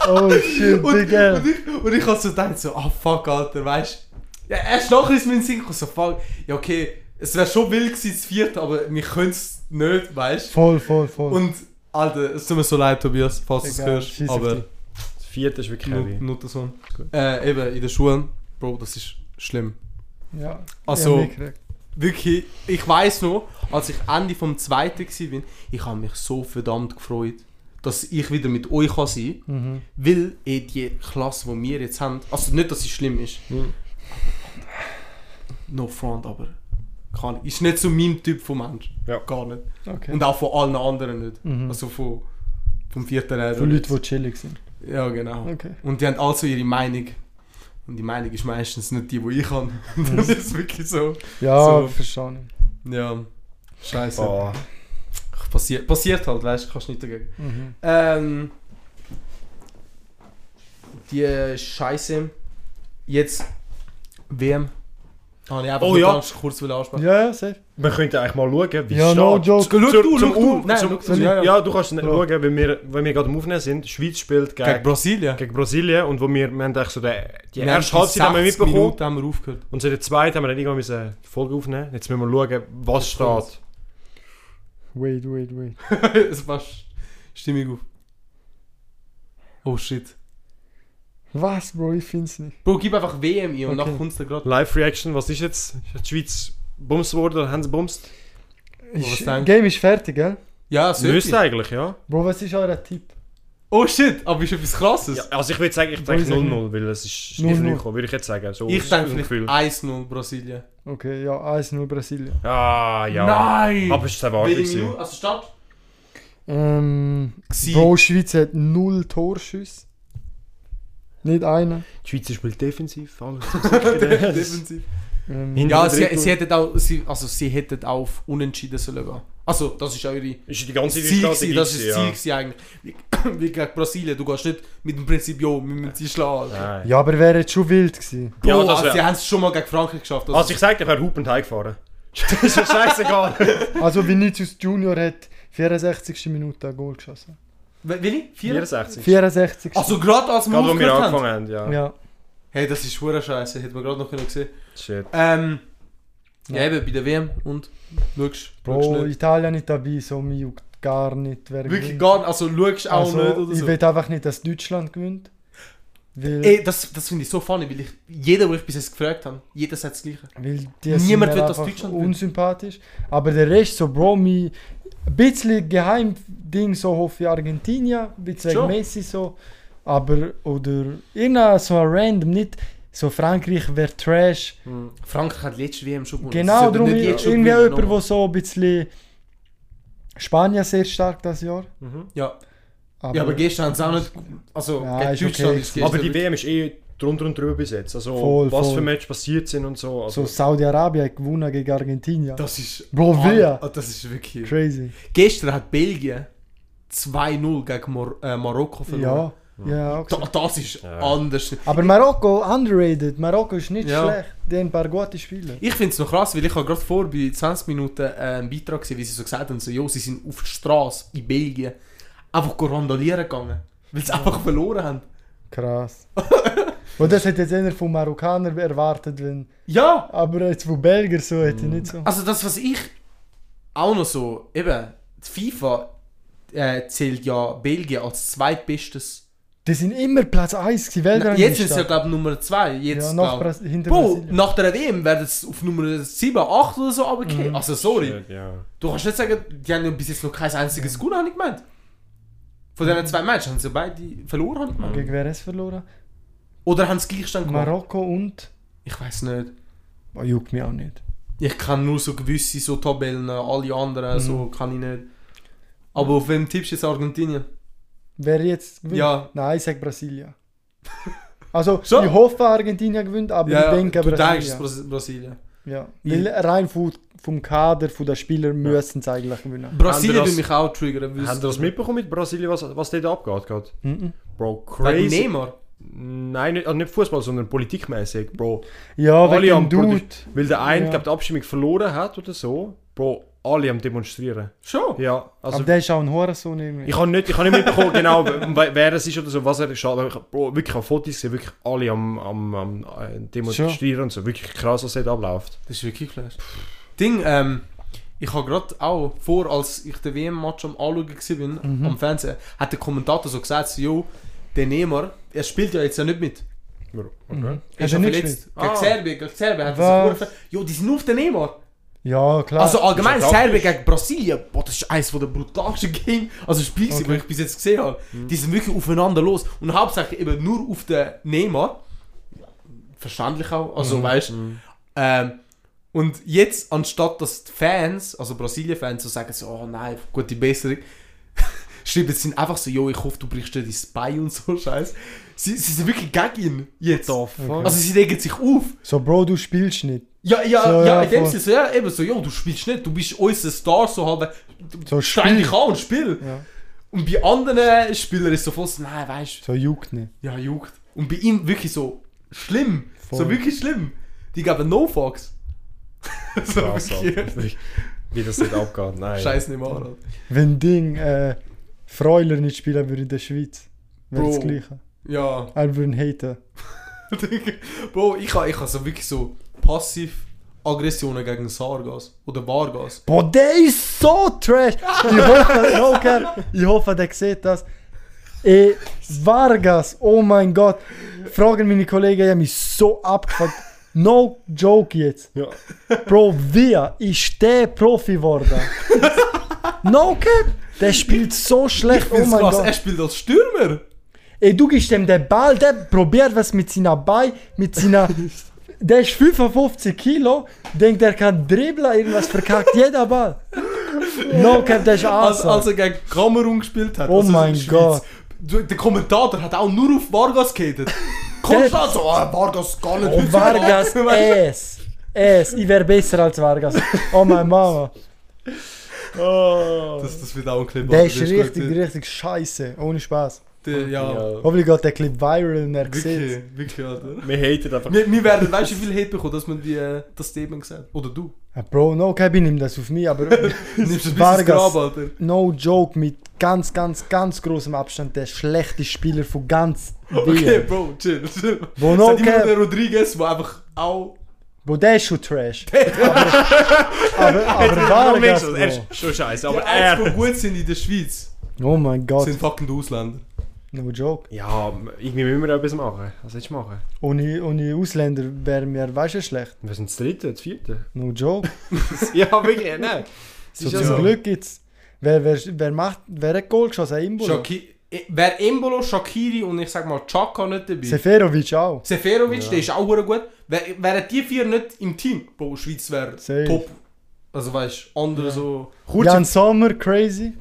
[SPEAKER 3] Oh shit,
[SPEAKER 2] Und, und,
[SPEAKER 3] Digga.
[SPEAKER 2] ich, und ich hab so gedacht, so, ah fuck, Alter, weißt du? Ja, erst nachher ist mir in den Sinn gekommen, so, fuck, ja, okay, es wäre schon wild gewesen, das vierte, aber wir können es nicht, weißt
[SPEAKER 3] Voll, voll,
[SPEAKER 2] du?
[SPEAKER 3] voll.
[SPEAKER 2] Und, Alter, es tut mir so leid, Tobias, falls du es
[SPEAKER 3] Egal,
[SPEAKER 2] hörst,
[SPEAKER 3] scheiss auf
[SPEAKER 2] aber
[SPEAKER 3] dich.
[SPEAKER 1] Das vierte ist wirklich
[SPEAKER 2] nur,
[SPEAKER 1] heavy.
[SPEAKER 2] nur das one.
[SPEAKER 1] Gut.
[SPEAKER 2] Äh, eben, in der Schule, Bro, das ist schlimm.
[SPEAKER 3] ja.
[SPEAKER 2] Also-
[SPEAKER 3] Ich hab mitgekriegt.
[SPEAKER 2] Wirklich, ich weiß noch, als ich Ende vom zweiten war, ich habe mich so verdammt gefreut, dass ich wieder mit euch kann sein kann.
[SPEAKER 3] Mhm.
[SPEAKER 2] Weil eh die Klasse, die wir jetzt haben, also nicht, dass sie schlimm ist,
[SPEAKER 1] Hm.
[SPEAKER 2] no front, aber kann ich. Ist nicht so mein Typ von Mensch.
[SPEAKER 1] Ja.
[SPEAKER 2] Gar nicht.
[SPEAKER 3] Okay.
[SPEAKER 2] Und auch von allen anderen nicht.
[SPEAKER 3] Mhm.
[SPEAKER 2] Also von, vom vierten Lehrer.
[SPEAKER 3] Von Leuten, die chillig sind.
[SPEAKER 2] die... Ja, genau.
[SPEAKER 3] Okay.
[SPEAKER 2] Und die haben also ihre Meinung. Und die Meinung ist meistens nicht die, die ich habe. das ist wirklich so.
[SPEAKER 3] Ja,
[SPEAKER 2] So.
[SPEAKER 3] verstanden.
[SPEAKER 2] Ja. Scheiße.
[SPEAKER 1] Boah.
[SPEAKER 2] Passiert, passiert halt, weißt du, kannst nicht dagegen.
[SPEAKER 3] Mhm.
[SPEAKER 2] Ähm, die Scheiße. Jetzt WM. Habe ich einfach
[SPEAKER 1] Oh
[SPEAKER 2] nur
[SPEAKER 1] ja.
[SPEAKER 2] ganz kurz will ansprechen.
[SPEAKER 3] Ja, ja, safe.
[SPEAKER 1] Wir könnten eigentlich mal schauen, wie
[SPEAKER 3] Ja,
[SPEAKER 1] es
[SPEAKER 2] nou,
[SPEAKER 3] no
[SPEAKER 1] steht.
[SPEAKER 3] joke.
[SPEAKER 2] Schau
[SPEAKER 1] Zur-
[SPEAKER 2] du,
[SPEAKER 1] zum
[SPEAKER 2] schau du.
[SPEAKER 1] Auf-
[SPEAKER 2] Nein,
[SPEAKER 1] zum-
[SPEAKER 2] schau du.
[SPEAKER 1] zum-
[SPEAKER 2] Ja, ja.
[SPEAKER 1] Ja, du kannst nicht
[SPEAKER 3] Bro.
[SPEAKER 1] schauen, wenn wir, wenn wir gerade am Aufnehmen sind. Die Schweiz spielt
[SPEAKER 2] Gegen
[SPEAKER 1] gegen,
[SPEAKER 2] Brasilien.
[SPEAKER 1] gegen Brasilien und wo wir, wir haben eigentlich so den, die
[SPEAKER 2] Wir
[SPEAKER 1] erste
[SPEAKER 2] haben
[SPEAKER 1] Halbzeit haben wir
[SPEAKER 2] 60
[SPEAKER 1] mitbekommen
[SPEAKER 2] Minuten haben wir aufgehört.
[SPEAKER 1] und seit der zweiten haben wir dann irgendwann müssen die Folge aufnehmen. Jetzt müssen wir schauen, was
[SPEAKER 2] Das
[SPEAKER 1] steht.
[SPEAKER 3] Wait, wait, wait.
[SPEAKER 2] es passt Stimmung auf. Oh shit.
[SPEAKER 3] Was, Bro? Ich find's nicht.
[SPEAKER 2] Bro, gib einfach WM ein und
[SPEAKER 3] Okay.
[SPEAKER 2] nachher kommst du gerade.
[SPEAKER 1] Live-Reaction, was ist jetzt? Hat die Schweiz bumst worden oder haben sie bumst?
[SPEAKER 2] was
[SPEAKER 3] Ist,
[SPEAKER 2] denkst-
[SPEAKER 3] Game ist fertig, gell?
[SPEAKER 2] Ja,
[SPEAKER 1] Sie müsste
[SPEAKER 2] sollte.
[SPEAKER 1] eigentlich, ja.
[SPEAKER 3] Bro, was ist euer Tipp?
[SPEAKER 2] Oh shit, aber ist etwas krasses.
[SPEAKER 1] ja. Also ich würde sagen, ich
[SPEAKER 3] Wo
[SPEAKER 1] denke
[SPEAKER 3] ist er?
[SPEAKER 1] 0-0, weil es ist
[SPEAKER 3] 0-0.
[SPEAKER 1] nicht gekommen, würde ich jetzt sagen. So
[SPEAKER 2] Ich
[SPEAKER 1] aus
[SPEAKER 2] denke
[SPEAKER 1] dem
[SPEAKER 2] vielleicht
[SPEAKER 1] Gefühl.
[SPEAKER 2] 1-0 Brasilien.
[SPEAKER 3] Okay, ja, 1-0 Brasilien.
[SPEAKER 1] Ah, ja.
[SPEAKER 2] Nein!
[SPEAKER 1] Aber es ist erwartet
[SPEAKER 2] Wenige
[SPEAKER 1] gewesen.
[SPEAKER 2] Minuten, also Start.
[SPEAKER 3] Ähm,
[SPEAKER 2] Gsi.
[SPEAKER 3] Bro, Schweiz hat 0 Torschüsse. Nicht einen.
[SPEAKER 1] Die Schweiz spielt defensiv, alles.
[SPEAKER 2] Defensiv.
[SPEAKER 3] Ähm,
[SPEAKER 1] Hin-
[SPEAKER 2] Ja,
[SPEAKER 1] Dritte
[SPEAKER 2] sie,
[SPEAKER 1] Drittel.
[SPEAKER 2] sie hätten auch, sie, also sie hätten auf Unentschieden sollen gehen. Also, das ist eure
[SPEAKER 1] Ist die ganze
[SPEAKER 2] Ziel
[SPEAKER 1] Strategie
[SPEAKER 2] gewesen, das ist das Ziel
[SPEAKER 1] gewesen,
[SPEAKER 2] gewesen eigentlich. Wie, wie gegen Brasilien, du gehst nicht mit dem Prinzip, jo, wir müssen sie schlagen.
[SPEAKER 1] ja. Nein.
[SPEAKER 3] Ja, aber wäre jetzt schon wild gewesen.
[SPEAKER 2] Boah,
[SPEAKER 1] Ja, das
[SPEAKER 2] also,
[SPEAKER 1] wär-
[SPEAKER 2] sie haben es schon mal gegen Frankreich geschafft. Also,
[SPEAKER 1] Also ich sag, ich wäre Hupen gefahren. das ist ja scheißegal.
[SPEAKER 3] Also Vinicius Junior hat 64. Minute ein Goal geschossen.
[SPEAKER 2] Wel- Welche? Vier?
[SPEAKER 1] 64.
[SPEAKER 3] 64.
[SPEAKER 2] Also gerade als wir
[SPEAKER 1] Gerade wo wir
[SPEAKER 2] aufgehört haben.
[SPEAKER 1] angefangen haben,
[SPEAKER 2] Ah,
[SPEAKER 1] ja.
[SPEAKER 3] ja.
[SPEAKER 2] Hey, das ist schwer scheiße, hätte man gerade noch gesehen.
[SPEAKER 1] Shit.
[SPEAKER 2] Ähm, ja.
[SPEAKER 3] Ja.
[SPEAKER 2] eben, bei der WM und schaust, schaust
[SPEAKER 3] Bro,
[SPEAKER 2] nicht.
[SPEAKER 3] Italien nicht dabei, so mich juckt gar nicht. Wer
[SPEAKER 2] Wirklich
[SPEAKER 3] gewinnt.
[SPEAKER 2] gar nicht, also schaust auch
[SPEAKER 3] also,
[SPEAKER 2] nicht oder
[SPEAKER 3] Ich
[SPEAKER 2] so.
[SPEAKER 3] will einfach nicht, dass Deutschland gewinnt. Weil,
[SPEAKER 2] Ey, das, das finde ich so funny, weil ich, jeder, wo ich bis jetzt gefragt habe, jeder sagt das Gleiche.
[SPEAKER 3] weil die
[SPEAKER 2] niemand
[SPEAKER 3] sind mir
[SPEAKER 2] will, dass
[SPEAKER 3] einfach
[SPEAKER 2] Deutschland gewinnt.
[SPEAKER 3] unsympathisch. Aber der Rest, so Bro, mich ein bisschen Geheimding, so hoffe ich Argentinien, ein bisschen
[SPEAKER 2] Schon.
[SPEAKER 3] wegen Messi so. Aber, oder irgendein so ein random, nicht so Frankreich wäre Trash.
[SPEAKER 2] Frankreich hat letzte WM schon gewonnen. Sie
[SPEAKER 3] Genau,
[SPEAKER 2] sollten
[SPEAKER 3] darum
[SPEAKER 2] nicht jetzt schon
[SPEAKER 3] irgendwie
[SPEAKER 2] gewinnen,
[SPEAKER 3] jemand,
[SPEAKER 2] nochmal.
[SPEAKER 3] der so ein bisschen. Spanien sehr stark das Jahr.
[SPEAKER 2] Ja, ja, aber gestern haben sie auch nicht. Also,
[SPEAKER 3] Ja,
[SPEAKER 2] gegen
[SPEAKER 3] ist
[SPEAKER 2] Deutschland
[SPEAKER 3] okay.
[SPEAKER 2] ist gestern.
[SPEAKER 1] Aber die
[SPEAKER 2] wirklich-
[SPEAKER 1] WM ist eh drunter und drüber bis jetzt. Also
[SPEAKER 3] Voll,
[SPEAKER 1] was
[SPEAKER 3] voll.
[SPEAKER 1] für Match passiert sind und so. Also,
[SPEAKER 3] so Saudi-Arabien hat gewonnen gegen Argentinien.
[SPEAKER 2] Das ist.
[SPEAKER 3] Bro,
[SPEAKER 2] Mann,
[SPEAKER 3] wer?
[SPEAKER 2] oh, Das ist wirklich.
[SPEAKER 3] Crazy.
[SPEAKER 2] Gestern hat Belgien 2-0 gegen Mor äh, Marokko verloren.
[SPEAKER 3] Ja, ja.
[SPEAKER 2] Da,
[SPEAKER 3] Okay.
[SPEAKER 2] das ist
[SPEAKER 1] Ja.
[SPEAKER 2] anders.
[SPEAKER 3] Aber Marokko underrated. Marokko ist nicht
[SPEAKER 2] Ja.
[SPEAKER 3] schlecht. Die haben ein paar gute Spieler.
[SPEAKER 2] Ich finde es noch krass, weil ich habe gerade vor bei 20 Minuten äh, einen Beitrag gesehen, wie sie so gesagt haben, so, jo, sie sind auf der Straße in Belgien einfach go randalieren gegangen, weil sie einfach verloren haben.
[SPEAKER 3] Krass. Und das hätte jetzt einer von Marokkanern erwartet, wenn.
[SPEAKER 2] Ja,
[SPEAKER 3] Aber jetzt von Belgier so hätte ich nicht so.
[SPEAKER 2] Also das, was ich auch noch so, eben, die FIFA äh, zählt ja Belgien als zweitbestes.
[SPEAKER 3] Die sind immer Platz 1 gewesen,
[SPEAKER 2] Na,
[SPEAKER 3] Weltrangliste.
[SPEAKER 2] jetzt sind sie ja, glaube ich, Nummer 2. Jetzt,
[SPEAKER 3] ja,
[SPEAKER 2] glaub-
[SPEAKER 3] noch Bras hinter
[SPEAKER 2] Boah,
[SPEAKER 3] Brasilien.
[SPEAKER 2] nach der WM werden sie auf Nummer 7, 8 oder so
[SPEAKER 3] Mhm.
[SPEAKER 2] runtergehen. Also sorry,
[SPEAKER 1] Shit, äh, ja.
[SPEAKER 2] du kannst nicht sagen, die haben ja bis jetzt noch kein einziges Goal, habe ich gemeint. Von diesen zwei Matches haben sie beide verloren, habe ich gemeint.
[SPEAKER 3] Gegen wer es verloren?
[SPEAKER 2] Mhm. Oder haben sie Gleichstand gemacht?
[SPEAKER 3] Marokko und.
[SPEAKER 2] Ich weiß nicht.
[SPEAKER 3] Oh, juckt mich auch nicht.
[SPEAKER 2] Ich kann nur so gewisse so Tabellen, alle anderen so kann ich nicht. Aber auf wem tippst du jetzt Argentinien?
[SPEAKER 3] Wer jetzt gewinnt?
[SPEAKER 2] Ja.
[SPEAKER 3] Nein, ich sage Brasilien. Also,
[SPEAKER 2] Schon?
[SPEAKER 3] ich hoffe, Argentinien gewinnt, aber
[SPEAKER 2] Ja,
[SPEAKER 3] ich denke
[SPEAKER 2] du
[SPEAKER 3] Brasilien.
[SPEAKER 2] denkst es Bras Brasilien.
[SPEAKER 3] ja.
[SPEAKER 2] Ja.
[SPEAKER 3] Weil rein vom, vom Kader, von den Spielern müssen sie eigentlich gewinnen.
[SPEAKER 2] Brasilien
[SPEAKER 1] Haben wir
[SPEAKER 2] will mich auch triggern. weil
[SPEAKER 1] Habt ihr
[SPEAKER 2] es-
[SPEAKER 1] das mitbekommen mit Brasilien, was, was dort abgeht? gerade?
[SPEAKER 3] Mhm.
[SPEAKER 1] Bro,
[SPEAKER 2] Wegen
[SPEAKER 1] crazy.
[SPEAKER 2] Neymar.
[SPEAKER 1] Nein, nicht, also nicht Fußball, sondern politikmäßig, Bro.
[SPEAKER 3] Ja,
[SPEAKER 1] alle
[SPEAKER 3] wegen dem
[SPEAKER 1] am
[SPEAKER 3] Dude.
[SPEAKER 1] Protest- Weil der eine,
[SPEAKER 3] Ja.
[SPEAKER 1] glaub, die Abstimmung verloren hat oder so, Bro, alle am Demonstrieren.
[SPEAKER 2] Schon.
[SPEAKER 1] Ja, also
[SPEAKER 3] aber der ist auch ein Hurensohn irgendwie.
[SPEAKER 1] ich habe nicht, ich hab nicht mitbekommen, genau, we- wer es ist oder so, was er ist. Aber ich, Bro, wirklich, ich habe Fotos gesehen, wirklich alle am, am, am äh, Demonstrieren und so. Wirklich krass, was dort abläuft.
[SPEAKER 2] Das ist wirklich flash. Ding, ähm, ich habe gerade auch vor, als ich den WM-Match am Anschauen war,
[SPEAKER 3] Mhm.
[SPEAKER 2] am Fernsehen, hat der Kommentator so gesagt, so, jo, der Neymar, er spielt ja jetzt ja nicht mit.
[SPEAKER 1] Okay.
[SPEAKER 3] Mhm.
[SPEAKER 2] Er ist
[SPEAKER 3] Hat
[SPEAKER 2] ja
[SPEAKER 3] er nicht
[SPEAKER 2] verletzt.
[SPEAKER 3] gespielt?
[SPEAKER 2] Gegen
[SPEAKER 1] Ah.
[SPEAKER 2] Serbien, gegen Serbien hat er
[SPEAKER 3] Was?
[SPEAKER 2] sich verletzt. Jo, die sind auf den Neymar.
[SPEAKER 3] Ja, klar.
[SPEAKER 2] also allgemein,
[SPEAKER 1] ist ja
[SPEAKER 2] Serbien
[SPEAKER 1] taktisch.
[SPEAKER 2] gegen Brasilien, boah, das ist eines der brutalsten Game, also Spiele, die
[SPEAKER 3] Okay.
[SPEAKER 2] ich bis jetzt gesehen habe. Die sind wirklich aufeinander los und hauptsächlich eben nur auf den Neymar. Verständlich auch, also weißt ähm, und jetzt, anstatt dass die Fans, also Brasilien-Fans, so sagen, so, oh nein, gute Besserung, schreiben sie einfach so, jo, ich hoffe, du brichst dir das Bein und so, scheiße. Sie, sie sind wirklich gegen ihn jetzt. Also sie regen sich auf.
[SPEAKER 3] so, Bro, du spielst nicht.
[SPEAKER 2] Ja, ja,
[SPEAKER 3] So,
[SPEAKER 2] ja,
[SPEAKER 3] ja,
[SPEAKER 2] in dem
[SPEAKER 3] voll.
[SPEAKER 2] Sinne, so, ja, eben so, jo, du spielst nicht, du bist unser Star, so halb,
[SPEAKER 3] So,
[SPEAKER 2] steig
[SPEAKER 3] spiel.
[SPEAKER 2] dich an und spiel.
[SPEAKER 3] Ja.
[SPEAKER 2] Und bei anderen Spielern ist so voll so, nein, weißt
[SPEAKER 3] So, juckt nicht.
[SPEAKER 2] du, ja, juckt. Und bei ihm wirklich so schlimm, so
[SPEAKER 3] Voll.
[SPEAKER 2] wirklich schlimm. Die geben no fucks. so
[SPEAKER 1] Krass,
[SPEAKER 2] wirklich.
[SPEAKER 1] Alter. Wie das dort abgeht, nein.
[SPEAKER 2] Scheiß nicht mal an.
[SPEAKER 3] Wenn Ding, äh, Freuler nicht spielen würde in der Schweiz, wäre das
[SPEAKER 2] Bro.
[SPEAKER 3] Gleiche.
[SPEAKER 2] Ja.
[SPEAKER 3] Alle würden haten.
[SPEAKER 2] Bro, ich habe ich ha so wirklich so passiv Aggressionen gegen Sargas oder Vargas.
[SPEAKER 3] Boah, der ist so trash! Ich hoffe, no cap, ich hoffe der sieht das. Ey, Vargas, oh mein Gott. Fragen meine Kollegen, ich hab mich so abgefuckt. No joke jetzt.
[SPEAKER 1] Ja.
[SPEAKER 3] Bro, wer ist der Profi geworden? No cap! Der spielt so schlecht,
[SPEAKER 2] Ich
[SPEAKER 3] oh
[SPEAKER 2] find's
[SPEAKER 3] mein
[SPEAKER 2] krass, er
[SPEAKER 3] Gott.
[SPEAKER 2] spielt als Stürmer.
[SPEAKER 3] Ey, du gibst dem den Ball, der probiert was mit seiner Bein, mit seiner... Der ist 55 Kilo, denkt er kann dribbeln, irgendwas verkackt jeder Ball. No cap, der ist
[SPEAKER 2] Als,
[SPEAKER 3] awesome.
[SPEAKER 2] als er Also, gegen Kamerun gespielt hat.
[SPEAKER 3] Oh
[SPEAKER 2] also
[SPEAKER 3] mein
[SPEAKER 2] Schweiz.
[SPEAKER 3] Gott.
[SPEAKER 2] Du- Der Kommentator hat auch nur auf Vargas gehatet. Konstant so, ah, Vargas gar nicht.
[SPEAKER 3] Oh, Vargas,
[SPEAKER 2] Weißt
[SPEAKER 3] es. Es. Ich wäre besser als Vargas. Oh, meine Mama.
[SPEAKER 1] Oh.
[SPEAKER 2] Das, das wird auch ein Clip.
[SPEAKER 3] Der
[SPEAKER 2] Alter,
[SPEAKER 3] ist
[SPEAKER 2] gut,
[SPEAKER 3] richtig,
[SPEAKER 2] der-
[SPEAKER 3] richtig scheiße. Ohne Spaß.
[SPEAKER 2] der- Ja,
[SPEAKER 3] Hoffentlich geht der Clip viral und er sieht
[SPEAKER 2] wirklich, wirklich, Alter.
[SPEAKER 1] Wir haten einfach.
[SPEAKER 2] Wir, wir werden, weißt du, wie viel Hate bekommen, dass man die, äh, das Statement sagt? Oder du.
[SPEAKER 3] ja, Bro, no, okay, ich nehme das auf mich, aber
[SPEAKER 2] Du nimmst ein bisschen
[SPEAKER 3] Vargas,
[SPEAKER 2] Grab, Alter.
[SPEAKER 3] no joke, mit ganz, ganz, ganz großem Abstand der schlechteste Spieler von ganz
[SPEAKER 2] Okay,
[SPEAKER 3] WM.
[SPEAKER 2] Bro, chill, chill. No,
[SPEAKER 3] Wo no
[SPEAKER 2] Sag immer
[SPEAKER 3] cap,
[SPEAKER 2] der Rodriguez, der einfach auch...
[SPEAKER 3] wo der ist schon trash. aber, aber, aber
[SPEAKER 1] Warum
[SPEAKER 3] Vargas,
[SPEAKER 1] ist das? Er
[SPEAKER 3] Bro.
[SPEAKER 1] ist schon scheiße,
[SPEAKER 2] Aber
[SPEAKER 1] aber
[SPEAKER 2] die einzigen, die
[SPEAKER 1] er...
[SPEAKER 2] gut sind in der Schweiz,
[SPEAKER 3] Oh mein Gott,
[SPEAKER 2] sind fucking die Ausländer.
[SPEAKER 3] no joke.
[SPEAKER 1] Ja, irgendwie müssen wir etwas machen. Was willst du machen?
[SPEAKER 3] Ohne, ohne Ausländer wären wir, weißt du, schlecht.
[SPEAKER 1] Wir sind das dritte, das vierte.
[SPEAKER 3] No joke.
[SPEAKER 1] ja, wirklich, nein. Es
[SPEAKER 3] So,
[SPEAKER 1] ist
[SPEAKER 3] zum
[SPEAKER 1] ja so.
[SPEAKER 3] Glück gibt's. Wer, wer, wer macht, wer hat Goal geschossen? Ein Imbolo?
[SPEAKER 2] Shaki eh, Wer Embolo, Shakiri und ich sag mal Chaka nicht dabei.
[SPEAKER 3] Seferovic auch.
[SPEAKER 2] Seferovic, der ist auch verdammt gut. Wär- Wären die vier nicht im Team, Bro, Schweiz wäre
[SPEAKER 3] Safe.
[SPEAKER 2] top. Also weißt du, andere so...
[SPEAKER 1] Kurze-
[SPEAKER 3] Jan Sommer, crazy.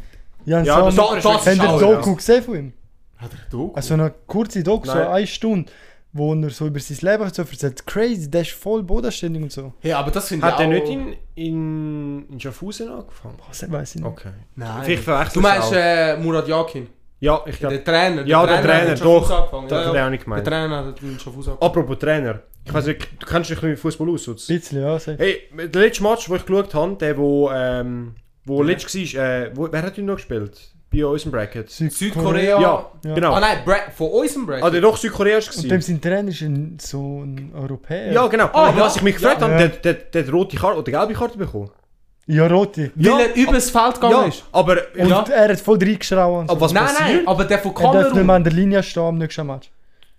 [SPEAKER 3] Jan
[SPEAKER 1] Ja, das-
[SPEAKER 3] Sommer.
[SPEAKER 1] das
[SPEAKER 2] das
[SPEAKER 1] ist
[SPEAKER 3] Habt ihr
[SPEAKER 1] auch-
[SPEAKER 2] auch-
[SPEAKER 3] Doku gesehen von ihm?
[SPEAKER 1] Hat er Doku?
[SPEAKER 3] Also eine kurze Doku, so
[SPEAKER 1] Nein.
[SPEAKER 3] eine Stunde, wo er so über sein Leben so erzählt. Crazy, der ist voll bodenständig und so.
[SPEAKER 2] Hey, aber das finde ich
[SPEAKER 1] Hat er
[SPEAKER 2] auch...
[SPEAKER 1] nicht in, in, in Schaffhausen angefangen?
[SPEAKER 3] Was weiß ich nicht.
[SPEAKER 1] Okay.
[SPEAKER 2] Nein.
[SPEAKER 1] Vielleicht verwechselst
[SPEAKER 2] du meinst
[SPEAKER 1] auch.
[SPEAKER 2] äh, Murat Yakin,
[SPEAKER 1] Ja, ich glaube,
[SPEAKER 2] der Trainer.
[SPEAKER 1] Ja, der Trainer,
[SPEAKER 2] hat schon
[SPEAKER 1] doch.
[SPEAKER 2] angefangen.
[SPEAKER 1] das
[SPEAKER 2] Ja,
[SPEAKER 1] hat
[SPEAKER 2] ja.
[SPEAKER 1] er auch nicht
[SPEAKER 2] Der
[SPEAKER 1] gemeint.
[SPEAKER 2] Trainer hat ihn schon
[SPEAKER 3] Oh,
[SPEAKER 2] Fuß angefangen.
[SPEAKER 1] Apropos Trainer. Ich weiß nicht, du kennst dich ein bisschen mit Fußball aus, oder?
[SPEAKER 3] Ein bisschen, ja. Safe.
[SPEAKER 1] Hey, der letzte Match, wo ich geschaut habe, der, wo, ähm, wo letztes war, äh, wo, wer hat ihn noch gespielt? Bei uns im Bracket.
[SPEAKER 2] Südkorea.
[SPEAKER 1] Ja,
[SPEAKER 3] Ja.
[SPEAKER 1] genau.
[SPEAKER 2] Ah
[SPEAKER 1] Ah,
[SPEAKER 2] nein, Bra von unserem Break.
[SPEAKER 1] der doch Südkorea war.
[SPEAKER 3] Und dem sein Trainer ist ein, so ein Europäer.
[SPEAKER 1] Ja, genau.
[SPEAKER 2] Ah,
[SPEAKER 1] Aber
[SPEAKER 2] ja.
[SPEAKER 1] was ich mich gefragt
[SPEAKER 3] Ja.
[SPEAKER 1] habe,
[SPEAKER 3] Ja.
[SPEAKER 1] der, der, der hat rote Karte oder gelbe Karte bekommen.
[SPEAKER 3] Ja, Rotti.
[SPEAKER 2] Weil
[SPEAKER 1] Ja,
[SPEAKER 2] er übers Feld gegangen
[SPEAKER 1] Ja,
[SPEAKER 2] ist.
[SPEAKER 1] aber...
[SPEAKER 3] Und
[SPEAKER 1] ja.
[SPEAKER 3] er hat voll reingeschrauben. und so.
[SPEAKER 1] Aber was
[SPEAKER 2] nein,
[SPEAKER 1] passiert?
[SPEAKER 2] nein, aber der von
[SPEAKER 3] Er darf nicht mehr
[SPEAKER 2] Kamerun.
[SPEAKER 3] an der Linie stehen am nächsten Match.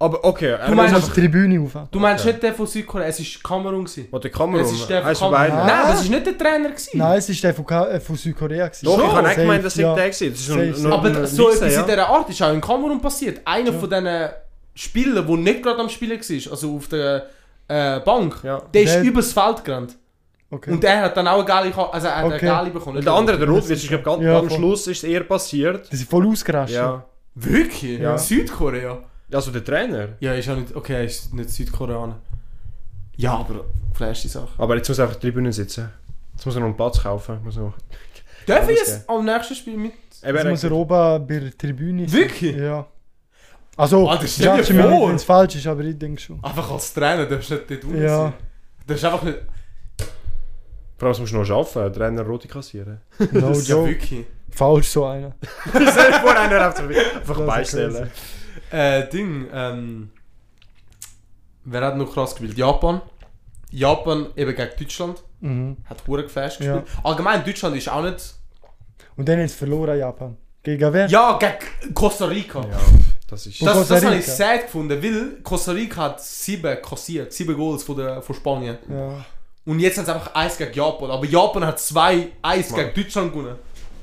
[SPEAKER 1] Aber okay, er
[SPEAKER 3] Du
[SPEAKER 1] muss
[SPEAKER 3] meinst auf
[SPEAKER 1] einfach...
[SPEAKER 3] die Tribüne rauf.
[SPEAKER 2] Du meinst nicht der von Südkorea, es war Kamerun. gewesen.
[SPEAKER 1] Oder Kamerun.
[SPEAKER 2] Es ist der
[SPEAKER 1] Eins
[SPEAKER 2] von
[SPEAKER 1] von
[SPEAKER 2] Kamerun.
[SPEAKER 1] beiden.
[SPEAKER 2] Nein, das war nicht der Trainer. Gewesen.
[SPEAKER 3] Nein, es ist der von, Ka äh, von Südkorea. gewesen.
[SPEAKER 1] Doch, ich habe nicht
[SPEAKER 3] Safe,
[SPEAKER 1] gemeint, dass ich
[SPEAKER 3] ja.
[SPEAKER 1] der war. Das ist nur,
[SPEAKER 3] Safe,
[SPEAKER 1] nur
[SPEAKER 3] safe.
[SPEAKER 2] Aber
[SPEAKER 1] nur-
[SPEAKER 2] so etwas
[SPEAKER 1] Äh, ja.
[SPEAKER 2] in dieser Art ist auch in Kamerun passiert. Einer von diesen Spielern, der nicht gerade am Spielen war, also auf der äh, Bank,
[SPEAKER 1] Ja.
[SPEAKER 2] der ist
[SPEAKER 3] Der-
[SPEAKER 2] übers Feld gerannt.
[SPEAKER 3] Okay.
[SPEAKER 2] Und der hat dann auch eine Gali, also er hat eine
[SPEAKER 3] Okay.
[SPEAKER 2] Gali bekommen.
[SPEAKER 1] Und der andere, der Rot, ich glaube, ganz
[SPEAKER 3] Ja,
[SPEAKER 1] am
[SPEAKER 3] voll.
[SPEAKER 1] Schluss ist es eher passiert.
[SPEAKER 3] Die sind voll ausgerastet.
[SPEAKER 1] Ja.
[SPEAKER 2] Wirklich?
[SPEAKER 1] Ja.
[SPEAKER 2] Südkorea?
[SPEAKER 1] Also der Trainer.
[SPEAKER 2] Ja, ist auch nicht. Okay, er ist nicht Südkoreaner. Ja, aber flash die Sache.
[SPEAKER 1] Aber jetzt muss er auf der Tribüne sitzen. Jetzt muss er noch einen Platz kaufen. Muss noch.
[SPEAKER 2] Darf ich
[SPEAKER 1] das
[SPEAKER 2] jetzt am nächsten Spiel mit.
[SPEAKER 1] Eben,
[SPEAKER 3] Jetzt muss er oben bei der Tribüne sein.
[SPEAKER 2] Wirklich?
[SPEAKER 3] Ja. Also,
[SPEAKER 2] Alter, stell dir
[SPEAKER 3] judge mich nicht,
[SPEAKER 2] vor.
[SPEAKER 3] wenn es falsch ist, aber ich denke schon.
[SPEAKER 2] Einfach als Trainer darfst du nicht dort unten
[SPEAKER 3] Ja.
[SPEAKER 2] sein. Darfst einfach nicht.
[SPEAKER 1] Vor allem, das musst du noch arbeiten. Trainer rote kassieren.
[SPEAKER 3] No
[SPEAKER 2] Das ist ja
[SPEAKER 3] joke.
[SPEAKER 2] wirklich.
[SPEAKER 3] Falsch so einer.
[SPEAKER 1] Vor einer auf der Einfach
[SPEAKER 3] ist
[SPEAKER 1] beistellen.
[SPEAKER 2] Äh, Ding, ähm. Wer hat noch krass gespielt? Japan. Japan eben gegen Deutschland.
[SPEAKER 3] Mhm.
[SPEAKER 2] Hat Huren geflasht
[SPEAKER 3] Ja.
[SPEAKER 2] gespielt. Allgemein, Deutschland ist auch nicht.
[SPEAKER 3] Und dann jetzt verloren Japan. Gegen wer?
[SPEAKER 2] Ja, gegen Costa Rica.
[SPEAKER 1] Ja, das ist.
[SPEAKER 3] Und
[SPEAKER 2] Das,
[SPEAKER 3] Costa
[SPEAKER 2] das habe ich
[SPEAKER 3] Rica.
[SPEAKER 2] sad gefunden, weil Costa Rica hat sieben kassiert, sieben Goals von, der, von Spanien.
[SPEAKER 3] Ja.
[SPEAKER 2] Und jetzt hat es einfach eins gegen Japan. Aber Japan hat zwei eins
[SPEAKER 1] Mann.
[SPEAKER 2] gegen Deutschland gewonnen.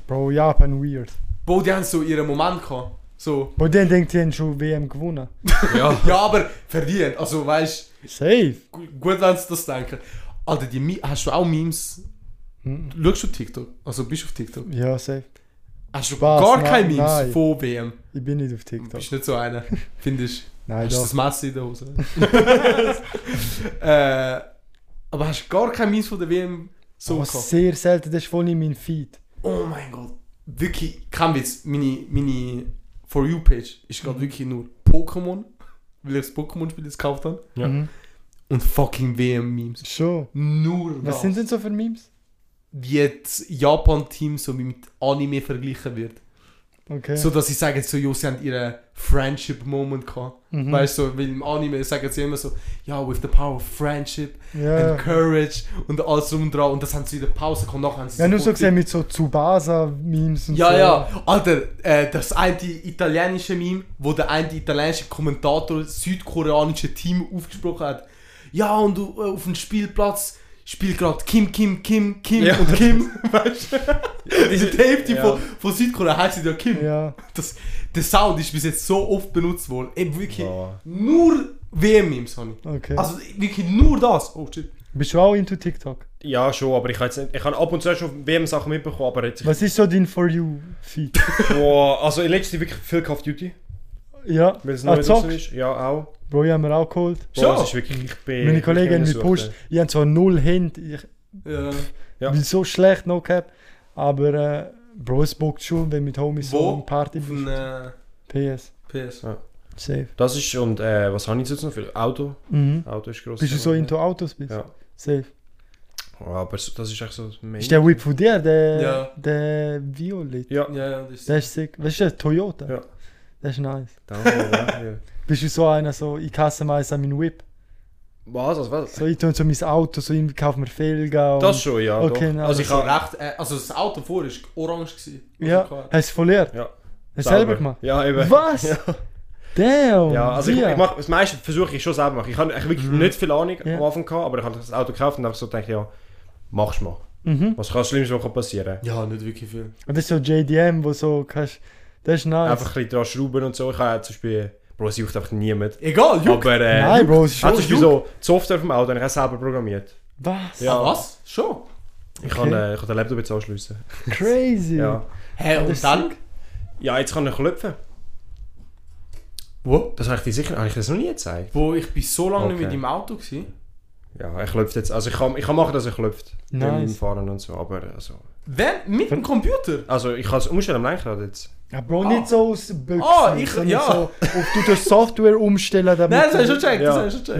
[SPEAKER 3] Bro, Japan weird.
[SPEAKER 2] Bro, die haben so ihren Moment gehabt. So.
[SPEAKER 3] Wo dann denkt, die haben schon WM gewonnen.
[SPEAKER 1] ja.
[SPEAKER 2] Ja, aber verdient. Also weißt
[SPEAKER 3] Safe.
[SPEAKER 2] du, gu- gut, wenn sie das denken. Alter, die Mi hast du auch Memes?
[SPEAKER 3] Mhm.
[SPEAKER 2] Du schaust du TikTok? Also bist du auf TikTok?
[SPEAKER 3] Ja, safe.
[SPEAKER 2] Hast du
[SPEAKER 3] Spaß,
[SPEAKER 2] gar
[SPEAKER 3] nein,
[SPEAKER 2] keine Memes
[SPEAKER 3] nein.
[SPEAKER 2] von WM?
[SPEAKER 3] Ich bin nicht auf TikTok.
[SPEAKER 2] Bist nicht so einer, findest du?
[SPEAKER 3] Nein,
[SPEAKER 2] Hast du das
[SPEAKER 3] doch.
[SPEAKER 2] Messer in der Hose? äh, aber hast du gar keine Memes von der WM so
[SPEAKER 3] Aber
[SPEAKER 2] gehabt?
[SPEAKER 3] sehr selten, das ist voll in meinem Feed.
[SPEAKER 2] Oh mein Gott. Wirklich, kein Witz, meine, meine For You-Page ist
[SPEAKER 3] Mhm.
[SPEAKER 2] gerade wirklich nur Pokémon, weil ich das Pokémon-Spiel jetzt gekauft habe.
[SPEAKER 1] Ja.
[SPEAKER 3] Mhm.
[SPEAKER 2] Und fucking WM-Memes.
[SPEAKER 3] Schon.
[SPEAKER 2] Nur
[SPEAKER 3] Was
[SPEAKER 2] das.
[SPEAKER 3] sind denn so für Memes?
[SPEAKER 2] Wie das Japan-Team so mit Anime verglichen wird.
[SPEAKER 3] Okay.
[SPEAKER 2] So dass sie sagen, so, jo, sie haben ihren Friendship-Moment gehabt.
[SPEAKER 3] Mhm.
[SPEAKER 2] Weißt du, so, weil im Anime sagen sie immer so, ja, with the power of friendship
[SPEAKER 3] ja.
[SPEAKER 2] and courage und alles drum und dran. Und das haben sie in der Pause gehabt. Nachher haben sie
[SPEAKER 3] ja, nur so
[SPEAKER 2] kurz-
[SPEAKER 3] gesehen mit so Tsubasa-Memes und
[SPEAKER 2] Ja,
[SPEAKER 3] so.
[SPEAKER 2] ja, Alter, äh, das eine italienische Meme, wo der eine italienische Kommentator das südkoreanische Team aufgesprochen hat. Ja, und du, äh, auf dem Spielplatz spielt gerade Kim, Kim, Kim, Kim
[SPEAKER 1] Ja.
[SPEAKER 2] und Kim. Weißt du? Diese Tape, die
[SPEAKER 1] Ja.
[SPEAKER 2] von, von Südkorea heißt ja Kim.
[SPEAKER 3] Ja.
[SPEAKER 2] Das, der Sound ist bis jetzt so oft benutzt worden. Eben wirklich
[SPEAKER 1] Ja.
[SPEAKER 2] nur WM-Memes, Sonny.
[SPEAKER 3] Okay.
[SPEAKER 2] Also wirklich nur das. Oh shit.
[SPEAKER 3] Bist du auch into TikTok?
[SPEAKER 1] ja, schon, aber ich habe jetzt nicht- ich habe ab und zu schon WM-Sachen mitbekommen, aber jetzt.
[SPEAKER 3] Was ist so dein For You-Feed?
[SPEAKER 1] Boah, also in letzter Zeit wirklich viel Call of Duty,
[SPEAKER 3] ja,
[SPEAKER 1] weil es neu
[SPEAKER 3] ah,
[SPEAKER 1] draußen
[SPEAKER 3] zockst?
[SPEAKER 1] ist. Ja, auch.
[SPEAKER 3] Bro, ich habe mir auch geholt.
[SPEAKER 1] Boah,
[SPEAKER 2] Schon?
[SPEAKER 1] es ist wirklich. Ich bin,
[SPEAKER 3] Meine
[SPEAKER 1] ich
[SPEAKER 3] Kollegen
[SPEAKER 1] bin
[SPEAKER 3] haben mich
[SPEAKER 1] gesucht,
[SPEAKER 2] Äh,
[SPEAKER 3] gepusht. Ich habe zwar null Hände, ich
[SPEAKER 2] Ja.
[SPEAKER 1] Ja.
[SPEAKER 3] bin so schlecht, no cap. Aber äh, Bro, es bockt schon, wenn mit Homies so
[SPEAKER 2] Wo?
[SPEAKER 3] eine Party
[SPEAKER 2] Auf
[SPEAKER 3] bist.
[SPEAKER 2] einen äh,
[SPEAKER 3] PS,
[SPEAKER 2] PS.
[SPEAKER 3] safe.
[SPEAKER 1] Das ist, und äh, was habe ich jetzt noch für Auto?
[SPEAKER 3] Mhm.
[SPEAKER 1] Auto ist gross.
[SPEAKER 3] Bist du so into Autos bist?
[SPEAKER 1] Ja.
[SPEAKER 3] Safe.
[SPEAKER 1] Aber so- das ist echt so das Main.
[SPEAKER 3] Ist der Whip von dir, der,
[SPEAKER 2] Ja.
[SPEAKER 3] der Violet?
[SPEAKER 1] Ja.
[SPEAKER 2] Ja, ja, das ist...
[SPEAKER 3] Der ist sick. Weißt du, der Toyota?
[SPEAKER 1] Ja.
[SPEAKER 3] Der ist nice.
[SPEAKER 1] Danke, ja, ja.
[SPEAKER 3] Bist du so einer, so, ich customize meinen Whip?
[SPEAKER 1] Was? Also, was?
[SPEAKER 3] So, ich tue so mein Auto, so, ich kaufe mir Felgen. und-
[SPEAKER 1] Das schon, ja.
[SPEAKER 3] Okay,
[SPEAKER 1] doch.
[SPEAKER 3] nein,
[SPEAKER 1] also ich
[SPEAKER 2] so
[SPEAKER 1] habe
[SPEAKER 2] recht, äh, also das Auto vor war orange. Gewesen,
[SPEAKER 3] Ja,
[SPEAKER 2] Also
[SPEAKER 1] Äh.
[SPEAKER 3] hast du es verliert?
[SPEAKER 1] Ja.
[SPEAKER 3] Hast du selber gemacht?
[SPEAKER 1] Ja, eben.
[SPEAKER 3] Was? Oh Damn!
[SPEAKER 1] Ja, also ich,
[SPEAKER 3] Sia.
[SPEAKER 1] ich mach, das meiste versuche ich schon selber machen. Ich habe eigentlich wirklich nicht viel Ahnung
[SPEAKER 3] Mhm. Ja.
[SPEAKER 1] am Anfang gehabt, aber ich habe das Auto gekauft und einfach so gedacht, ja, mach's mal.
[SPEAKER 3] Mhm.
[SPEAKER 1] Was kann das Schlimmste, was kann passieren
[SPEAKER 2] Ja, nicht wirklich viel.
[SPEAKER 3] Und das ist so JDM, wo so kannst. Das ist nice.
[SPEAKER 1] Einfach ein bisschen dran schrauben und so. Ich habe zum Beispiel, Bro, es juckt einfach niemand.
[SPEAKER 2] Egal, Juck.
[SPEAKER 1] Aber, äh,
[SPEAKER 3] Nein, Bro, es ist
[SPEAKER 1] also
[SPEAKER 3] schon.
[SPEAKER 1] zum Beispiel so, die Software vom Auto habe ich auch selber programmiert.
[SPEAKER 3] Was?
[SPEAKER 1] Ja.
[SPEAKER 2] Ah, was? Schon?
[SPEAKER 1] Ich
[SPEAKER 3] Okay.
[SPEAKER 1] kann, äh, ich kann den Laptop jetzt anschliessen.
[SPEAKER 3] Crazy!
[SPEAKER 1] Ja.
[SPEAKER 2] Hä,
[SPEAKER 3] Das ist
[SPEAKER 2] und dann?
[SPEAKER 1] ja, jetzt kann ich klopfen.
[SPEAKER 2] Wo?
[SPEAKER 1] Das habe ich dir sicher, habe ich das noch nie gezeigt?
[SPEAKER 2] Wo, ich bin so lange nicht
[SPEAKER 1] Okay.
[SPEAKER 2] mit im Auto gewesen.
[SPEAKER 1] Ja, ich klopft jetzt. Also ich kann, ich kann machen, dass er klopft. Beim
[SPEAKER 3] Nice.
[SPEAKER 1] Fahren und so, aber also...
[SPEAKER 2] Wenn? Mit dem Computer?
[SPEAKER 1] Also ich kann es umstellen am Lenkrad jetzt.
[SPEAKER 3] Ja, Bro,
[SPEAKER 2] Ah.
[SPEAKER 3] nicht so aus Büchsen,
[SPEAKER 2] Ah, ich- ja.
[SPEAKER 3] auf, du tust Software umstellen, damit.
[SPEAKER 2] Nein, das hast du schon gecheckt, das
[SPEAKER 1] Ja.
[SPEAKER 2] hast du schon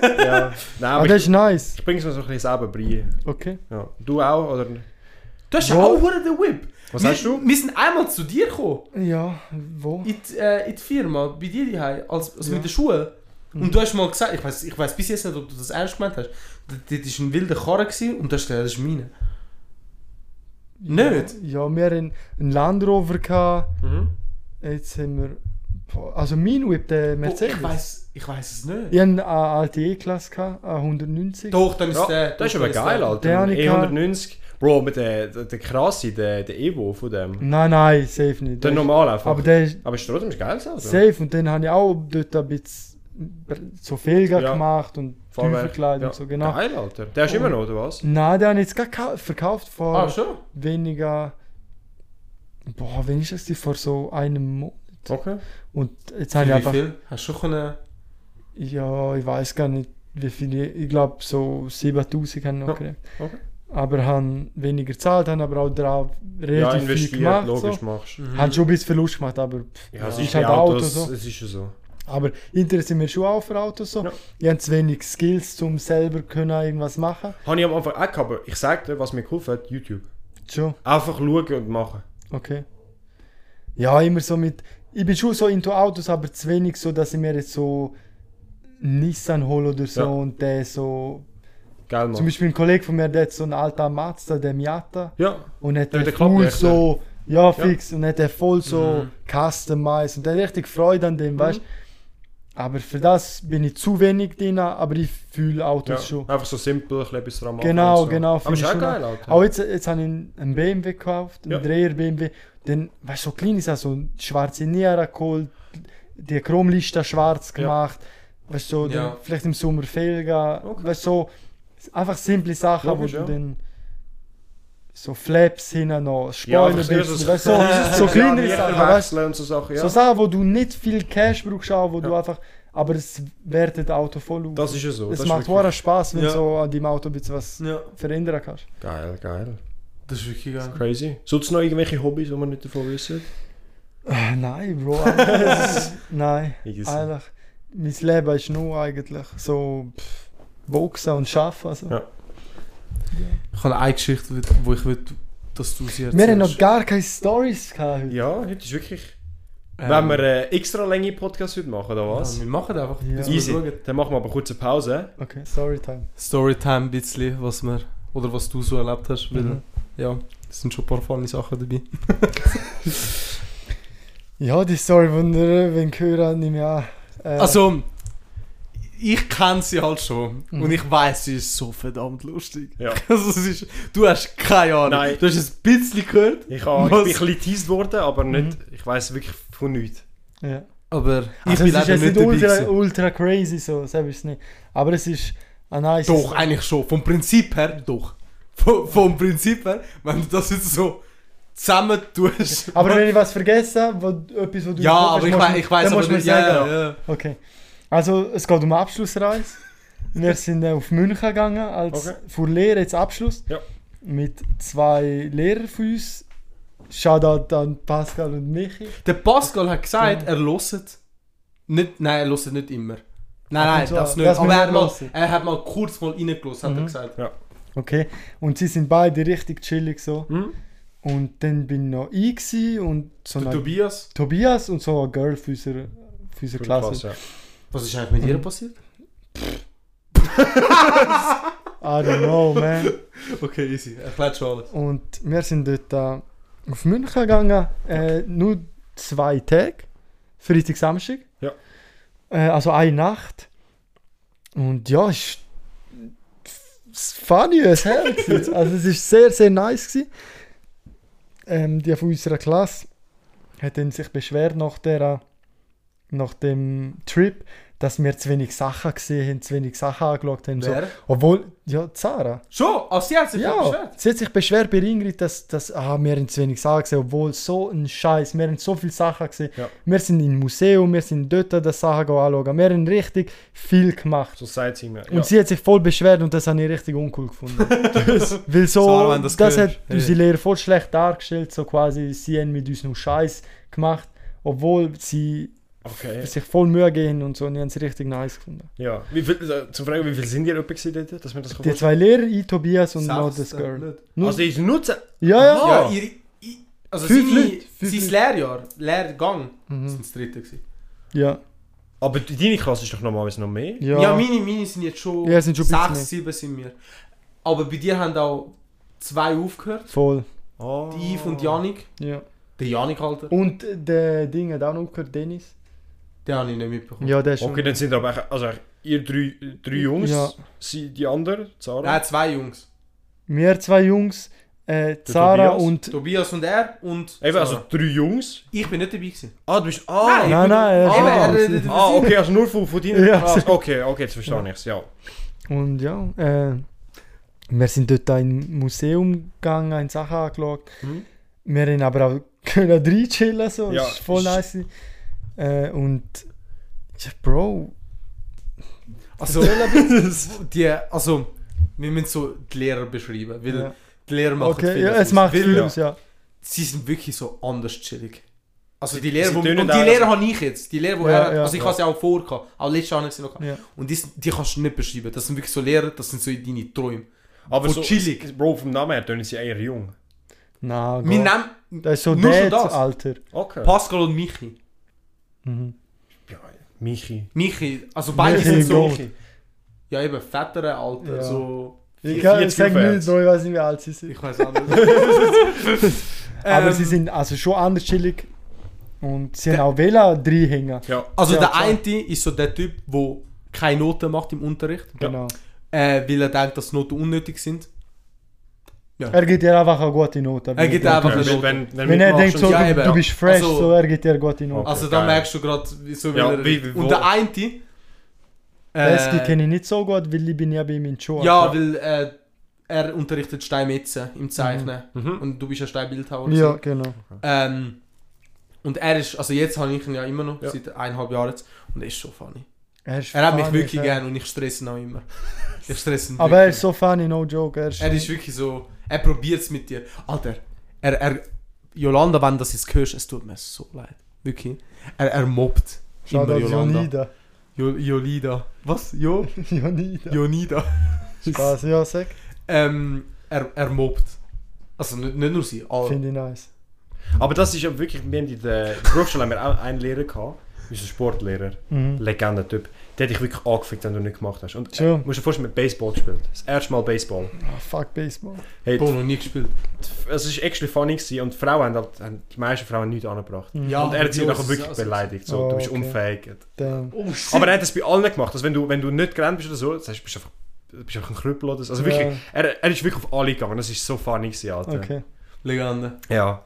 [SPEAKER 2] gecheckt.
[SPEAKER 3] Ja.
[SPEAKER 1] Ja. Nein,
[SPEAKER 3] Aber
[SPEAKER 1] aber
[SPEAKER 3] das
[SPEAKER 1] ich,
[SPEAKER 3] ist nice.
[SPEAKER 1] ich bringe es mir so ein bisschen selber bei.
[SPEAKER 3] Okay.
[SPEAKER 1] Ja. Du auch, oder?
[SPEAKER 2] Du hast
[SPEAKER 3] Ja.
[SPEAKER 2] ja auch hure den Whip.
[SPEAKER 1] Was
[SPEAKER 2] wir,
[SPEAKER 1] hast du?
[SPEAKER 2] Wir sind einmal zu dir gekommen.
[SPEAKER 3] Ja, wo?
[SPEAKER 2] In die, äh, in die Firma, bei dir daheim, als, als
[SPEAKER 3] Ja.
[SPEAKER 2] mit der Schule.
[SPEAKER 3] Mhm.
[SPEAKER 2] Und du hast mal gesagt, ich weiß ich weiß bis jetzt nicht, ob du das ernst gemeint hast. Dort war ein wilder Karren gewesen und du hast gesagt, das ist meine. Nicht?
[SPEAKER 3] Ja, wir hatten einen Land Rover. Gehabt.
[SPEAKER 1] Mhm.
[SPEAKER 3] Jetzt haben wir. Boah, Also mein Whip, der
[SPEAKER 2] Oh,
[SPEAKER 3] Mercedes.
[SPEAKER 2] Ich weiß ich weiß es nicht.
[SPEAKER 3] Ich hatte eine alte E-Klasse, gehabt, eine 190.
[SPEAKER 2] Doch, dann ist
[SPEAKER 1] Ja,
[SPEAKER 2] der.
[SPEAKER 1] das ist
[SPEAKER 2] doch,
[SPEAKER 1] aber
[SPEAKER 2] dann
[SPEAKER 1] geil,
[SPEAKER 2] der.
[SPEAKER 1] Alter. E
[SPEAKER 3] Der habe ich
[SPEAKER 1] E190. Bro, mit der, der, der krasse, der, der Evo von dem.
[SPEAKER 3] Nein, nein, safe nicht.
[SPEAKER 1] Der
[SPEAKER 3] Mhm. Der ist-
[SPEAKER 1] normal einfach.
[SPEAKER 3] aber der ist
[SPEAKER 1] aber ist trotzdem ist geil, Alter.
[SPEAKER 3] safe und dann habe ich auch dort ein bisschen so Felgen
[SPEAKER 1] Ja.
[SPEAKER 3] gemacht und
[SPEAKER 1] Fahrwerk,
[SPEAKER 3] Tüferkleid
[SPEAKER 1] ja.
[SPEAKER 3] und so, genau.
[SPEAKER 1] Geil, Alter. Der ist
[SPEAKER 3] Oh.
[SPEAKER 1] immer noch, oder was?
[SPEAKER 3] Nein, den habe ich jetzt gerade gekau- verkauft vor
[SPEAKER 2] Ah, schon?
[SPEAKER 3] weniger. Boah, wann ist das? gewesen? Vor so einem Monat.
[SPEAKER 1] Okay.
[SPEAKER 3] Und jetzt
[SPEAKER 2] Für
[SPEAKER 3] habe ich
[SPEAKER 2] wie
[SPEAKER 3] einfach.
[SPEAKER 2] viel? Hast du schon können.
[SPEAKER 3] Ja, ich weiß gar nicht, wie viele. Ich glaube, so 7000 haben noch
[SPEAKER 1] Ja,
[SPEAKER 3] gekriegt.
[SPEAKER 1] okay.
[SPEAKER 3] Aber haben weniger gezahlt, haben aber auch drauf
[SPEAKER 1] Ja,
[SPEAKER 3] relativ viel
[SPEAKER 1] investiert,
[SPEAKER 3] gemacht.
[SPEAKER 1] logisch
[SPEAKER 3] So.
[SPEAKER 1] machst du.
[SPEAKER 3] Haben schon ein bisschen Verlust gemacht, aber
[SPEAKER 1] Ja, es
[SPEAKER 3] Ja.
[SPEAKER 1] ist
[SPEAKER 3] Ist halt
[SPEAKER 1] bei Autos,
[SPEAKER 3] Auto so.
[SPEAKER 1] es ist ja so.
[SPEAKER 3] Aber ich interessiere mich schon auch für Autos so.
[SPEAKER 1] Ja.
[SPEAKER 3] Ich habe zu wenig Skills, um selber können irgendwas machen.
[SPEAKER 1] Habe ich am Anfang auch gehabt, aber ich sag dir, was mir geholfen hat, YouTube.
[SPEAKER 3] Schon,
[SPEAKER 1] Einfach schauen und machen.
[SPEAKER 3] okay. Ja, immer so mit. Ich bin schon so into Autos, aber zu wenig so, dass ich mir jetzt so Nissan hole oder so
[SPEAKER 1] Ja.
[SPEAKER 3] und der so.
[SPEAKER 1] Geil, Mann.
[SPEAKER 3] Zum Beispiel ein Kollege von mir, der hat so einen alten Mazda, der Miata,
[SPEAKER 1] ja.
[SPEAKER 3] und hat
[SPEAKER 1] Der
[SPEAKER 3] der
[SPEAKER 1] mit den
[SPEAKER 3] voll
[SPEAKER 1] Klapplichtern.
[SPEAKER 3] so. Ja, fix. Und hat der voll so
[SPEAKER 1] Mhm.
[SPEAKER 3] customized und der hat richtig Freude an dem, weißt du? Aber für das bin ich zu wenig drin, aber ich
[SPEAKER 1] ja.
[SPEAKER 3] fühle
[SPEAKER 1] Nou,
[SPEAKER 3] Autos schon.
[SPEAKER 1] Einfach so simpel, ein bisschen etwas dran machen
[SPEAKER 3] Genau,
[SPEAKER 1] und so.
[SPEAKER 3] genau.
[SPEAKER 1] Aber
[SPEAKER 3] finde
[SPEAKER 1] ist
[SPEAKER 3] ich
[SPEAKER 1] auch
[SPEAKER 3] schon
[SPEAKER 1] geil,
[SPEAKER 3] auch.
[SPEAKER 1] Alter.
[SPEAKER 3] Auch jetzt, jetzt habe ich einen BMW gekauft, einen
[SPEAKER 1] Ja.
[SPEAKER 3] Dreher BMW. Dann, weißt du, so klein ist er, so schwarze Niere geholt, die Chromlichter schwarz gemacht. Weißt du, so,
[SPEAKER 2] Ja.
[SPEAKER 3] dann vielleicht im Sommer Felgen. Weißt du, so, einfach simple Sachen,
[SPEAKER 1] Logisch,
[SPEAKER 3] wo
[SPEAKER 1] ja.
[SPEAKER 3] du dann so Flaps hinten noch,
[SPEAKER 1] Ja,
[SPEAKER 3] Spoiler,
[SPEAKER 1] einfach
[SPEAKER 3] bisschen,
[SPEAKER 1] sehr
[SPEAKER 3] weißt du, so, so kleine Sachen, weißt du.
[SPEAKER 1] Wechseln und so Sachen, ja.
[SPEAKER 3] So Sachen, wo du nicht viel Cash brauchst, auch, wo du
[SPEAKER 1] Ja.
[SPEAKER 3] einfach, aber es wertet Auto voll auf.
[SPEAKER 1] Das ist ja so.
[SPEAKER 3] Es
[SPEAKER 1] das
[SPEAKER 3] macht
[SPEAKER 1] ist wirklich
[SPEAKER 3] wahren Spaß, wenn
[SPEAKER 2] Ja.
[SPEAKER 3] so an deinem Auto ein bisschen was
[SPEAKER 2] Ja.
[SPEAKER 3] verändern kannst.
[SPEAKER 1] Geil, geil.
[SPEAKER 2] Das ist wirklich geil.
[SPEAKER 1] Crazy. Sonst noch irgendwelche Hobbys, die wir nicht davon wissen?
[SPEAKER 3] Äh, nein, Bro. das ist- nein.
[SPEAKER 1] Ich weiß
[SPEAKER 3] Eigentlich, mein Leben ist nur eigentlich so pff, Boxen und Schaffen. Also.
[SPEAKER 1] Ja.
[SPEAKER 2] Ich habe eine Geschichte, wo ich will, dass du sie
[SPEAKER 3] Wir haben noch gar keine Stories gehabt heute.
[SPEAKER 1] Ja, heute ist wirklich... Wenn wir äh, extra lange Podcast heute machen, oder was?
[SPEAKER 2] Ähm, Ja, wir machen einfach.
[SPEAKER 3] Ja.
[SPEAKER 2] bis wir
[SPEAKER 1] Easy.
[SPEAKER 2] schauen.
[SPEAKER 1] Dann machen wir aber kurz eine Pause.
[SPEAKER 3] Okay, Storytime.
[SPEAKER 2] Storytime ein bisschen, was wir oder was du so erlebt hast, weil
[SPEAKER 3] Mhm.
[SPEAKER 2] ja, es sind schon ein paar funny Sachen dabei.
[SPEAKER 3] Ja, die Story von der wenn ich höre, nehme ich an. Äh,
[SPEAKER 2] Also ich kenne sie halt schon
[SPEAKER 3] Mhm.
[SPEAKER 2] und ich weiß, sie ist so verdammt lustig.
[SPEAKER 1] Ja.
[SPEAKER 2] Also, es ist, du hast keine Ahnung.
[SPEAKER 1] Nein.
[SPEAKER 2] Du hast ein bisschen gehört,
[SPEAKER 1] Ich, ha, ich bin
[SPEAKER 2] Was?
[SPEAKER 1] ein bisschen geteased worden, aber nicht...
[SPEAKER 3] Mhm.
[SPEAKER 1] Ich weiss wirklich von nichts.
[SPEAKER 3] ja.
[SPEAKER 2] aber
[SPEAKER 3] also
[SPEAKER 2] ich
[SPEAKER 3] es
[SPEAKER 2] bin
[SPEAKER 3] ist
[SPEAKER 2] leider
[SPEAKER 3] jetzt
[SPEAKER 2] nicht
[SPEAKER 3] nicht
[SPEAKER 2] dabei.
[SPEAKER 3] ultra,
[SPEAKER 2] gewesen.
[SPEAKER 3] ultra crazy, so, selbst ist es nicht. Aber es ist ein nice.
[SPEAKER 2] Doch, eigentlich schon. Vom Prinzip her, doch. Vom, vom Prinzip her, wenn du das jetzt so zusammen tust.
[SPEAKER 3] Aber wenn ich was vergesse, wo, etwas, was du
[SPEAKER 2] ja,
[SPEAKER 3] im Kopf hast,
[SPEAKER 2] aber ich,
[SPEAKER 3] musst du-
[SPEAKER 2] wei- ich weiß
[SPEAKER 3] dann
[SPEAKER 2] aber
[SPEAKER 3] musst du mir
[SPEAKER 2] nicht. Ja,
[SPEAKER 3] sagen. genau.
[SPEAKER 2] ja.
[SPEAKER 3] Okay. Also, es geht um eine Abschlussreise. Wir sind äh, auf München gegangen, als
[SPEAKER 1] Okay.
[SPEAKER 3] vor Lehre jetzt Abschluss.
[SPEAKER 1] Ja.
[SPEAKER 3] mit zwei Lehrern von uns. Shoutout an Pascal und Michi.
[SPEAKER 2] Der Pascal hat gesagt, er loset. Nicht, nein, er loset nicht immer. Nein,
[SPEAKER 3] Ab und
[SPEAKER 2] nein,
[SPEAKER 3] zu,
[SPEAKER 2] das nicht.
[SPEAKER 3] dass wir
[SPEAKER 2] Aber er,
[SPEAKER 3] nicht
[SPEAKER 2] mal,
[SPEAKER 3] hören.
[SPEAKER 2] er hat mal kurz mal reingelassen, hat er
[SPEAKER 3] Mhm.
[SPEAKER 2] gesagt.
[SPEAKER 3] Okay. Und sie sind beide richtig chillig so.
[SPEAKER 1] Hm?
[SPEAKER 3] Und dann bin noch ich gsi und so
[SPEAKER 2] Der
[SPEAKER 3] eine
[SPEAKER 2] Tobias,
[SPEAKER 3] Tobias und so eine Girl für unsere, für unsere Klasse.
[SPEAKER 1] Klasse.
[SPEAKER 2] was ist eigentlich mit dir passiert?
[SPEAKER 3] I don't know, man.
[SPEAKER 2] Okay, easy. Erklärt schon alles.
[SPEAKER 3] Und wir sind dort äh, auf München gegangen, äh, nur zwei Tage, Freitag, Samstag.
[SPEAKER 1] Ja.
[SPEAKER 3] Äh, also eine Nacht. Und ja, es war funny as hell. gewesen. also es ist sehr, sehr nice. Gewesen. Ähm, die von unserer Klasse hat dann sich beschwert nach, der, nach dem Trip, dass wir zu wenig Sachen gesehen haben, zu wenig Sachen angeschaut haben. So.
[SPEAKER 2] Wer?
[SPEAKER 3] Obwohl, ja, Zara.
[SPEAKER 2] Schon? Ah, sie hat sich ja.
[SPEAKER 3] Ja,
[SPEAKER 2] beschwert.
[SPEAKER 3] sie hat sich beschwert bei Ingrid, dass, dass ah, wir haben zu wenig Sachen gesehen, obwohl so ein Scheiß, wir haben so viele Sachen gesehen.
[SPEAKER 1] Ja.
[SPEAKER 3] Wir sind im Museum, wir sind dort das Sachen anschauen, wir haben richtig viel gemacht.
[SPEAKER 1] So Sightseeing mehr.
[SPEAKER 3] Und sie hat sich voll beschwert und das habe ich richtig uncool gefunden. Weil so,
[SPEAKER 2] Sarah, wenn das
[SPEAKER 3] das,
[SPEAKER 2] hörst.
[SPEAKER 3] hat
[SPEAKER 2] Ja.
[SPEAKER 3] unsere Lehrer voll schlecht dargestellt, so quasi, sie haben mit uns nur Scheiß gemacht, obwohl sie
[SPEAKER 1] Okay.
[SPEAKER 3] sich voll Mühe geben und so, und ich habe es richtig nice gefunden.
[SPEAKER 1] Ja. Wie viel, äh, zum Fragen, wie viel sind die etwa gewesen dort, dass wir das
[SPEAKER 3] Die zwei Lehrer, ich, Tobias und noch das
[SPEAKER 2] Selbst, äh,
[SPEAKER 3] Girl.
[SPEAKER 2] nicht.
[SPEAKER 1] Nur
[SPEAKER 3] Nur,
[SPEAKER 1] also, ich nutze.
[SPEAKER 3] ja, ja.
[SPEAKER 1] Ah.
[SPEAKER 2] Ja, ihre, i- also
[SPEAKER 3] Fünf
[SPEAKER 2] seine,
[SPEAKER 3] Leute, fünf
[SPEAKER 2] sein
[SPEAKER 3] Leute.
[SPEAKER 2] Lehrjahr, Lehrgang, das
[SPEAKER 3] Mhm.
[SPEAKER 2] sind das dritte gewesen.
[SPEAKER 3] ja.
[SPEAKER 1] Aber Ah, die- deine Klasse ist doch normalerweise noch mehr.
[SPEAKER 2] Ja,
[SPEAKER 3] Ja.
[SPEAKER 2] meine, meine sind jetzt schon,
[SPEAKER 3] Ja, sind schon ein bisschen mehr.
[SPEAKER 2] sechs, sieben sind wir. Aber bei dir haben auch zwei aufgehört,
[SPEAKER 3] Voll.
[SPEAKER 1] Oh.
[SPEAKER 2] die Yves und Janik.
[SPEAKER 3] Ja.
[SPEAKER 2] Der Janik, Alter,
[SPEAKER 3] Und der Ding hat auch noch gehört, Dennis.
[SPEAKER 2] den habe ich nicht mitbekommen.
[SPEAKER 3] Ja, der ist
[SPEAKER 1] Okay, dann sind aber echt- also echt ihr drei, drei Jungs,
[SPEAKER 3] Ja.
[SPEAKER 1] sie, die anderen,
[SPEAKER 3] Mhm.
[SPEAKER 1] Zara.
[SPEAKER 2] Nein, zwei Jungs.
[SPEAKER 3] Wir zwei Jungs, äh, Zara
[SPEAKER 1] Tobias?
[SPEAKER 3] und...
[SPEAKER 2] Tobias und er und
[SPEAKER 1] Eben,
[SPEAKER 2] Sarah.
[SPEAKER 1] also drei Jungs.
[SPEAKER 2] Ich bin nicht dabei gewesen.
[SPEAKER 1] Ah, du bist. Ah,
[SPEAKER 2] Nein.
[SPEAKER 3] Nein, nein,
[SPEAKER 2] Eben,
[SPEAKER 1] Ah.
[SPEAKER 2] er
[SPEAKER 3] er
[SPEAKER 2] redet
[SPEAKER 3] ist
[SPEAKER 1] ah
[SPEAKER 2] über
[SPEAKER 1] okay, also nur von, von deiner
[SPEAKER 3] Ja.
[SPEAKER 1] Klasse. Okay, okay, jetzt verstehe
[SPEAKER 3] Ja.
[SPEAKER 1] ich es, ja.
[SPEAKER 3] ah. Und ja, äh, wir sind dort da im Museum gegangen, haben Sachen angeschaut.
[SPEAKER 1] Mhm.
[SPEAKER 3] Wir haben aber auch können drin chillen, so.
[SPEAKER 1] Ja,
[SPEAKER 3] Ja, ist voll
[SPEAKER 1] ist-
[SPEAKER 3] nice. Äh, und... Ja, Bro,
[SPEAKER 2] Also, die, also, wir müssen so die Lehrer beschreiben, weil
[SPEAKER 3] Ja.
[SPEAKER 2] die Lehrer machen
[SPEAKER 3] okay,
[SPEAKER 2] viel
[SPEAKER 3] ja,
[SPEAKER 2] aus.
[SPEAKER 3] es macht
[SPEAKER 2] Weil
[SPEAKER 3] viel aus, ja.
[SPEAKER 2] Sie sind wirklich so anders chillig. Also die
[SPEAKER 1] sie
[SPEAKER 2] Lehrer, wo, und die
[SPEAKER 1] tönen auch-
[SPEAKER 2] Lehrer habe ich jetzt. Die Lehrer, wo
[SPEAKER 3] Ja,
[SPEAKER 2] er,
[SPEAKER 3] ja.
[SPEAKER 2] also ich
[SPEAKER 1] Ja.
[SPEAKER 2] habe sie auch vor, gehabt, auch letztes Jahr habe ich sie noch. gehabt.
[SPEAKER 3] Ja.
[SPEAKER 2] Und die, sind- die kannst du nicht beschreiben. Das sind wirklich so Lehrer, das sind so deine Träume.
[SPEAKER 1] Aber
[SPEAKER 2] Von
[SPEAKER 1] so,
[SPEAKER 2] chillig.
[SPEAKER 1] Bro, vom Namen her tönen sie eher jung.
[SPEAKER 3] Na,
[SPEAKER 2] Wir
[SPEAKER 3] Gott.
[SPEAKER 2] nehmen
[SPEAKER 3] Das ist so
[SPEAKER 2] nur schon
[SPEAKER 3] das
[SPEAKER 2] das.
[SPEAKER 3] Alter.
[SPEAKER 1] Okay.
[SPEAKER 2] Pascal und Michi.
[SPEAKER 3] Mhm.
[SPEAKER 1] Ja, Michi.
[SPEAKER 2] Michi, also beide
[SPEAKER 3] Michi,
[SPEAKER 2] sind so,
[SPEAKER 3] Gold.
[SPEAKER 1] Michi.
[SPEAKER 2] ja eben, Väter, Alter,
[SPEAKER 3] Ja.
[SPEAKER 2] so...
[SPEAKER 3] Ich
[SPEAKER 1] Vier-
[SPEAKER 3] kann-
[SPEAKER 1] 40
[SPEAKER 3] ich sag
[SPEAKER 1] aufwärts.
[SPEAKER 3] nicht so, ich weiß nicht, wie alt sie sind.
[SPEAKER 2] Ich weiß auch nicht.
[SPEAKER 3] Aber
[SPEAKER 2] Ähm,
[SPEAKER 3] sie sind also schon anders chillig. Und sie haben auch Vela drei hängen.
[SPEAKER 1] Ja.
[SPEAKER 2] Also
[SPEAKER 3] Ja,
[SPEAKER 2] der
[SPEAKER 3] klar.
[SPEAKER 2] eine ist so der Typ, der keine Noten macht im Unterricht,
[SPEAKER 3] Genau.
[SPEAKER 2] äh, weil er denkt, dass Noten unnötig sind.
[SPEAKER 3] Er gibt dir einfach eine gute Note.
[SPEAKER 2] Er gibt
[SPEAKER 3] wenn-
[SPEAKER 2] einfach eine
[SPEAKER 1] wenn,
[SPEAKER 2] Note.
[SPEAKER 1] wenn, wenn,
[SPEAKER 3] Wenn er
[SPEAKER 1] mitmachst
[SPEAKER 3] denkt,
[SPEAKER 1] und
[SPEAKER 3] so,
[SPEAKER 2] Ja,
[SPEAKER 3] du,
[SPEAKER 2] eben,
[SPEAKER 3] du bist fresh,
[SPEAKER 2] Also-
[SPEAKER 3] so er gibt dir eine gute Note.
[SPEAKER 2] Also da
[SPEAKER 1] geil.
[SPEAKER 2] merkst du gerade, wieso
[SPEAKER 1] Ja,
[SPEAKER 2] will er...
[SPEAKER 1] wie- wie- wo-
[SPEAKER 2] und der eine... Äh,
[SPEAKER 3] Eski kenne ich nicht so gut, weil ich bin ja bei ihm in der Schule.
[SPEAKER 2] Ja, weil äh, er unterrichtet Steinmetzen im Zeichnen.
[SPEAKER 1] Mhm.
[SPEAKER 2] Und du bist ein Steinbildhauer.
[SPEAKER 3] ja
[SPEAKER 2] gewesen.
[SPEAKER 3] genau.
[SPEAKER 2] Ähm, und er ist... Also jetzt habe ich ihn ja immer noch,
[SPEAKER 1] Ja.
[SPEAKER 2] seit eineinhalb Jahren jetzt. Und er ist schon funny.
[SPEAKER 3] Er, ist
[SPEAKER 2] Er hat mich
[SPEAKER 3] funny,
[SPEAKER 2] wirklich
[SPEAKER 3] ja.
[SPEAKER 2] gern und ich stresse ihn auch immer. Ich stresse ihn
[SPEAKER 3] Aber er
[SPEAKER 2] wirklich.
[SPEAKER 3] ist so funny, no joke. Er ist,
[SPEAKER 2] Er ist wirklich so, er probiert es mit dir. Alter, er, er, Jolanda, wenn das jetzt hörst, es tut mir so leid. Wirklich. Er, er mobbt
[SPEAKER 3] Shoutout
[SPEAKER 2] immer Jolanda.
[SPEAKER 3] Jonida.
[SPEAKER 2] Jo, Jolida. Was? Jo?
[SPEAKER 3] Jonida.
[SPEAKER 2] Jonida.
[SPEAKER 3] Spaß, ja, sag.
[SPEAKER 2] Ähm, er, er mobbt. Also nicht, nicht nur sie, alle.
[SPEAKER 3] Finde ich nice.
[SPEAKER 1] Aber das ist ja wirklich, wir haben in der Berufsschule haben wir auch einen Lehrer gehabt, unser Sportlehrer,
[SPEAKER 3] Mhm.
[SPEAKER 1] Legenden-Typ. Der hat dich wirklich angefickt, wenn du nicht gemacht hast. Und
[SPEAKER 3] True.
[SPEAKER 1] musst du dir vorstellen, mit Baseball gespielt. Das erste Mal Baseball.
[SPEAKER 3] Ah, fuck Baseball.
[SPEAKER 1] Hey,
[SPEAKER 2] Bono noch nie gespielt.
[SPEAKER 1] es war actually funny gewesen und die Frauen haben, halt, haben die meisten Frauen nichts angebracht.
[SPEAKER 3] Mhm.
[SPEAKER 2] Ja.
[SPEAKER 1] Und er hat sie
[SPEAKER 2] Ja,
[SPEAKER 1] nachher
[SPEAKER 2] so-
[SPEAKER 1] wirklich
[SPEAKER 2] so-
[SPEAKER 1] beleidigt. So,
[SPEAKER 3] Oh,
[SPEAKER 1] du bist
[SPEAKER 3] okay.
[SPEAKER 1] unfähig.
[SPEAKER 3] Damn.
[SPEAKER 2] Oh shit.
[SPEAKER 1] Aber er hat das bei allen gemacht. Also wenn du, wenn du nicht gerannt bist oder so, das heißt, du bist einfach, du bist einfach ein Krüppel oder so. Also wirklich,
[SPEAKER 3] Ja,
[SPEAKER 1] er, er ist wirklich auf alle gegangen. Das ist so funny gewesen, Alter.
[SPEAKER 3] Okay.
[SPEAKER 2] Legende.
[SPEAKER 1] Ja.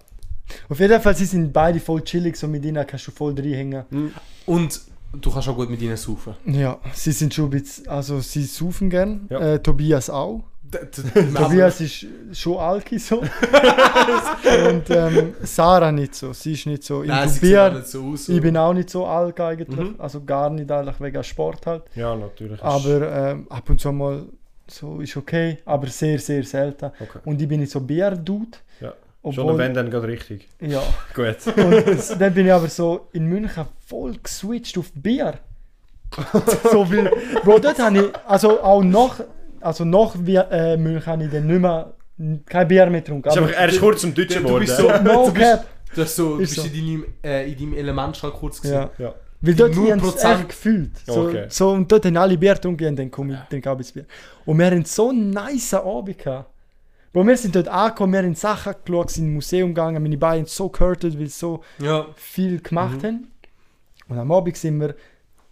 [SPEAKER 3] Auf jeden Fall, sie sind beide voll chillig, so mit ihnen kannst du voll drin hängen.
[SPEAKER 2] Und du kannst auch gut mit ihnen saufen.
[SPEAKER 3] Ja, sie sind schon ein bisschen, also sie saufen gern.
[SPEAKER 1] Ja.
[SPEAKER 3] Äh, Tobias auch.
[SPEAKER 2] D- d-
[SPEAKER 3] Tobias ist schon Alki so. Und ähm, Sarah nicht so. Sie ist nicht so.
[SPEAKER 2] Nein,
[SPEAKER 3] ich,
[SPEAKER 2] sie sehen auch
[SPEAKER 3] probier,
[SPEAKER 2] nicht so aus.
[SPEAKER 3] ich bin auch nicht so Alk eigentlich.
[SPEAKER 1] Mhm.
[SPEAKER 3] Also gar nicht eigentlich wegen Sport halt.
[SPEAKER 1] Dus- Ja, natürlich.
[SPEAKER 3] Aber ähm, ab und zu mal so ist okay, aber sehr, sehr selten.
[SPEAKER 1] Okay.
[SPEAKER 3] Und ich bin nicht so Bier-Dude.
[SPEAKER 1] Ja. Schon
[SPEAKER 3] Obwohl,
[SPEAKER 1] wenn, dann geht richtig.
[SPEAKER 3] ja.
[SPEAKER 1] Gut.
[SPEAKER 3] Und dann bin ich aber so in München voll geswitcht auf Bier. so viel. Bro, dort habe ich, also auch noch, also nach Wi- äh, München habe ich dann nicht mehr, kein Bier mehr getrunken.
[SPEAKER 1] Ist
[SPEAKER 3] Aber
[SPEAKER 1] einfach, er ist kurz zum Deutschen
[SPEAKER 2] Du
[SPEAKER 1] geworden.
[SPEAKER 2] bist so,
[SPEAKER 3] no
[SPEAKER 2] du bist,
[SPEAKER 3] cap.
[SPEAKER 2] du hast so, du
[SPEAKER 3] Ist
[SPEAKER 2] bist
[SPEAKER 3] so.
[SPEAKER 2] in, deinem, äh, in deinem Element schon kurz gesehen.
[SPEAKER 3] Ja.
[SPEAKER 1] Ja.
[SPEAKER 3] Weil dort
[SPEAKER 2] Nur
[SPEAKER 3] haben sie es
[SPEAKER 2] Prozent.
[SPEAKER 3] echt gefühlt. So,
[SPEAKER 1] Okay.
[SPEAKER 3] so, und dort haben alle Bier getrunken und dann komme ich, trinke auch ein bisschen Bier. Und wir hatten so einen nice Abend. gehabt. Bro, wir sind dort angekommen, wir haben Sachen geschaut, sind ins Museum gegangen, meine Beine haben so gehurtet, weil sie so
[SPEAKER 2] Ja.
[SPEAKER 3] viel gemacht haben. Und am Abend sind wir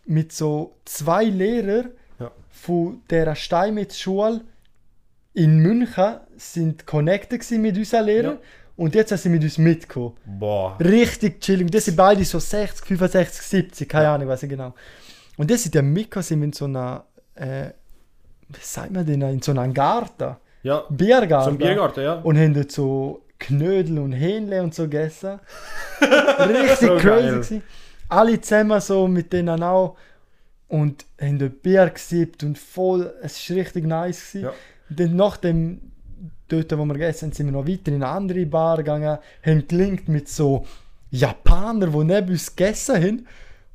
[SPEAKER 3] mit so zwei Lehrern
[SPEAKER 1] Ja.
[SPEAKER 3] von dieser Steinmetz-Schule in München sind connected gewesen mit unseren Lehrern. Und jetzt sind sie mit uns mitgekommen.
[SPEAKER 1] Boah.
[SPEAKER 3] Richtig chillig. Das sind beide so 60, 65, 70, keine Ahnung, weiß ich genau. Und das sind ja mitgekommen, sind wir in so einer, äh, was sagt man denn, in so einem Garten,
[SPEAKER 1] Ja,
[SPEAKER 3] Biergarten.
[SPEAKER 1] zum Biergarten, ja.
[SPEAKER 3] Und haben dort so Knödel und Hähnle und so gegessen. Richtig
[SPEAKER 1] So
[SPEAKER 3] crazy
[SPEAKER 1] geil.
[SPEAKER 3] gewesen. Alle zusammen so mit denen auch. Und haben dort Bier gesippt und voll, es war richtig nice. Gewesen.
[SPEAKER 1] Ja.
[SPEAKER 3] Und dann nach dem, dort wo wir gegessen haben, sind wir noch weiter in eine andere Bar gegangen, haben gelinkt mit so Japaner, die neben uns gegessen haben.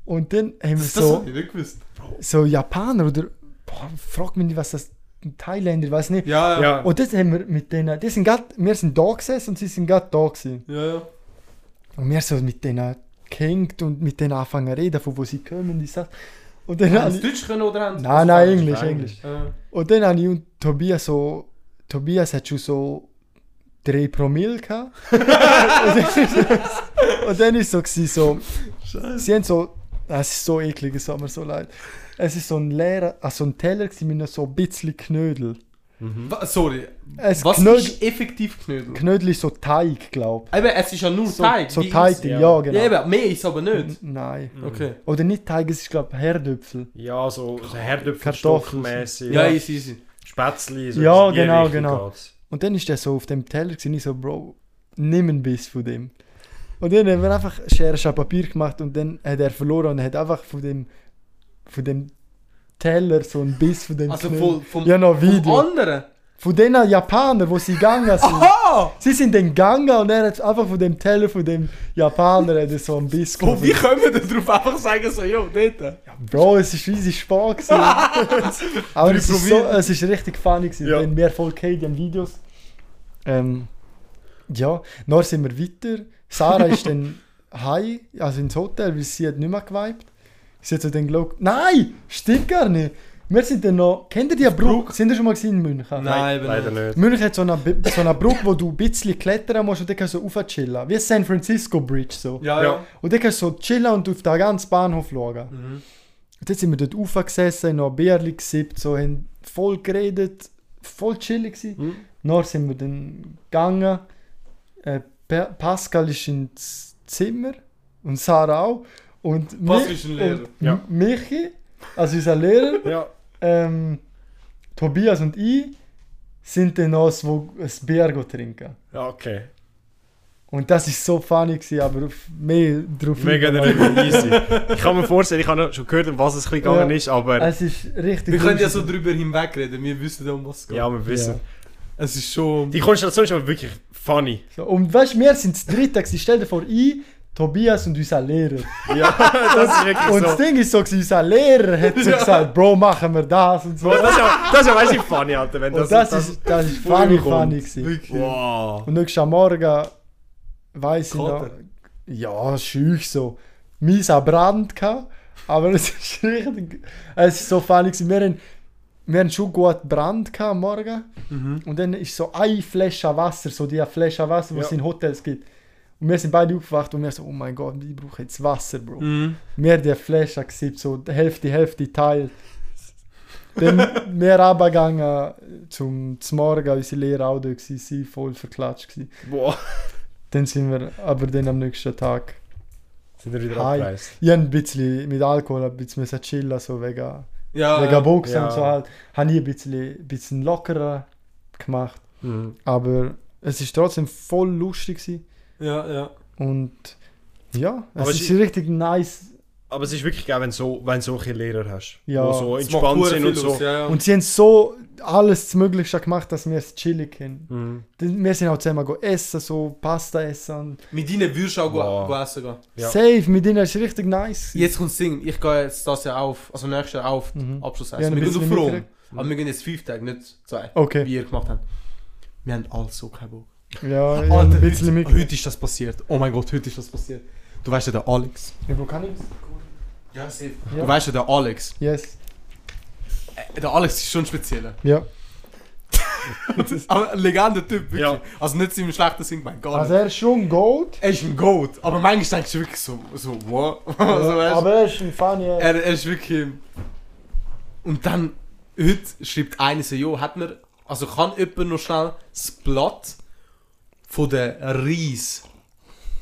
[SPEAKER 3] Und dann haben wir
[SPEAKER 2] Das, das
[SPEAKER 3] so
[SPEAKER 2] hab ich nicht gewusst.
[SPEAKER 3] so Japaner oder boah, frag mich nicht, was das Thailänder, weiß nicht.
[SPEAKER 2] Ja, ja.
[SPEAKER 1] ja.
[SPEAKER 3] Und das haben wir mit denen, die sind grad, wir sind da gesessen und sie sind gerade da gewesen.
[SPEAKER 2] ja, ja.
[SPEAKER 3] Und wir so mit denen gehängt und mit denen anfangen zu reden, von wo sie kommen, die Sachen. Und dann
[SPEAKER 2] Haben
[SPEAKER 3] habe
[SPEAKER 2] sie
[SPEAKER 3] ich,
[SPEAKER 2] Deutsch können oder haben sie-
[SPEAKER 3] nein, nein, Englisch,
[SPEAKER 1] Spanisch.
[SPEAKER 3] Englisch.
[SPEAKER 2] Äh,
[SPEAKER 3] Und dann habe ich und Tobias so, Tobias hat schon so drei Promille gehabt. und dann ist so, gewesen, so sie haben so, es ist so eklig, es tut mir so leid. Es ist so ein leerer, also ein Teller gewesen mit noch so ein bisschen Knödel.
[SPEAKER 2] wa- Sorry.
[SPEAKER 3] Es
[SPEAKER 2] Was
[SPEAKER 3] Knödel,
[SPEAKER 2] ist effektiv Knödel?
[SPEAKER 3] Knödel ist so Teig, glaube
[SPEAKER 2] Eben, es ist ja nur
[SPEAKER 3] So,
[SPEAKER 2] Teig.
[SPEAKER 3] so
[SPEAKER 2] wie
[SPEAKER 3] Teig,
[SPEAKER 2] ist-
[SPEAKER 3] ja,
[SPEAKER 1] Ja,
[SPEAKER 3] genau.
[SPEAKER 2] Ja, eben, mehr ist aber
[SPEAKER 3] Mm.
[SPEAKER 2] nicht.
[SPEAKER 3] Nein.
[SPEAKER 2] Okay.
[SPEAKER 3] Oder nicht Teig, es ist glaube ich Herdöpfel.
[SPEAKER 1] Ja, so
[SPEAKER 3] Kartoffeln.
[SPEAKER 1] Herdöpfelstockmäßig.
[SPEAKER 2] Ja, easy, easy.
[SPEAKER 1] Spätzli.
[SPEAKER 3] Ja,
[SPEAKER 1] in die
[SPEAKER 3] genau,
[SPEAKER 1] Richtung
[SPEAKER 3] genau.
[SPEAKER 1] geht's.
[SPEAKER 3] Und dann ist der so auf dem Teller gewesen, ich so, Bro, nimm ein Biss von dem. Und dann haben wir einfach Schere Schere, Papier gemacht und dann hat er verloren und hat einfach von dem, von dem Teller so ein Biss von dem
[SPEAKER 2] Also
[SPEAKER 3] Knödel.
[SPEAKER 2] vom, vom,
[SPEAKER 3] Ja, noch
[SPEAKER 2] vom
[SPEAKER 3] Video.
[SPEAKER 2] anderen.
[SPEAKER 3] Von den Japanern, wo sie gegangen sind.
[SPEAKER 2] Aha!
[SPEAKER 3] Sie sind dann gegangen und er hat einfach von dem Teller von dem Japaner hat er so ein Biss
[SPEAKER 2] Wo, wie können
[SPEAKER 3] genommen.
[SPEAKER 2] wir denn darauf einfach sagen, so, jo, dort?
[SPEAKER 3] Bro, es ist riesig Spaß gewesen. Aber es ist, so, es ist richtig funny gewesen.
[SPEAKER 1] Ja.
[SPEAKER 3] Ja. Wenn wir voll gehabt haben, Videos. Ähm, ja, dann sind wir weiter. Sarah ist dann heim, also ins Hotel, weil sie hat nicht mehr geweibt. Sie hat so dann geschaut, nein, stimmt gar nicht. Wir sind dann noch, kennt ihr die Brücke? Sind ihr schon mal gewesen in München?
[SPEAKER 2] Nein, eben
[SPEAKER 1] Leider nicht.
[SPEAKER 3] München hat so eine, Bi- so eine Brücke, wo du ein bisschen klettern musst und dann kannst du so chillen. Wie San Francisco Bridge so.
[SPEAKER 2] Ja, ja.
[SPEAKER 3] Und dann kannst du so chillen und auf den ganzen Bahnhof schauen.
[SPEAKER 2] Mhm.
[SPEAKER 3] Und dann sind wir dort aufgesessen, haben noch ein Bierli gesippt, so, haben voll geredet, voll chillig gewesen.
[SPEAKER 2] Hm.
[SPEAKER 1] Mhm.
[SPEAKER 3] Dann sind wir dann gegangen. Äh, Pa- Pascal ist ins Zimmer und Sarah auch. Und
[SPEAKER 2] Pascal
[SPEAKER 3] mi-
[SPEAKER 2] ist ein Lehrer.
[SPEAKER 3] Und
[SPEAKER 1] Ja.
[SPEAKER 3] Michi, also unser Lehrer,
[SPEAKER 1] Ja.
[SPEAKER 3] ähm, Tobias und ich sind dann aus, wo ein Bier go trinken.
[SPEAKER 1] Ja, okay.
[SPEAKER 3] Und das ist so funny gewesen, aber auf mehr drauf
[SPEAKER 1] Mega
[SPEAKER 3] hingegangen.
[SPEAKER 1] darüber easy. Ich kann mir vorstellen, ich habe noch schon gehört, um was es ein bisschen
[SPEAKER 3] Ja. Also,
[SPEAKER 1] gegangen ist, aber
[SPEAKER 3] Es ist richtig.
[SPEAKER 2] Wir können ja
[SPEAKER 3] lustig.
[SPEAKER 2] so drüber hinwegreden, wir wissen ja, um was es geht.
[SPEAKER 1] ja, wir wissen.
[SPEAKER 3] Ja.
[SPEAKER 2] Es ist schon...
[SPEAKER 1] Die Konstellation ist aber wirklich funny.
[SPEAKER 3] So, und weißt du, wir sind das dritte. gewesen. Stell dir vor, ich, Tobias und unser Lehrer.
[SPEAKER 1] Ja, das ist wirklich
[SPEAKER 3] Und das
[SPEAKER 1] so.
[SPEAKER 3] Ding ist so, gewesen, unser Lehrer hat so
[SPEAKER 2] Ja.
[SPEAKER 3] gesagt, Bro, machen wir das und so.
[SPEAKER 1] Boah, das ist ja, das ist ja weißt du, funny, Alter. Wenn das,
[SPEAKER 3] und das, ist, das ist funny,
[SPEAKER 1] vorkommt.
[SPEAKER 3] funny gewesen.
[SPEAKER 2] Wirklich.
[SPEAKER 1] Wow.
[SPEAKER 3] Und nächsten Morgen weiss ich noch,
[SPEAKER 2] Kater.
[SPEAKER 3] ja, schüch so, mieser Brand gehabt, aber es ist richtig, es ist so funny gewesen. Wir haben, wir haben schon gut Brand gehabt am Morgen
[SPEAKER 2] Mhm.
[SPEAKER 3] und dann ist so eine Flasche Wasser, so die Flasche Wasser, die es
[SPEAKER 1] Ja.
[SPEAKER 3] in Hotels gibt. Und wir sind beide aufgewacht und wir so, oh mein Gott, ich brauche jetzt Wasser, Bro.
[SPEAKER 2] Mhm.
[SPEAKER 3] Wir haben die Flasche gesippt, so die Hälfte, Hälfte teilt. Dann wir runtergegangen zum, zum Morgen, unsere Lehrer auch da gewesen, sie voll verklatscht gewesen.
[SPEAKER 1] Boah.
[SPEAKER 3] Dann sind wir aber dann am nächsten Tag.
[SPEAKER 1] Sind wir wieder
[SPEAKER 3] Hi.
[SPEAKER 1] abgereist.
[SPEAKER 3] Ich habe ein bisschen mit Alkohol ein bisschen müssen chillen, so wegen,
[SPEAKER 2] Ja,
[SPEAKER 3] wegen
[SPEAKER 2] ja.
[SPEAKER 3] Boxen
[SPEAKER 1] ja.
[SPEAKER 3] und so halt. Habe ich ein bisschen, bisschen lockerer gemacht.
[SPEAKER 1] Mhm.
[SPEAKER 3] Aber es ist trotzdem voll lustig gewesen.
[SPEAKER 2] ja, ja.
[SPEAKER 3] Und ja, es
[SPEAKER 1] Aber
[SPEAKER 3] ist
[SPEAKER 1] sie-
[SPEAKER 3] richtig nice
[SPEAKER 1] Aber es ist wirklich geil, wenn du so, wenn du solche Lehrer hast,
[SPEAKER 3] Ja.
[SPEAKER 1] die so
[SPEAKER 2] Es macht
[SPEAKER 1] entspannt
[SPEAKER 2] verdammt
[SPEAKER 1] sind
[SPEAKER 2] viel
[SPEAKER 1] und so.
[SPEAKER 2] aus, ja, ja.
[SPEAKER 3] Und sie haben so alles das Möglichste gemacht, dass wir es chillig können.
[SPEAKER 1] Mhm.
[SPEAKER 3] Wir sind auch zusammen go essen, so Pasta essen. Und
[SPEAKER 2] Mit ihnen würdest du auch
[SPEAKER 1] Wow.
[SPEAKER 2] wow. essen gehen.
[SPEAKER 1] Ja.
[SPEAKER 3] Safe, mit ihnen ist richtig nice. gewesen.
[SPEAKER 2] Jetzt kommt das Ding, ich gehe jetzt das Jahr auf, also nächstes Jahr auf,
[SPEAKER 3] Mhm.
[SPEAKER 2] Abschlussessen.
[SPEAKER 3] Ja, ein
[SPEAKER 2] wir gehen
[SPEAKER 3] bisschen
[SPEAKER 2] auf Rom,
[SPEAKER 3] mitgekriegt.
[SPEAKER 2] aber wir gehen jetzt fünf Tage, nicht zwei, wie
[SPEAKER 3] Okay.
[SPEAKER 2] wir gemacht haben. Wir haben alle so keinen Bock.
[SPEAKER 3] Ja, ich hab ein bisschen
[SPEAKER 2] heute,
[SPEAKER 3] mitgekriegt.
[SPEAKER 2] heute Ah, ist das passiert. Oh mein Gott, heute ist das passiert. Du weißt ja, der Alex.
[SPEAKER 3] Ja, wo kann ich das?
[SPEAKER 2] Ja, safe.
[SPEAKER 3] Ja.
[SPEAKER 2] Du weißt ja, der Alex.
[SPEAKER 3] Yes.
[SPEAKER 2] Äh, Der Alex ist schon spezieller.
[SPEAKER 3] Ja.
[SPEAKER 2] Aber ein legender Typ, wirklich.
[SPEAKER 1] Ja.
[SPEAKER 2] Also nicht so im schlechten Sinn gemeint, gar
[SPEAKER 3] Also
[SPEAKER 2] nicht.
[SPEAKER 3] er ist schon Gold,
[SPEAKER 2] Er ist ein Goat, aber manchmal denkst du wirklich so, so wow. also, weißt,
[SPEAKER 3] äh, aber er ist ein funny. ass.
[SPEAKER 2] Er, er ist wirklich. Und dann, heute schreibt einer so: Jo, hat mir. Also kann jemand noch schnell das Blatt von der Reis.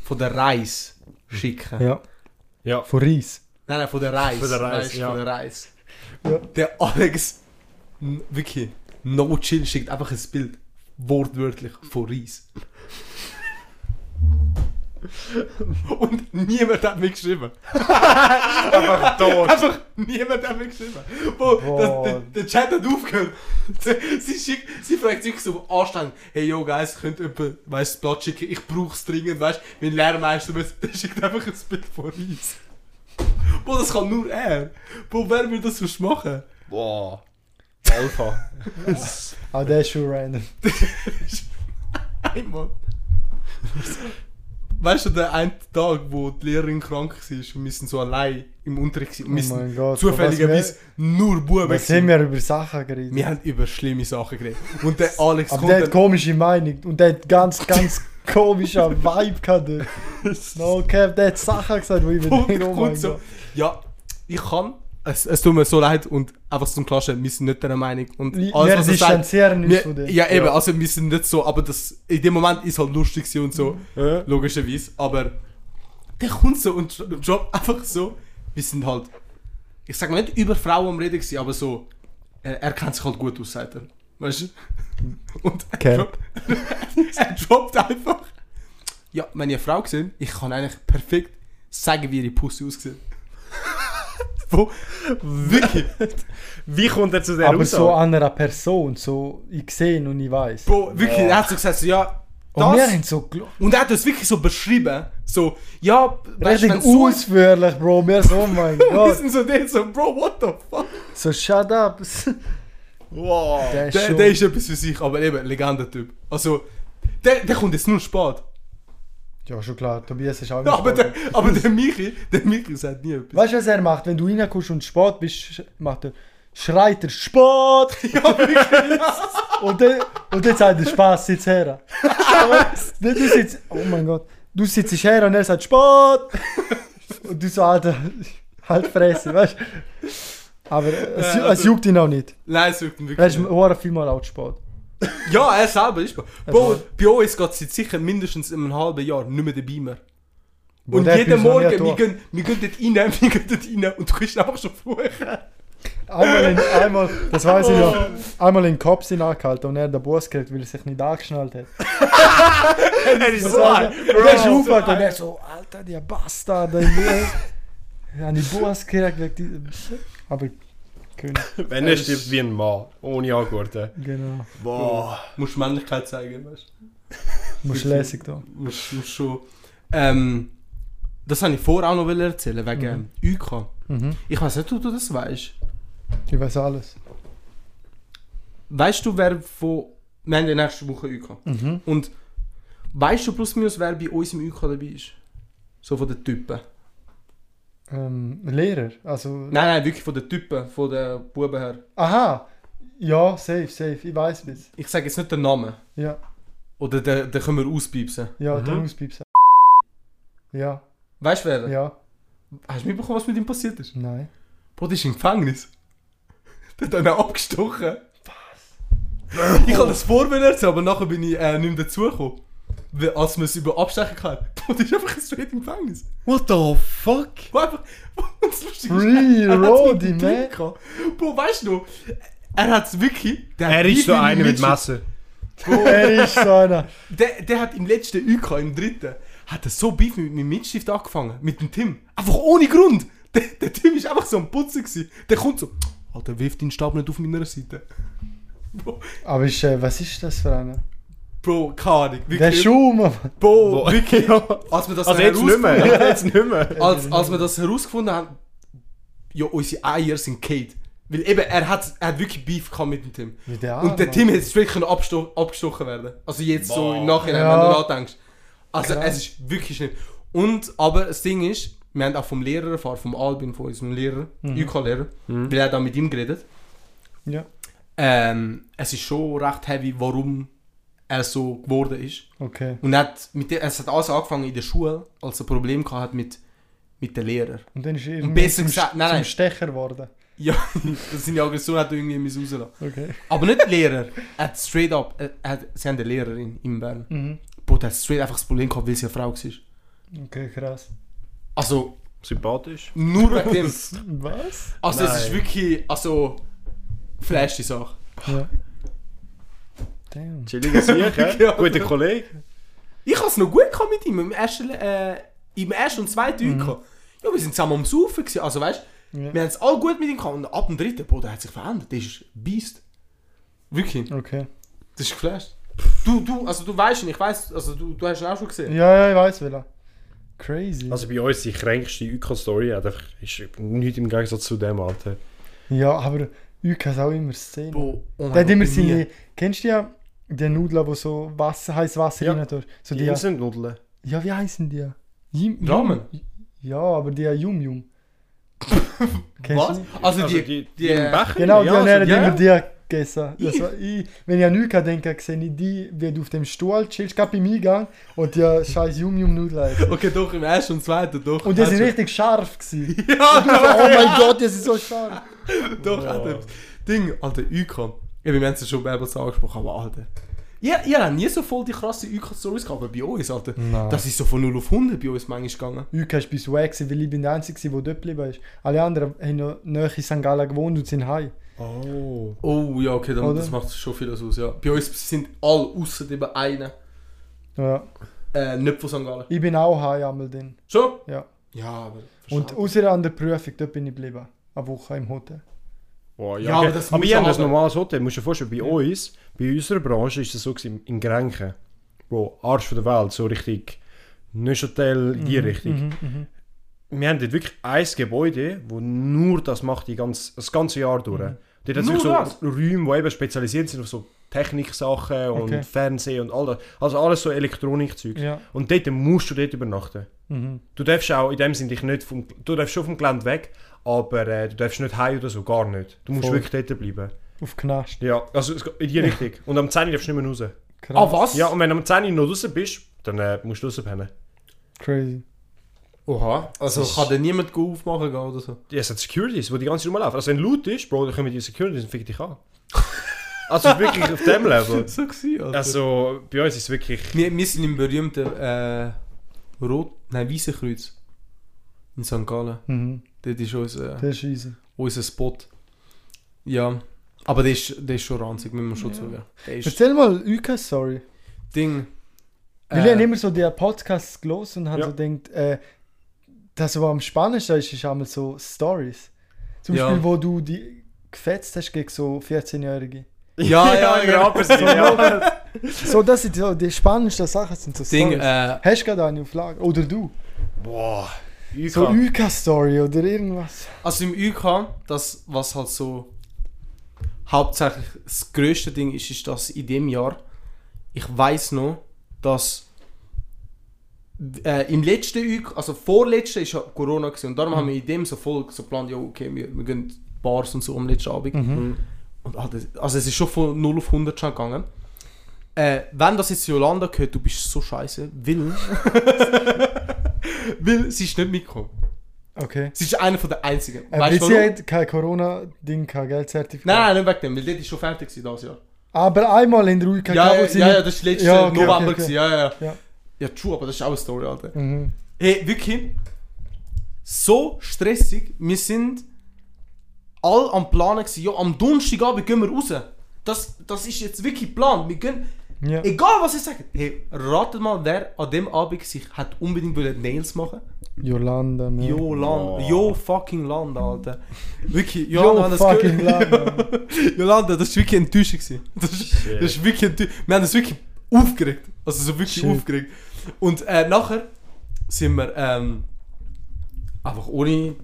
[SPEAKER 2] von der Reis schicken.
[SPEAKER 3] Ja,
[SPEAKER 1] Ja.
[SPEAKER 3] von Reis.
[SPEAKER 2] Nein, nein, von der Reis.
[SPEAKER 1] Von der Reis,
[SPEAKER 2] Weißt,
[SPEAKER 1] ja.
[SPEAKER 2] Von der Reis.
[SPEAKER 3] Ja.
[SPEAKER 2] Der Alex, n- wirklich, no chill, schickt einfach ein Bild. Wortwörtlich von Reis. Und niemand hat mir geschrieben.
[SPEAKER 1] Einfach tot.
[SPEAKER 2] Einfach niemand hat mir geschrieben. Wo, das,
[SPEAKER 3] Boah.
[SPEAKER 2] der, der Chat hat aufgehört. Sie, sie, schickt, sie fragt sich so anstrengend, hey yo guys, könnt jemand weißt, das Blatt schicken? Ich brauch's dringend, weißt du, mein Lehrmeister muss- der schickt einfach ein Bild von Reis. Boah, das kann nur er. Boah, wer will das sonst machen?
[SPEAKER 1] Boah. Alpha.
[SPEAKER 3] Aber Ah, der ist schon random. Oh
[SPEAKER 2] Einmal. Weißt du, der eine Tag, wo die Lehrerin krank war und wir sind so allein im Unterricht waren, und wir
[SPEAKER 3] Oh mein
[SPEAKER 2] sind
[SPEAKER 3] Gott, von
[SPEAKER 2] zufälligerweise nur Buben
[SPEAKER 3] Was
[SPEAKER 2] gewesen.
[SPEAKER 3] haben wir über Sachen geredet?
[SPEAKER 2] Wir haben über schlimme Sachen geredet. Und der Alex
[SPEAKER 3] aber
[SPEAKER 2] kommt
[SPEAKER 3] der hat
[SPEAKER 2] dann,
[SPEAKER 3] komische Meinung und der hat ganz, ganz komischer Vibe gehabt. dort. No cap, der hat Sachen gesagt, wo ich mir
[SPEAKER 2] und
[SPEAKER 3] denke, oh mein
[SPEAKER 2] kommt
[SPEAKER 3] Gott.
[SPEAKER 2] so, ja, ich kann, es, es tut mir so leid und einfach zum Klatschen, wir sind nicht der Meinung. Und
[SPEAKER 3] Wir
[SPEAKER 2] alles,
[SPEAKER 3] wir
[SPEAKER 2] was er sagt,
[SPEAKER 3] distanzieren uns von
[SPEAKER 2] wir,
[SPEAKER 3] dem.
[SPEAKER 2] ja eben,
[SPEAKER 1] Ja.
[SPEAKER 2] also wir sind nicht so, aber das, in dem Moment ist halt lustig gewesen und so.
[SPEAKER 3] Mhm.
[SPEAKER 1] Ja.
[SPEAKER 2] logischerweise, aber der kommt so und dro- droppt einfach so, wir sind halt, ich sag mal nicht über Frauen am Reden gewesen, aber so, er, er kennt sich halt gut aus, sagt er, weißt du? Und er,
[SPEAKER 3] Okay.
[SPEAKER 2] droppt, er droppt einfach, ja, wenn ihr eine Frau gesehen, ich kann eigentlich perfekt sagen, wie ihre Pussy aussieht. Wo, wirklich,
[SPEAKER 1] Wie kommt er zu der
[SPEAKER 3] Aber so
[SPEAKER 1] Aussage?
[SPEAKER 3] an einer Person, so ich sehe und ich weiß.
[SPEAKER 2] wo, wirklich, er hat so gesagt, so, ja,
[SPEAKER 3] Und Oh, wir
[SPEAKER 2] das,
[SPEAKER 3] haben so gel-
[SPEAKER 2] und er hat das wirklich so beschrieben, so, ja, weißt du,
[SPEAKER 3] richtig
[SPEAKER 2] wenn so-
[SPEAKER 3] ausführlich, Bro. Wir so, oh mein
[SPEAKER 2] Wir
[SPEAKER 3] Gott.
[SPEAKER 2] sind so der, so, Bro, what the fuck?
[SPEAKER 3] So, shut up.
[SPEAKER 1] Wow.
[SPEAKER 3] Der ist
[SPEAKER 2] Der,
[SPEAKER 3] schon...
[SPEAKER 2] der ist etwas für sich, aber eben, Legende-Typ. Also, der, der kommt jetzt nur spät.
[SPEAKER 3] ja, schon klar. Tobias ist auch
[SPEAKER 2] Aber
[SPEAKER 3] gestorben.
[SPEAKER 2] der, aber der Michi, der Michi sagt nie etwas.
[SPEAKER 3] Weißt du, was er macht? Wenn du reinkommst und Sport bist, sch- macht er, schreit er Sport! und, dann, und dann sagt er Spaß, sitz her. Dann du sitzt, oh mein Gott, du sitzt her und er sagt Sport! Und du so, Alter, halt Fresse, weißt du? Aber es,
[SPEAKER 2] Ja, also-
[SPEAKER 3] es juckt ihn auch nicht.
[SPEAKER 2] Nein, es wirkt ihn
[SPEAKER 3] Er
[SPEAKER 2] wirklich.
[SPEAKER 3] ist
[SPEAKER 2] nicht.
[SPEAKER 3] hoher vielmal laut Sport.
[SPEAKER 2] Ja, er selber ist spät. Bro,
[SPEAKER 3] war-
[SPEAKER 2] bei uns geht es jetzt sicher mindestens in einem halben Jahr nicht mehr dabei mehr.
[SPEAKER 3] Bro,
[SPEAKER 2] Und
[SPEAKER 3] der
[SPEAKER 2] jeden
[SPEAKER 3] Typ ist noch nie
[SPEAKER 2] Morgen, wir
[SPEAKER 3] tot.
[SPEAKER 2] gehen, wir gehen dort rein, wir gehen dort rein und du kommst einfach schon vorher.
[SPEAKER 3] Einmal, in, einmal, das weiß ich noch,
[SPEAKER 1] Oh.
[SPEAKER 3] einmal in den Kopf sind angehalten und er hat den Bus gekriegt, weil er sich nicht angeschnallt hat.
[SPEAKER 1] Er ist so
[SPEAKER 3] Alter,
[SPEAKER 1] ein.
[SPEAKER 3] Und er ist aufgehört und er so, Alter, der Bastard. Ich habe die Bus gekriegt wegen diesem... Aber... König,
[SPEAKER 1] Wenn er stirbt wie ein Mann, ohne Angurte.
[SPEAKER 3] genau.
[SPEAKER 1] Boah.
[SPEAKER 2] Musst Männlichkeit zeigen, weißt du?
[SPEAKER 3] Musst lässig da.
[SPEAKER 2] Muss, muss schon. Ähm, das wollte ich vorher auch noch erzählen, wegen ähm, UK.
[SPEAKER 3] Mhm.
[SPEAKER 2] Ich weiß nicht, ob du das weißt.
[SPEAKER 3] Ich weiß alles.
[SPEAKER 2] Weißt du, wer von. Wir haben ja nächste Woche UK.
[SPEAKER 3] Mhm.
[SPEAKER 2] Und weißt du plus minus, wer bei uns im UK dabei ist? So von den Typen.
[SPEAKER 3] Ähm, Lehrer, also...
[SPEAKER 2] Nein, nein, wirklich von den Typen, von den Buben her.
[SPEAKER 3] Aha! Ja, safe, safe. Ich weiß es.
[SPEAKER 2] Ich sage jetzt nicht den Namen.
[SPEAKER 3] Ja,
[SPEAKER 2] Oder den, den können wir auspiepsen.
[SPEAKER 3] ja,
[SPEAKER 1] Mhm.
[SPEAKER 3] mhm. dann auspiepsen. Ja,
[SPEAKER 2] Weißt du wer?
[SPEAKER 3] ja,
[SPEAKER 2] Hast du mitbekommen, was mit ihm passiert ist?
[SPEAKER 3] nein.
[SPEAKER 2] Bro, der ist im Gefängnis. Der hat einen abgestochen. Was? Ich habe das vorher erzählen, aber nachher bin ich äh, nicht mehr dazugekommen. Weil- Als man es über Abstechen kann. Bro, der ist einfach straight im Gefängnis.
[SPEAKER 1] What the fuck?
[SPEAKER 2] Wo einfach. wo das Lustige ist,
[SPEAKER 3] Free
[SPEAKER 2] er hat's mit
[SPEAKER 3] Roadie,
[SPEAKER 2] dem Typ
[SPEAKER 3] man.
[SPEAKER 2] gehabt. Bro, weißt du, er hat wirklich. Der hat
[SPEAKER 1] Er
[SPEAKER 2] wie
[SPEAKER 1] ist so
[SPEAKER 2] viele
[SPEAKER 1] einer mit
[SPEAKER 2] Menschen-
[SPEAKER 1] Messer.
[SPEAKER 3] Er ist so einer.
[SPEAKER 2] Der, der hat im letzten UK, im dritten, hat er so Beef mit meinem Mitstift angefangen. Mit dem Tim. Einfach ohne Grund. Der, der Typ ist einfach so am Putzen gewesen. Der kommt so, Alter, wirf deinen Stab nicht auf meiner Seite. Bro,
[SPEAKER 3] Aber ist, äh, was ist das für einer?
[SPEAKER 2] Bro keine Ahnung. Wirklich.
[SPEAKER 3] Der Schuh, Mann.
[SPEAKER 2] Bro,
[SPEAKER 1] Wo-
[SPEAKER 2] wirklich. Als wir das
[SPEAKER 1] Also jetzt nicht
[SPEAKER 2] herausgefunden
[SPEAKER 1] mehr. Also jetzt nicht mehr.
[SPEAKER 2] Äh,
[SPEAKER 3] Äh,
[SPEAKER 2] als, als wir das herausgefunden haben, ja, unsere Eier sind Kate. Weil eben, er hat, er hat wirklich Beef gehabt mit dem Tim.
[SPEAKER 3] Mit der
[SPEAKER 2] Und der
[SPEAKER 3] Arme.
[SPEAKER 2] Tim hätte jetzt wirklich können abgesto abgestochen werden. Also jetzt so
[SPEAKER 1] Boah.
[SPEAKER 2] im Nachhinein, wenn
[SPEAKER 3] Ja.
[SPEAKER 2] du nachdenkst. Also
[SPEAKER 3] Krass.
[SPEAKER 2] es ist wirklich schlimm. Und, aber das Ding ist, wir haben auch vom Lehrer erfahren, vom Albin, von unserem Lehrer,
[SPEAKER 3] Mhm.
[SPEAKER 2] UK-Lehrer, weil er dann mit ihm geredet.
[SPEAKER 3] Ja,
[SPEAKER 2] Ähm, es ist schon recht heavy, warum er so geworden ist.
[SPEAKER 3] okay.
[SPEAKER 2] Und er hat mit der, es hat alles angefangen in der Schule, als er ein Problem gehabt hat mit, mit den Lehrern.
[SPEAKER 3] Und dann ist er
[SPEAKER 2] Und
[SPEAKER 3] irgendwie
[SPEAKER 2] besser
[SPEAKER 3] zum,
[SPEAKER 2] gesagt, nein,
[SPEAKER 3] zum
[SPEAKER 2] nein.
[SPEAKER 3] Stecher geworden.
[SPEAKER 2] Ja, das sind ja Aggressionen, hat er irgendwie müssen rauslassen.
[SPEAKER 3] Okay.
[SPEAKER 2] Aber nicht die Lehrer. Er hat straight up, er er hat, sie haben eine Lehrerin in Bern.
[SPEAKER 3] Mhm.
[SPEAKER 2] Boah, der hat straight einfach das Problem gehabt, weil sie eine Frau war.
[SPEAKER 3] Okay, krass.
[SPEAKER 2] Also,
[SPEAKER 1] Sympathisch.
[SPEAKER 2] nur wegen dem.
[SPEAKER 3] Was?
[SPEAKER 2] Also, es ist
[SPEAKER 1] Nein.
[SPEAKER 2] wirklich, also, flash die Sache.
[SPEAKER 3] Ja. Damn.
[SPEAKER 1] Chilliger Sieg, hä?
[SPEAKER 2] Ja.
[SPEAKER 1] Guter Kollege.
[SPEAKER 2] Ich habe es noch gut gehabt mit ihm, im ersten, äh, im ersten und zweiten mhm. Ja, wir sind zusammen am Saufen gewesen, also weißt
[SPEAKER 3] Ja.
[SPEAKER 2] wir haben es alle gut mit ihm gehabt. Und ab dem dritten, boah, der hat sich verändert. Der ist ein Beast. Wirklich,
[SPEAKER 3] Okay.
[SPEAKER 2] das ist geflasht. Du, du, also du weißt ihn, ich weiß, also du, du hast ihn auch schon gesehen.
[SPEAKER 3] Ja, ja, ich weiß welcher. Crazy.
[SPEAKER 1] Also bei uns die kränkste UK-Story hat einfach ist nichts im Gegensatz zu dem, Alter.
[SPEAKER 3] ja, aber UK hat auch immer Szenen.
[SPEAKER 2] Boah, oh mein
[SPEAKER 3] Der hat immer
[SPEAKER 2] Gott, bei mir.
[SPEAKER 3] seine. Kennst du ja die Nudeln, die so Wasser, heißes Wasser
[SPEAKER 1] Ja.
[SPEAKER 3] rein tust? So die,
[SPEAKER 1] Die sind Nudeln.
[SPEAKER 3] ja, wie heißen die? Yim,
[SPEAKER 2] Ramen?
[SPEAKER 3] Yum- Ja, aber die Yum Yum. Kennst du
[SPEAKER 2] Was?
[SPEAKER 3] nicht?
[SPEAKER 2] Also,
[SPEAKER 1] Also
[SPEAKER 2] die, die,
[SPEAKER 1] die, die im Becher?
[SPEAKER 3] Genau, die haben
[SPEAKER 1] ja,
[SPEAKER 3] dann
[SPEAKER 1] also, ja.
[SPEAKER 3] immer die gegessen. Das
[SPEAKER 2] Ich-
[SPEAKER 3] war ich, wenn ich an nichts denke, sehe ich die, wie du auf dem Stuhl chillst, gerade beim Eingang und die scheiß Yum Yum Nudeln. essen.
[SPEAKER 2] Okay, doch, im ersten und zweiten, doch.
[SPEAKER 3] Und die
[SPEAKER 2] hat
[SPEAKER 3] sind
[SPEAKER 2] er-
[SPEAKER 3] richtig scharf gewesen.
[SPEAKER 2] Ja, doch,
[SPEAKER 3] Oh mein Gott, die sind so scharf.
[SPEAKER 2] doch, hat er. Ding, Alter, UK. Eben, wir haben es ja schon mehrmals angesprochen, aber Alter. Ihr, ihr habt nie so voll die krasse UK-Stories gehabt, aber bei uns, Alter.
[SPEAKER 3] Nein.
[SPEAKER 2] Das ist so von 0 auf 100 bei uns manchmal gegangen.
[SPEAKER 3] UK ist bei uns weg, gewesen, weil ich bin der Einzige, gewesen, der dort geblieben ist. Alle anderen haben noch näher in St. Gallen gewohnt und sind heim.
[SPEAKER 1] Oh.
[SPEAKER 2] Oh, ja, okay, dann,
[SPEAKER 3] Oder?
[SPEAKER 2] das macht schon vieles aus, ja. Bei uns sind alle, außer eben einer,
[SPEAKER 3] Ja.
[SPEAKER 2] äh, nicht von St. Gallen.
[SPEAKER 3] Ich bin auch heim einmal dann.
[SPEAKER 2] Schon?
[SPEAKER 3] Ja.
[SPEAKER 2] Ja, aber...
[SPEAKER 3] Und außer an der Prüfung, dort bin ich geblieben. Eine Woche im Hotel.
[SPEAKER 1] Boah,
[SPEAKER 2] Ja,
[SPEAKER 1] ja, okay.
[SPEAKER 2] aber das
[SPEAKER 1] aber
[SPEAKER 2] muss
[SPEAKER 1] ich habe ein
[SPEAKER 2] aber-
[SPEAKER 1] normales Hotel. Musst du dir vorstellen, bei uns, bei unserer Branche, ist das so gewesen, in Grenken. Bro, Arsch von der Welt, so richtig Neuchâtel, die
[SPEAKER 2] Mhm,
[SPEAKER 1] Richtung. Wir haben dort wirklich ein Gebäude, wo nur das macht die ganz, das ganze Jahr durch. Dort hat es
[SPEAKER 2] Mhm. Nur
[SPEAKER 1] so
[SPEAKER 2] das?
[SPEAKER 1] Räume, die eben spezialisiert sind auf so Techniksachen und
[SPEAKER 3] Okay.
[SPEAKER 1] Fernsehen und all das. Also alles so Elektronikzeug.
[SPEAKER 3] Ja.
[SPEAKER 1] Und dort musst du dort übernachten.
[SPEAKER 3] Mhm.
[SPEAKER 1] Du darfst auch in dem Sinne dich nicht vom, du darfst schon vom Gelände weg, aber äh, du darfst nicht heim oder so, gar nicht. Du musst
[SPEAKER 3] Voll.
[SPEAKER 1] wirklich dort bleiben.
[SPEAKER 3] Auf Knast.
[SPEAKER 1] Ja, also es geht in die Richtung. Und am 10 Uhr darfst du nicht mehr raus.
[SPEAKER 3] Krass.
[SPEAKER 2] Ah, was?
[SPEAKER 1] Ja, und wenn du am 10 Uhr noch raus bist, dann äh, musst du rauspennen.
[SPEAKER 3] Crazy.
[SPEAKER 2] Oha. Also,
[SPEAKER 1] Das ist-
[SPEAKER 2] kann da niemand go aufmachen gehen oder so?
[SPEAKER 1] Ja, es hat Securities, die die ganze Zeit rumlaufen. Also wenn du laut ist, Bro, dann kommen die Securities und ficken dich an. Also es ist wirklich auf dem Level.
[SPEAKER 2] So gewesen, Alter.
[SPEAKER 1] Also bei uns ist es wirklich...
[SPEAKER 2] Wir, wir sind im berühmten äh, Rot... Nein, Wiesenkreuz. In St. Gallen.
[SPEAKER 3] Mhm.
[SPEAKER 2] Dort ist unser,
[SPEAKER 3] Das ist easy.
[SPEAKER 2] unser Spot. Ja. Aber der ist, der ist schon ranzig, müssen wir schon zugeben. Der ist...
[SPEAKER 3] Erzähl mal UK Story.
[SPEAKER 2] Ding...
[SPEAKER 3] Weil ich
[SPEAKER 2] Äh.
[SPEAKER 3] habe immer so die Podcasts gelesen und habe
[SPEAKER 1] Ja.
[SPEAKER 3] so gedacht, äh, das, was am spannendsten ist, ist einmal so Stories. Zum
[SPEAKER 2] Ja.
[SPEAKER 3] Beispiel, wo du die gefetzt hast gegen so 14-Jährige.
[SPEAKER 2] Ja, genau. ja,
[SPEAKER 1] in
[SPEAKER 2] ja.
[SPEAKER 1] Rapperswil, ja.
[SPEAKER 3] So, das sind so die spannendsten Sachen, sind so
[SPEAKER 2] Ding,
[SPEAKER 3] Stories.
[SPEAKER 2] äh...
[SPEAKER 3] Hast du gerade eine auf Lager? Oder du?
[SPEAKER 1] Boah. Ich
[SPEAKER 3] So
[SPEAKER 1] kann-
[SPEAKER 3] UK-Story oder irgendwas.
[SPEAKER 2] Also im UK, das, was halt so... Hauptsächlich das grösste Ding ist, ist, dass in dem Jahr... Ich weiß noch, dass... Äh, Im letzten UK, also vorletzten, ist ja Corona gewesen, und darum haben wir in dem so voll so geplant, ja okay, wir, wir gehen in Bars und so am letzten
[SPEAKER 3] Mhm.
[SPEAKER 2] Abend. Mhm. Und, Alter, also es ist schon von 0 auf 100 schon gegangen. Äh, wenn das jetzt Yolanda gehört, du bist so scheiße, weil... weil sie ist nicht mitgekommen.
[SPEAKER 3] Okay.
[SPEAKER 2] Sie ist einer von der einzigen.
[SPEAKER 3] Äh,
[SPEAKER 2] weißt
[SPEAKER 3] weil
[SPEAKER 2] du
[SPEAKER 3] sie
[SPEAKER 2] warum?
[SPEAKER 3] hat kein Corona-Ding, kein Geldzertifikat.
[SPEAKER 2] Nein, nein, nicht wegen dem, weil dort ist schon fertig gewesen dieses Jahr.
[SPEAKER 3] Aber einmal in der UK,
[SPEAKER 2] Ja, ja,
[SPEAKER 3] wo sie
[SPEAKER 2] ja,
[SPEAKER 3] nicht-
[SPEAKER 2] ja, das war letztes
[SPEAKER 3] Ja, okay,
[SPEAKER 2] November,
[SPEAKER 3] okay, okay.
[SPEAKER 2] Gewesen, eh, ja, ja, ja.
[SPEAKER 3] Ja.
[SPEAKER 2] Ja, true, aber das ist auch eine Story, Alter.
[SPEAKER 3] Mhm.
[SPEAKER 2] Hey, wirklich, so stressig, wir sind alle am Planen gewesen, ja, am Donnerstagabend gehen wir raus. Das, das ist jetzt wirklich Plan, wir gehen,
[SPEAKER 3] Ja.
[SPEAKER 2] Egal was ich sage. Hey, ratet mal, wer an dem Abend sich hat unbedingt wollen Nails machen
[SPEAKER 3] Jolanda, man.
[SPEAKER 2] Jo, Land.
[SPEAKER 1] Boah.
[SPEAKER 2] Jo, fucking Land, Alter. Wirklich,
[SPEAKER 3] Oh. Yo,
[SPEAKER 2] Jolanda, das
[SPEAKER 3] fucking Land. man.
[SPEAKER 2] Jolanda, das war wirklich enttäuschend. gewesen. Das, ist- das ist wirklich enttäuschend. Wir haben uns wirklich aufgeregt. Also so wirklich
[SPEAKER 3] Shit.
[SPEAKER 2] aufgeregt. Und äh, nachher sind wir ähm, einfach ohne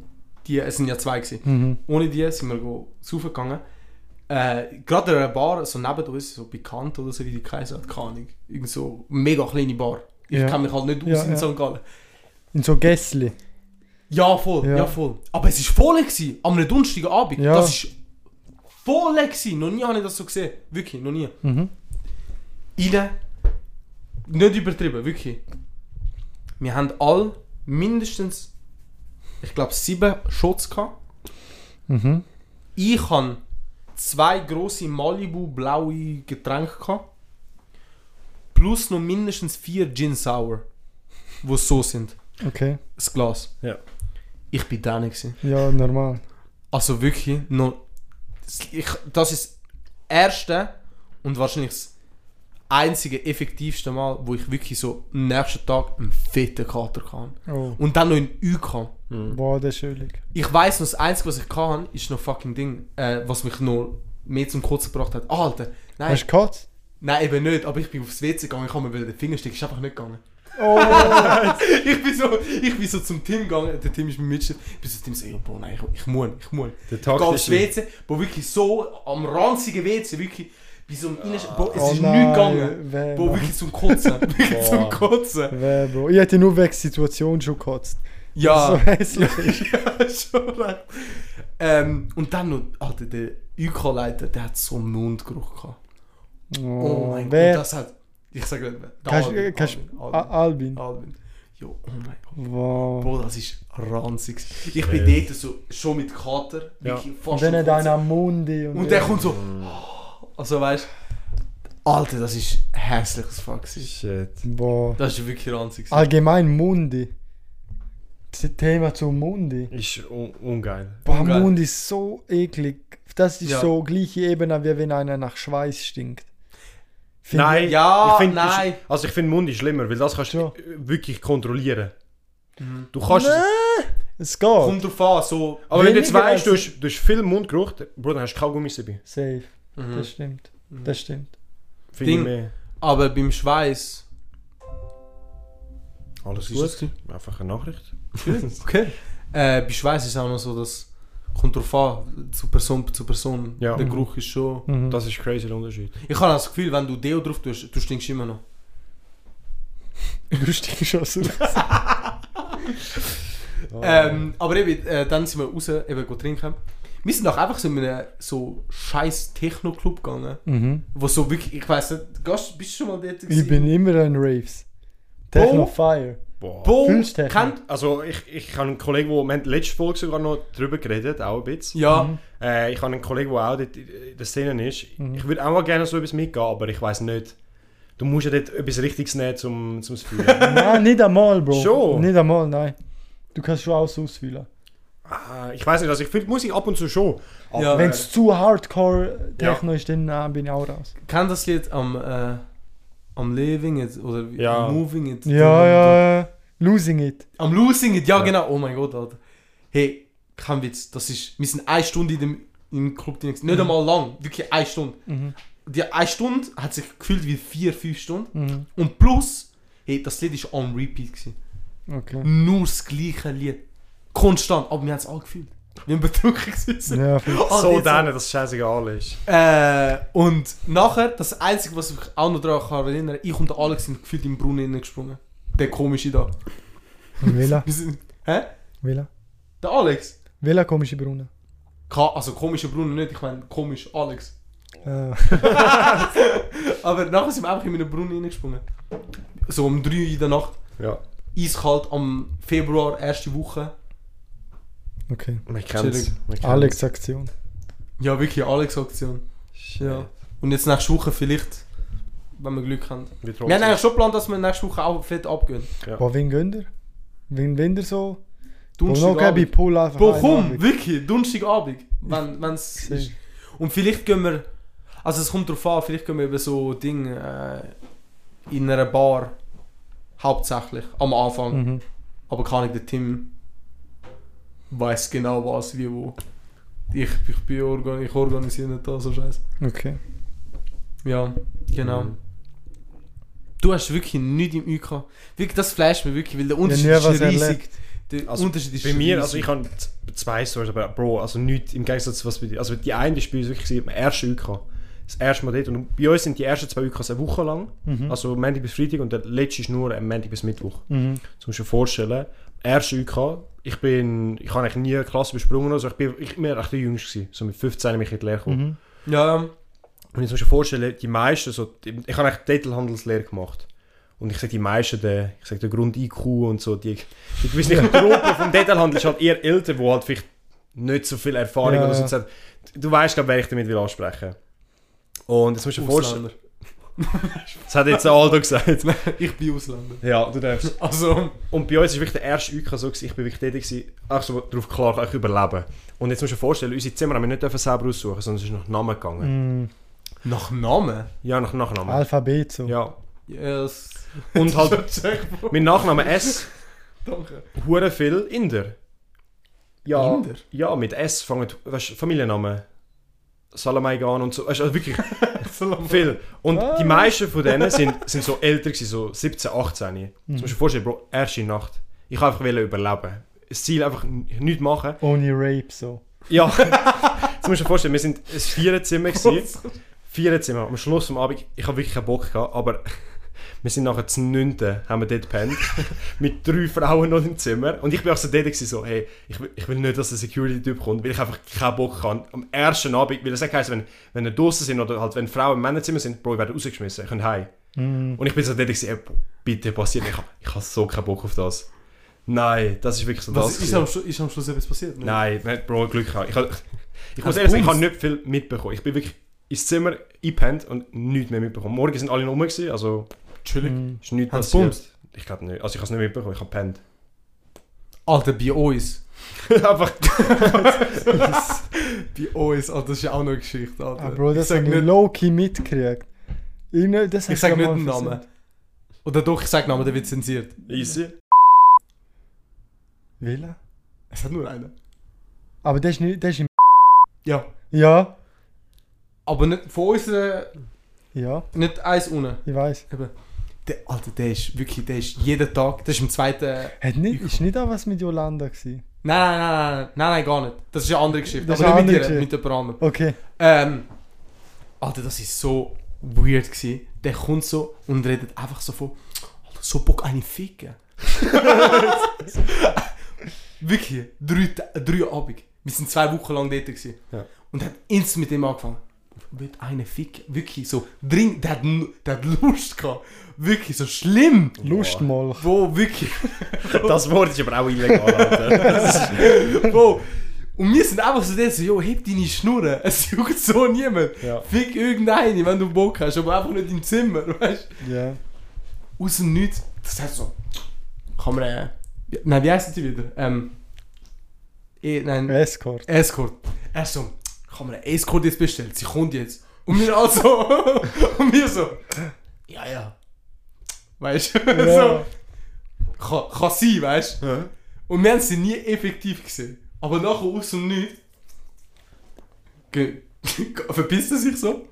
[SPEAKER 2] die, es sind ja zwei gewesen,
[SPEAKER 3] Mhm.
[SPEAKER 2] ohne die sind wir go saufen gegangen. Äh, Gerade in einer Bar, so neben uns, so bekannt oder so, wie die Kaiser hat, keine Ahnung. Irgend so mega kleine Bar. Ich
[SPEAKER 3] Ja.
[SPEAKER 2] kenne mich halt nicht aus
[SPEAKER 3] Ja,
[SPEAKER 2] in
[SPEAKER 3] ja.
[SPEAKER 2] St. Gallen.
[SPEAKER 3] In so Gässli.
[SPEAKER 2] Ja, voll, ja,
[SPEAKER 3] Ja.
[SPEAKER 2] voll. Aber es war voll gewesen, am einem Donnerstagabend. Abend.
[SPEAKER 3] Ja.
[SPEAKER 2] Das war voll gewesen. Noch nie habe ich das so gesehen. Wirklich, noch nie.
[SPEAKER 3] Mhm.
[SPEAKER 2] Rein. Nicht übertrieben, wirklich. Wir haben alle mindestens, ich glaube, sieben Shots gehabt.
[SPEAKER 3] Mhm.
[SPEAKER 2] Ich habe zwei große Malibu blaue Getränke gehabt. Plus noch mindestens vier Gin Sour, wo so sind.
[SPEAKER 3] Okay.
[SPEAKER 2] Das Glas.
[SPEAKER 1] Ja.
[SPEAKER 2] Ich bin da nicht gewesen.
[SPEAKER 3] Ja, normal.
[SPEAKER 2] Also wirklich, noch, das- ich, das ist das erste und wahrscheinlich das einzige effektivste Mal, wo ich wirklich so am nächsten Tag einen fetten Kater kam.
[SPEAKER 3] Oh.
[SPEAKER 2] Und dann noch in Ü kam.
[SPEAKER 3] Boah, der ist schuldig.
[SPEAKER 2] Ich weiß noch, das einzige, was ich kann, ist noch fucking Ding, äh, was mich noch mehr zum Kotzen gebracht hat. Ah, Alter, nein,
[SPEAKER 3] Hast du gekotzt?
[SPEAKER 2] nein, eben nicht, aber ich bin aufs WC gegangen, ich habe mir wieder den Finger stecken, ist einfach nicht gegangen.
[SPEAKER 3] Oh.
[SPEAKER 2] ich, bin so, ich bin so zum Team gegangen, der Team ist mein Mitschnitt, ich bin so zum Team so, ja, Bro, nein, ich, ich muss, ich muss.
[SPEAKER 1] Der
[SPEAKER 2] Geh aufs
[SPEAKER 1] taktische.
[SPEAKER 2] WC, wo wirklich so am ranzigen WC, wirklich, bei so einem Innensch- Bro, es
[SPEAKER 3] Oh
[SPEAKER 2] ist
[SPEAKER 3] nein,
[SPEAKER 2] nichts gegangen.
[SPEAKER 3] Wer,
[SPEAKER 2] Bro,
[SPEAKER 3] Mann.
[SPEAKER 2] wirklich zum Kotzen, wirklich zum
[SPEAKER 1] Boah.
[SPEAKER 2] Kotzen.
[SPEAKER 3] wer, Bro. Ich hätte nur wegen der Situation schon gekotzt.
[SPEAKER 2] Ja.
[SPEAKER 3] So hässlich.
[SPEAKER 2] ja, schon recht. Ähm, und dann noch, Alter, der UK-Leiter, der hat so einen Mundgeruch gehabt. Oh mein Gott,
[SPEAKER 3] wer,
[SPEAKER 2] das hat. Ich sag nicht mehr. Der
[SPEAKER 3] Kannst,
[SPEAKER 2] Alvin,
[SPEAKER 3] kannst,
[SPEAKER 2] Alvin,
[SPEAKER 3] A-
[SPEAKER 2] Alvin,
[SPEAKER 3] Albin.
[SPEAKER 2] Alvin. Jo, oh mein Gott.
[SPEAKER 3] Wow.
[SPEAKER 2] Bro, das ist ranzig. Ich bin dort so, schon mit Kater,
[SPEAKER 1] Ja.
[SPEAKER 2] wirklich
[SPEAKER 3] Und
[SPEAKER 2] fast
[SPEAKER 3] dann
[SPEAKER 2] am
[SPEAKER 3] hat
[SPEAKER 2] Kotzen.
[SPEAKER 3] einer am Mundi. Und,
[SPEAKER 2] Und der kommt so. Also weißt Alter, das ist hässliches Fuck. gewesen.
[SPEAKER 1] Shit.
[SPEAKER 3] Boah.
[SPEAKER 2] Das ist wirklich ranzig. gewesen.
[SPEAKER 3] Allgemein Mundi. Das Thema zu Mundi.
[SPEAKER 1] Ist un ungeil.
[SPEAKER 3] Boah,
[SPEAKER 2] Ungeil.
[SPEAKER 3] Mundi ist so eklig. Das ist
[SPEAKER 2] Ja.
[SPEAKER 3] so gleiche Ebene, wie wenn einer nach Schweiß stinkt. Find
[SPEAKER 1] Nein,
[SPEAKER 2] Ja,
[SPEAKER 1] ich find,
[SPEAKER 2] Ah, nein.
[SPEAKER 1] Ist, also ich finde Mund ist schlimmer, weil das kannst du
[SPEAKER 3] Ja.
[SPEAKER 1] wirklich kontrollieren.
[SPEAKER 2] Mhm.
[SPEAKER 1] Du kannst es,
[SPEAKER 3] Es geht.
[SPEAKER 2] Kommt drauf an, so.
[SPEAKER 1] aber wenn du jetzt
[SPEAKER 3] weniger
[SPEAKER 1] weißt, du
[SPEAKER 3] als-
[SPEAKER 1] hast, du hast viel Mundgeruch, dann- Bro, dann hast du Kaugummis dabei.
[SPEAKER 3] Safe.
[SPEAKER 2] Mhm.
[SPEAKER 3] Das stimmt. Das stimmt.
[SPEAKER 1] Finde ich
[SPEAKER 2] Ding.
[SPEAKER 1] mehr.
[SPEAKER 2] Aber beim Schweiß.
[SPEAKER 1] Alles
[SPEAKER 2] Was ist
[SPEAKER 1] gut. Einfach eine Nachricht.
[SPEAKER 2] Okay. Äh, bei Schweiß ist auch noch so, dass. Kommt drauf an, zu Person zu Person.
[SPEAKER 1] Ja.
[SPEAKER 2] Der
[SPEAKER 1] Mhm.
[SPEAKER 2] Geruch ist schon.
[SPEAKER 3] Mhm.
[SPEAKER 1] Das ist crazy der Unterschied.
[SPEAKER 2] Ich habe das Gefühl, wenn du Deo drauf tust, du stinkst immer noch.
[SPEAKER 3] Du stinkst schon so.
[SPEAKER 1] Ah.
[SPEAKER 2] Ähm, aber eben, äh, dann sind wir raus, eben go trinken. Wir sind doch einfach so in einen so scheiß Techno-Club gegangen.
[SPEAKER 3] mhm.
[SPEAKER 2] Wo so wirklich, ich weiß nicht, Gast, bist du schon mal dort
[SPEAKER 3] Ich bin immer an Raves.
[SPEAKER 2] Oh!
[SPEAKER 3] Techno Fire.
[SPEAKER 1] Boah.
[SPEAKER 2] Bo,
[SPEAKER 3] Filmstechnik.
[SPEAKER 2] kennt...
[SPEAKER 1] Also ich, ich habe einen Kollegen, wo, wir haben letzte Folge sogar noch drüber geredet, auch ein bisschen.
[SPEAKER 2] Ja,
[SPEAKER 3] Mhm.
[SPEAKER 1] Äh, ich habe einen Kollegen, der auch dort in der Szene ist.
[SPEAKER 2] Mhm.
[SPEAKER 1] Ich würde auch mal gerne so etwas mitgehen, aber ich weiß nicht. Du musst ja dort etwas Richtiges nehmen, um es zu fühlen.
[SPEAKER 3] Nein, nicht einmal, Bro.
[SPEAKER 1] Schon?
[SPEAKER 3] Nicht einmal, nein. Du kannst schon alles ausfüllen.
[SPEAKER 1] Ah, ich weiß nicht, also ich finde Musik ab und zu schon. Aber
[SPEAKER 2] Ja.
[SPEAKER 3] Wenn es zu hardcore Techno ist, dann nein, bin ich auch raus.
[SPEAKER 2] kennt das Lied am, äh, am Living It oder wie-
[SPEAKER 1] Ja.
[SPEAKER 2] am Moving It?
[SPEAKER 3] Ja, ja, ja. Losing it.
[SPEAKER 2] Am Losing It, ja, genau. Oh mein Gott, Alter. Hey, kein Witz, das ist... Wir sind eine Stunde in dem, im Club drin. gewesen. Nicht einmal lang, wirklich eine Stunde.
[SPEAKER 3] Mhm.
[SPEAKER 2] Die eine Stunde hat sich gefühlt wie vier, fünf Stunden.
[SPEAKER 3] Mhm.
[SPEAKER 2] Und plus, hey, das Lied ist on repeat gewesen.
[SPEAKER 3] Okay.
[SPEAKER 2] Nur das gleiche Lied. Konstant, aber wir haben es alle gefühlt. Wir haben betrunken gewesen.
[SPEAKER 3] Ja, voll.
[SPEAKER 2] Alter,
[SPEAKER 1] Oh, so
[SPEAKER 2] jetzt-
[SPEAKER 1] dann, dass es scheißegal ist.
[SPEAKER 2] Äh, und nachher, das Einzige, was ich mich auch noch daran kann erinnern ich und der Alex sind gefühlt im Brunnen hineingesprungen. Der komische da.
[SPEAKER 3] Villa,
[SPEAKER 2] Wir sind, hä?
[SPEAKER 3] Villa.
[SPEAKER 2] Der Alex?
[SPEAKER 3] Villa komische Brunnen.
[SPEAKER 2] Ka also komischer Brunnen nicht, ich meine komisch Alex.
[SPEAKER 3] Äh,
[SPEAKER 2] Aber nachher sind wir einfach in einen Brunnen hineingesprungen. So um 3 Uhr in der Nacht,
[SPEAKER 1] Ja,
[SPEAKER 2] eiskalt am Februar, erste Woche.
[SPEAKER 3] okay.
[SPEAKER 1] man kennt es.
[SPEAKER 2] Entschuldigung.
[SPEAKER 3] Alex Aktion.
[SPEAKER 2] Ja, wirklich Alex-Aktion.
[SPEAKER 1] Ja.
[SPEAKER 2] Ja. Und jetzt nächste Woche vielleicht, wenn wir Glück haben.
[SPEAKER 1] Wir
[SPEAKER 2] Wir haben
[SPEAKER 1] haben
[SPEAKER 2] eigentlich schon geplant, dass wir nächste Woche auch fett abgehen.
[SPEAKER 3] Boah, wen gönnt ihr? Wen gönnt ihr so? Und noch
[SPEAKER 2] Donnerstagabend.
[SPEAKER 3] gebe ich Pool einfach
[SPEAKER 2] Bro,
[SPEAKER 3] einen
[SPEAKER 2] komm,
[SPEAKER 3] Abend.
[SPEAKER 2] wirklich, Donnerstagabend, wenn es
[SPEAKER 3] Sehe.
[SPEAKER 2] ist. Und vielleicht gehen wir... Also es kommt drauf an, vielleicht können wir über so Dinge äh, in einer Bar hauptsächlich am Anfang.
[SPEAKER 3] Mhm.
[SPEAKER 2] Aber kann ich, der Tim weiß genau was, wie, wo. Ich, ich, bin organ ich organisiere nicht da so scheiße.
[SPEAKER 3] Okay.
[SPEAKER 2] Ja, genau.
[SPEAKER 1] Mhm.
[SPEAKER 2] Du hast wirklich nichts im UK. Wirklich, das flasht mir wirklich, weil der Unterschied
[SPEAKER 3] nie was
[SPEAKER 2] ist riesig.
[SPEAKER 3] erlebt.
[SPEAKER 2] Der
[SPEAKER 1] Also,
[SPEAKER 2] Unterschied ist
[SPEAKER 1] Bei mir,
[SPEAKER 2] riesig.
[SPEAKER 1] also ich habe z- zwei Stories, aber Bro, also nichts im Gegensatz zu was bei dir. Also die eine ist bei uns wirklich im ersten UK. Das erste Mal dort. Und bei uns sind die ersten zwei UKs eine Woche lang.
[SPEAKER 3] Mhm.
[SPEAKER 1] Also Montag bis Freitag und der letzte ist nur am Montag bis Mittwoch.
[SPEAKER 3] Mhm.
[SPEAKER 1] Das musst du dir vorstellen. Erste UK, ich bin, ich habe eigentlich nie eine Klasse besprungen. Also ich bin ich bin recht der Jüngste gewesen. So mit 15 bin ich in die Lehre gekommen.
[SPEAKER 3] Mhm.
[SPEAKER 2] Ja, ja.
[SPEAKER 1] Und jetzt musst du dir vorstellen, die meisten, so, die- ich habe eigentlich Detailhandelslehre gemacht. Und ich sage, die meisten, der, ich sage, der Grund-IQ und so, die, die gewisse Gruppe vom Detailhandel ist halt eher älter, die halt vielleicht nicht so viel Erfahrung
[SPEAKER 3] Ja,
[SPEAKER 1] oder so
[SPEAKER 3] ja.
[SPEAKER 1] hat. Du weißt, glaube ich, wer ich damit will ansprechen. Und jetzt musst du dir vorstellen,
[SPEAKER 2] Ausländer.
[SPEAKER 1] das hat jetzt Aldo gesagt.
[SPEAKER 2] Ich bin Ausländer.
[SPEAKER 1] Ja, du darfst.
[SPEAKER 2] Also,
[SPEAKER 1] Und bei uns war wirklich der erste UK so, gewesen, ich bin wirklich tätig, gewesen, ach so, darauf klar, ich überleben. Und jetzt musst du dir vorstellen, unsere Zimmer haben wir nicht dürfen selber aussuchen, sondern es ist nach Namen gegangen.
[SPEAKER 3] Mhm. Also.
[SPEAKER 2] nach Namen?
[SPEAKER 1] Ja, nach Nachnamen.
[SPEAKER 3] Alphabet so.
[SPEAKER 1] Ja.
[SPEAKER 2] Yes.
[SPEAKER 1] Und halt,
[SPEAKER 2] Danke.
[SPEAKER 1] mein Nachname S. hure viel Inder. Ja,
[SPEAKER 2] Inder?
[SPEAKER 1] ja mit S fangen, weißt du, Familienname. Salamaigan und so, weißt du, also wirklich viel. Und die meisten von denen sind, sind so älter gewesen, so 17, 18. Mhm. Das musst du dir vorstellen, Bro, erste Nacht. Ich wollte einfach wollen überleben. Das Ziel einfach n- nichts machen.
[SPEAKER 3] Ohne Rape so.
[SPEAKER 1] Ja, das musst du dir vorstellen, wir sind ein Vierenzimmer gewesen. Vierenzimmer, am Schluss vom Abend, ich habe wirklich keinen Bock gehabt, aber wir sind nachher zu nünden, haben wir dort gepennt, mit drei Frauen noch im Zimmer und ich bin auch so dort gewesen, so, hey, ich will, ich will nicht, dass der Security-Typ kommt, weil ich einfach keinen Bock habe, am ersten Abend, weil das sagt, heisst, wenn, wenn wir draussen sind oder halt, wenn Frauen im Männerzimmer sind, Bro, ich werde rausgeschmissen, ich kann heim.
[SPEAKER 3] Mhm.
[SPEAKER 1] Und ich bin so dort gewesen, ey, bitte passiert, nicht. ich habe ich hab so keinen Bock auf das. Nein, das ist wirklich so das.
[SPEAKER 2] Was ist
[SPEAKER 1] gewesen.
[SPEAKER 2] am, Schlu- ist am Schluss etwas passiert? ne?
[SPEAKER 1] Nein, man hat Bro Glück gehabt. Ich, hab- ich muss
[SPEAKER 2] Hast
[SPEAKER 1] ehrlich sagen, ich habe
[SPEAKER 2] Bums?
[SPEAKER 1] nicht viel mitbekommen. Ich bin wirklich ins Zimmer eingepennt und nichts mehr mitbekommen. Morgen sind alle noch rum, gewesen, also chillig.
[SPEAKER 3] Mhm.
[SPEAKER 1] Ist nichts
[SPEAKER 2] Haben sie
[SPEAKER 1] passiert.
[SPEAKER 2] bumst?
[SPEAKER 1] Ich glaube nicht. Also ich habe es nicht mitbekommen, ich habe gepennt.
[SPEAKER 2] Alter, bei uns.
[SPEAKER 1] Einfach.
[SPEAKER 2] Bei uns, Alter, das ist ja auch noch eine Geschichte, Alter.
[SPEAKER 3] Ah, Bro,
[SPEAKER 2] ich
[SPEAKER 3] das
[SPEAKER 2] sag
[SPEAKER 3] habe ich
[SPEAKER 2] nicht,
[SPEAKER 3] low-key mitgekriegt. Ich, ne- das hab
[SPEAKER 2] ich sag
[SPEAKER 3] schon
[SPEAKER 2] nicht
[SPEAKER 3] mal
[SPEAKER 2] den Namen.
[SPEAKER 3] versucht.
[SPEAKER 2] Oder doch, ich sag Namen, der wird zensiert.
[SPEAKER 1] Easy.
[SPEAKER 3] Welcher?
[SPEAKER 2] Es hat nur einen.
[SPEAKER 3] Aber der ist nicht, der ist im
[SPEAKER 2] Ja.
[SPEAKER 3] Ja,
[SPEAKER 2] Aber nicht von unserer,
[SPEAKER 3] ja,
[SPEAKER 2] nicht eins unten.
[SPEAKER 3] ich weiß.
[SPEAKER 2] Eben. Der, Alter, der ist wirklich, der ist jeden Tag, der ist im zweiten...
[SPEAKER 3] Hat nicht, ist nicht auch was mit Yolanda gewesen.
[SPEAKER 2] Nein, nein, nein, nein, nein, nein, gar nicht. Das ist eine andere Geschichte.
[SPEAKER 3] Das ist
[SPEAKER 2] Aber
[SPEAKER 3] eine
[SPEAKER 2] nicht mit
[SPEAKER 3] andere
[SPEAKER 2] dir, mit jemand anderem.
[SPEAKER 3] Okay.
[SPEAKER 2] Ähm, Alter, das ist so weird gewesen. Der kommt so und redet einfach so von, Alter, so Bock eine Ficken. Wirklich, drei, Ta- drei Abend. Wir sind zwei Wochen lang dort gewesen.
[SPEAKER 1] Ja.
[SPEAKER 2] Und hat ins mit dem angefangen. Wird eine Ficken. Wirklich, so dringend, der hat, nu- der hat Lust gehabt. Wirklich, so schlimm.
[SPEAKER 3] Lustmolch.
[SPEAKER 2] Wo, wirklich.
[SPEAKER 1] Das Wort ist aber auch illegal, Alter.
[SPEAKER 2] Bro. Und wir sind einfach so der so, jo, heb deine Schnurre, es juckt so niemand.
[SPEAKER 1] Ja.
[SPEAKER 2] Fick irgendeine, wenn du Bock hast, aber einfach nicht im Zimmer, weißt
[SPEAKER 3] Ja.
[SPEAKER 2] du? Aus dem Nichts, das heißt so, kann man, äh, wie- nein, wie heißen die wieder? Ähm, eh, nein,
[SPEAKER 3] Escort.
[SPEAKER 2] Escort. Er so, kann man einen Escort jetzt bestellen, sie kommt jetzt. Und wir also, und wir so, ja, ja. Weißt du, so,
[SPEAKER 3] Ja.
[SPEAKER 2] kann, kann sein, weißt du? Und wir haben sie nie effektiv gesehen. Aber nachher aus dem Nichts ge- verpisst er sich so.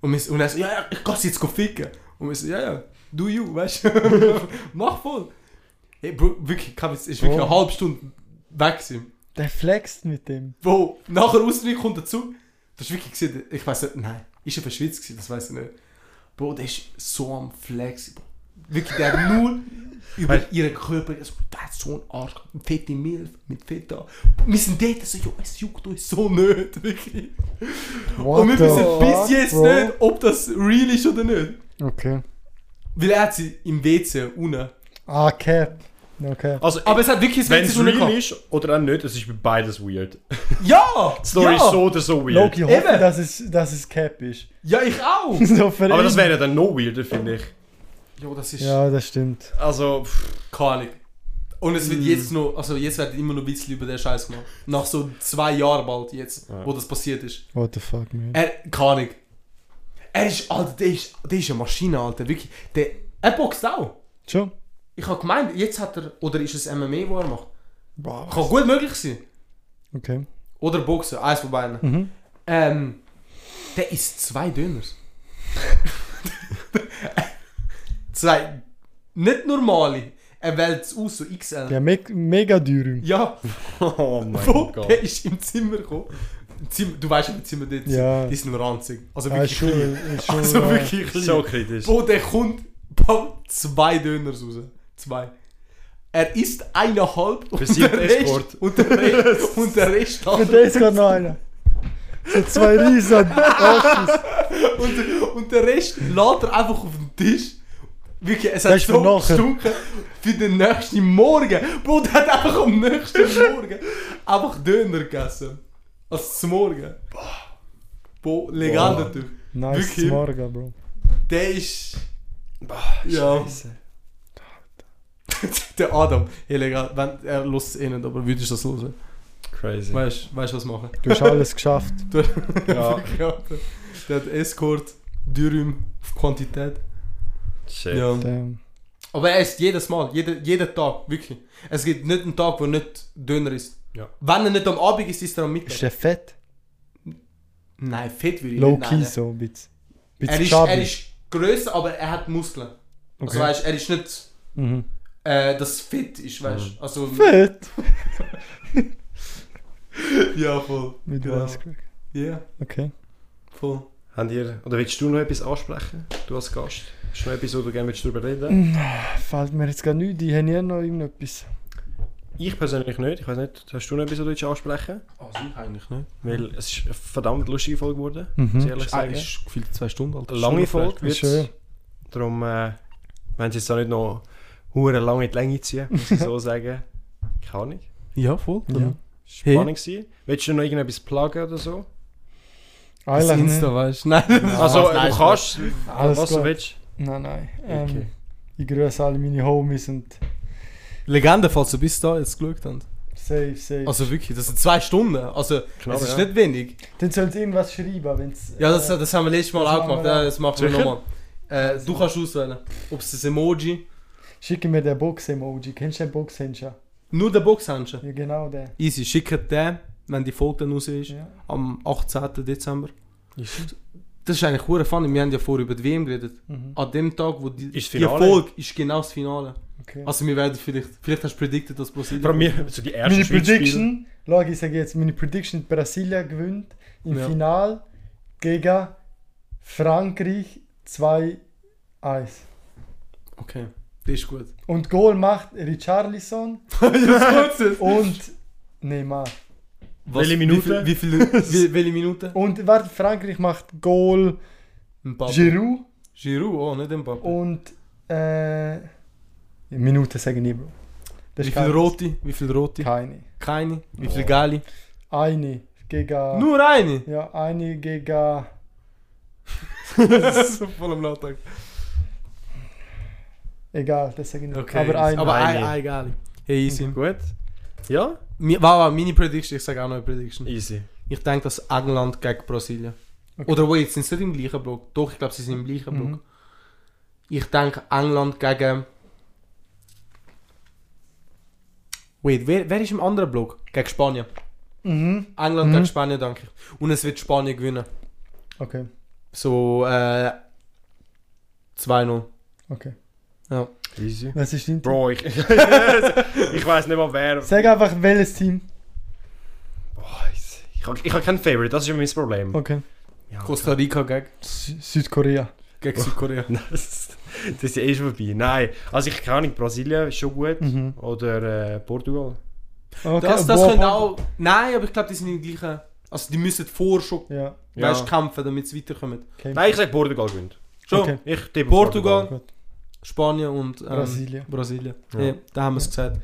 [SPEAKER 2] Und, wir, so- und er so, ja, ja, ich kann sie jetzt go ficken. Und wir so, ja, ja, do you, weißt du. Mach voll. Hey, Bro, wirklich, kein Witz, ist wirklich
[SPEAKER 3] Oh.
[SPEAKER 2] eine halbe Stunde weg gewesen.
[SPEAKER 3] Der flext mit dem.
[SPEAKER 2] Wo nachher aus dem Nichts kommt dazu. Das ist wirklich gesehen, ich weiß nicht, nein, ist er verschwitzt gewesen, das weiß ich nicht. Bro, der ist so am Flex. Wirklich, der hat nur über ihren Körper, also, der hat so einen Arsch, eine fette Milf mit Feta. Wir sind dort so, jo, es juckt uns so nicht, wirklich.
[SPEAKER 3] What
[SPEAKER 2] Und wir
[SPEAKER 3] the
[SPEAKER 2] wissen
[SPEAKER 3] fuck,
[SPEAKER 2] bis jetzt
[SPEAKER 3] Bro?
[SPEAKER 2] nicht, ob das real ist oder nicht.
[SPEAKER 3] Okay.
[SPEAKER 2] Weil er hat sie im WC unten.
[SPEAKER 3] Ah, Cap. Okay.
[SPEAKER 1] Also,
[SPEAKER 2] Aber es hat wirklich das
[SPEAKER 1] wenn
[SPEAKER 2] WC
[SPEAKER 1] es
[SPEAKER 2] unten
[SPEAKER 1] real
[SPEAKER 2] gehabt.
[SPEAKER 1] ist oder auch nicht, es ist bei beides weird.
[SPEAKER 2] Ja!
[SPEAKER 1] Die Story
[SPEAKER 2] ja.
[SPEAKER 1] ist so oder so weird.
[SPEAKER 3] Loki hoffe,
[SPEAKER 2] Eben.
[SPEAKER 3] dass es, dass es Cap ist.
[SPEAKER 2] Ja, ich auch!
[SPEAKER 3] so für
[SPEAKER 1] Aber
[SPEAKER 3] ihn.
[SPEAKER 1] das wäre dann noch weirder, finde ich.
[SPEAKER 2] Jo, das ist...
[SPEAKER 3] Ja, das stimmt.
[SPEAKER 1] Also, pff,
[SPEAKER 2] Keine Ahnung. Und es wird jetzt noch, also jetzt wird immer noch Witzel über den Scheiß gemacht. Nach so zwei Jahren bald jetzt,
[SPEAKER 1] Ja.
[SPEAKER 2] wo das passiert ist.
[SPEAKER 3] What the fuck, man.
[SPEAKER 2] Er, keine Ahnung. Er ist, Alter, der ist, der ist eine Maschine, Alter, wirklich. Der, er boxt auch.
[SPEAKER 3] Schon?
[SPEAKER 2] Ich habe gemeint, jetzt hat er, oder ist es MMA, wo er macht?
[SPEAKER 3] Wow.
[SPEAKER 2] Kann gut möglich sein.
[SPEAKER 3] Okay.
[SPEAKER 2] Oder Boxen, eins von beiden.
[SPEAKER 3] Mhm.
[SPEAKER 2] Ähm, der isst zwei Döners. zwei nicht normale. Er wählt es aus, so XL. Ja.
[SPEAKER 3] Ja, me mega dürüm.
[SPEAKER 1] Oh
[SPEAKER 2] wo?
[SPEAKER 1] mein Gott.
[SPEAKER 2] Der ist im Zimmer gekommen. Im Zimmer, du weißt im Zimmer dort.
[SPEAKER 3] Ja.
[SPEAKER 2] Die sind ranzig. Also
[SPEAKER 3] Ja, Ah, ist
[SPEAKER 2] wirklich
[SPEAKER 3] schon,
[SPEAKER 2] klein.
[SPEAKER 3] ist schon
[SPEAKER 2] Also
[SPEAKER 3] äh,
[SPEAKER 2] wirklich klein.
[SPEAKER 1] So kritisch.
[SPEAKER 2] Wo der kommt, baut zwei Döners raus. Zwei. Er isst eineinhalb und
[SPEAKER 1] Besiegt
[SPEAKER 2] der, Rest,
[SPEAKER 1] Escort.
[SPEAKER 2] und der Rest, und der Rest,
[SPEAKER 3] Für den ist gerade noch einer. So zwei riesen Arschis.
[SPEAKER 2] Und, und den Rest lädt er einfach auf den Tisch. Wirklich, es
[SPEAKER 3] Das
[SPEAKER 2] hat
[SPEAKER 3] ist
[SPEAKER 2] so
[SPEAKER 3] für nachher.
[SPEAKER 2] gestunken für den nächsten Morgen. Bro, der hat einfach am nächsten Morgen einfach Döner gegessen. Als zum Morgen. Boah, Legende, Typ.
[SPEAKER 3] Nice
[SPEAKER 2] Wirklich.
[SPEAKER 3] Morgen, Bro.
[SPEAKER 2] Der ist... ja. der Adam. Illegal. Wenn, er lässt es eh nicht, aber würdest du das hören?
[SPEAKER 1] Crazy.
[SPEAKER 2] Weißt du, was machen?
[SPEAKER 3] Du hast alles geschafft.
[SPEAKER 1] Ja,
[SPEAKER 2] Ja. Der hat Escort, Dürüm, auf Quantität.
[SPEAKER 1] shit.
[SPEAKER 3] Damn.
[SPEAKER 2] Aber er isst jedes Mal, jede, jeden Tag, wirklich. Es gibt nicht einen Tag, wo er nicht Döner ist.
[SPEAKER 1] Ja.
[SPEAKER 2] Wenn er nicht am Abend ist, ist er am Mittag.
[SPEAKER 3] Ist der fett?
[SPEAKER 2] Nein, fett würde ich nicht
[SPEAKER 3] Low-key
[SPEAKER 2] nennen.
[SPEAKER 3] so ein bisschen.
[SPEAKER 2] Er
[SPEAKER 3] Bisschen
[SPEAKER 2] ist, er
[SPEAKER 3] schabig.
[SPEAKER 2] ist grösser, aber er hat Muskeln. Also
[SPEAKER 3] Okay.
[SPEAKER 2] weißt, er ist nicht,
[SPEAKER 3] Mhm.
[SPEAKER 2] äh, dass fit ist, weißt du. Also,
[SPEAKER 3] Fett?
[SPEAKER 2] ja, voll.
[SPEAKER 3] Mit
[SPEAKER 2] Genau.
[SPEAKER 3] Rice Crack.
[SPEAKER 2] Ja,
[SPEAKER 3] Okay.
[SPEAKER 2] voll.
[SPEAKER 1] Habt ihr, oder willst du noch etwas ansprechen? Du als Gast? Hast du noch etwas, wo du gerne willst darüber reden
[SPEAKER 3] Mm, Fällt mir jetzt gar nichts. Ich habe noch irgendetwas.
[SPEAKER 1] Ich persönlich nicht. Ich weiß nicht, hast du noch etwas, wo du willst ansprechen
[SPEAKER 2] Also ich eigentlich nicht.
[SPEAKER 1] Weil es ist eine verdammt lustige Folge geworden,
[SPEAKER 3] Mhm.
[SPEAKER 1] muss ich ehrlich
[SPEAKER 2] Ist, ah,
[SPEAKER 1] sagen.
[SPEAKER 2] ist gefühlt zwei Stunden alt.
[SPEAKER 1] Eine lange Folge
[SPEAKER 3] Ist
[SPEAKER 1] wird
[SPEAKER 3] schön.
[SPEAKER 1] Darum, äh, wenn sie jetzt da nicht noch hure lange in die Länge ziehen, muss ich so sagen. Keine Ahnung.
[SPEAKER 2] Ja, voll.
[SPEAKER 3] Ja.
[SPEAKER 1] Spannend gewesen. Willst du noch irgendetwas pluggen oder so?
[SPEAKER 2] Das
[SPEAKER 3] Eigentlich
[SPEAKER 2] Insta,
[SPEAKER 3] nicht.
[SPEAKER 2] weißt du. Nein.
[SPEAKER 3] Ah,
[SPEAKER 1] also,
[SPEAKER 2] nein,
[SPEAKER 1] du
[SPEAKER 2] nein.
[SPEAKER 1] kannst,
[SPEAKER 3] Alles
[SPEAKER 1] was du
[SPEAKER 3] gut.
[SPEAKER 1] willst.
[SPEAKER 3] Nein, nein. Ähm,
[SPEAKER 1] Okay.
[SPEAKER 3] Ich grüße alle meine Homies und
[SPEAKER 2] Legende, falls du bis da jetzt geschaut hast.
[SPEAKER 3] safe, safe.
[SPEAKER 2] Also wirklich, das sind zwei Stunden. Also,
[SPEAKER 1] Knapp,
[SPEAKER 2] es ist
[SPEAKER 1] ja.
[SPEAKER 2] nicht wenig.
[SPEAKER 3] Dann sollen sie irgendwas schreiben, äh, wenn es...
[SPEAKER 2] Ja, das, das haben wir letztes Mal
[SPEAKER 3] das
[SPEAKER 2] auch
[SPEAKER 3] machen wir
[SPEAKER 2] gemacht. Ja,
[SPEAKER 3] auch.
[SPEAKER 2] das machen wir
[SPEAKER 1] Sicher?
[SPEAKER 2] nochmal. Äh, du kannst auswählen. Ob es ein Emoji,
[SPEAKER 3] Schicke mir den Box-Emoji. Kennst du den Box-Händchen?
[SPEAKER 2] nur der Boxhandschuh.
[SPEAKER 3] Ja, genau den.
[SPEAKER 2] Easy, schickt den, wenn die Folge dann raus ist,
[SPEAKER 3] Ja.
[SPEAKER 2] am 18. Dezember. Das ist eigentlich hure funny. Wir haben ja vorher über die WM geredet.
[SPEAKER 3] Mhm.
[SPEAKER 2] An dem Tag, wo die,
[SPEAKER 1] Ist
[SPEAKER 2] die
[SPEAKER 1] Finale.
[SPEAKER 2] Folge ist genau das Finale.
[SPEAKER 3] Okay.
[SPEAKER 2] Also wir werden vielleicht, vielleicht hast du predicted, dass Brasilien...
[SPEAKER 1] Vor allem, wir- so die ersten
[SPEAKER 3] meine
[SPEAKER 1] Schweizspiele-
[SPEAKER 3] Prediction... Schau, ich sage jetzt, meine Prediction, Brasilien gewinnt im
[SPEAKER 2] Ja.
[SPEAKER 3] Final gegen Frankreich 2-1.
[SPEAKER 2] Okay, das ist gut.
[SPEAKER 3] Und Goal macht Richarlison
[SPEAKER 2] das ist gut.
[SPEAKER 3] und Neymar.
[SPEAKER 2] Was-
[SPEAKER 1] Welche Minute?
[SPEAKER 2] Wie viel, wie viel, wie, welche Minute?
[SPEAKER 3] Und warte, Frankreich macht Goal
[SPEAKER 2] Mbappé.
[SPEAKER 3] Giroud
[SPEAKER 2] Giroud, oh, nicht Mbappé.
[SPEAKER 3] und äh, Minute sage ich nicht, Bro. Das
[SPEAKER 2] Wie
[SPEAKER 3] ist
[SPEAKER 2] viel
[SPEAKER 3] keine-
[SPEAKER 2] Rote? Wie viel Rote?
[SPEAKER 3] Keine.
[SPEAKER 2] Keine. Wie viel Gali?
[SPEAKER 3] Eine gegen.
[SPEAKER 2] Nur eine?
[SPEAKER 3] Ja, eine gegen.
[SPEAKER 2] Das ist voll am Nachtrag.
[SPEAKER 3] Ah, Egal, das sage ich nicht.
[SPEAKER 2] Okay.
[SPEAKER 3] aber eine.
[SPEAKER 2] Aber
[SPEAKER 1] Eine.
[SPEAKER 2] eine, eine egal. Hey,
[SPEAKER 3] Mm.
[SPEAKER 2] easy.
[SPEAKER 1] Gut. Ja?
[SPEAKER 2] Mi- Wow, wow, meine Prediction, ich sage auch noch eine Prediction.
[SPEAKER 1] Easy.
[SPEAKER 2] Ich denke, dass England gegen Brasilien.
[SPEAKER 3] Okay.
[SPEAKER 2] Oder wo jetzt sind sie nicht im gleichen Block. Doch, ich glaube, sie sind im gleichen Block.
[SPEAKER 3] Mhm.
[SPEAKER 2] Ich denke, England gegen. Wait, wer, wer ist im anderen Block? Gegen Spanien.
[SPEAKER 3] Mhm.
[SPEAKER 2] England
[SPEAKER 3] Mhm.
[SPEAKER 2] gegen Spanien, denke ich. Und es wird Spanien gewinnen.
[SPEAKER 3] Okay,
[SPEAKER 2] So, äh. 2-0.
[SPEAKER 3] okay.
[SPEAKER 1] Easy.
[SPEAKER 3] Was ist dein Team?
[SPEAKER 1] Bro, ich, ich weiß nicht mal wer.
[SPEAKER 3] Sag einfach welches Team.
[SPEAKER 1] Boah, ich ich habe ich hab kein Favorite, das ist ja mein Problem.
[SPEAKER 3] Okay.
[SPEAKER 1] Ja,
[SPEAKER 2] Costa Rica gegen,
[SPEAKER 3] Sü Südkorea.
[SPEAKER 2] gegen Südkorea.
[SPEAKER 1] Das, das ist ja eh schon vorbei. Nein, also ich keine Ahnung, Brasilien ist schon gut.
[SPEAKER 3] Mhm.
[SPEAKER 1] Oder äh, Portugal.
[SPEAKER 3] Okay.
[SPEAKER 2] Das, das
[SPEAKER 3] boah,
[SPEAKER 2] können
[SPEAKER 3] boah.
[SPEAKER 2] auch. Nein, aber ich glaube, die sind im gleichen. Also die müssen vor schon
[SPEAKER 3] Ja.
[SPEAKER 1] Ja.
[SPEAKER 2] weißt, kämpfen, damit sie weiterkommen.
[SPEAKER 3] Okay.
[SPEAKER 1] Nein, ich sage Portugal gewinnt.
[SPEAKER 2] Schon.
[SPEAKER 3] Okay.
[SPEAKER 1] Ich tippe
[SPEAKER 2] Portugal,
[SPEAKER 3] Gut.
[SPEAKER 2] Spanien und ähm,
[SPEAKER 3] Brasilien.
[SPEAKER 2] Brasilien.
[SPEAKER 1] Ja.
[SPEAKER 2] Hey, da haben wir es gesagt.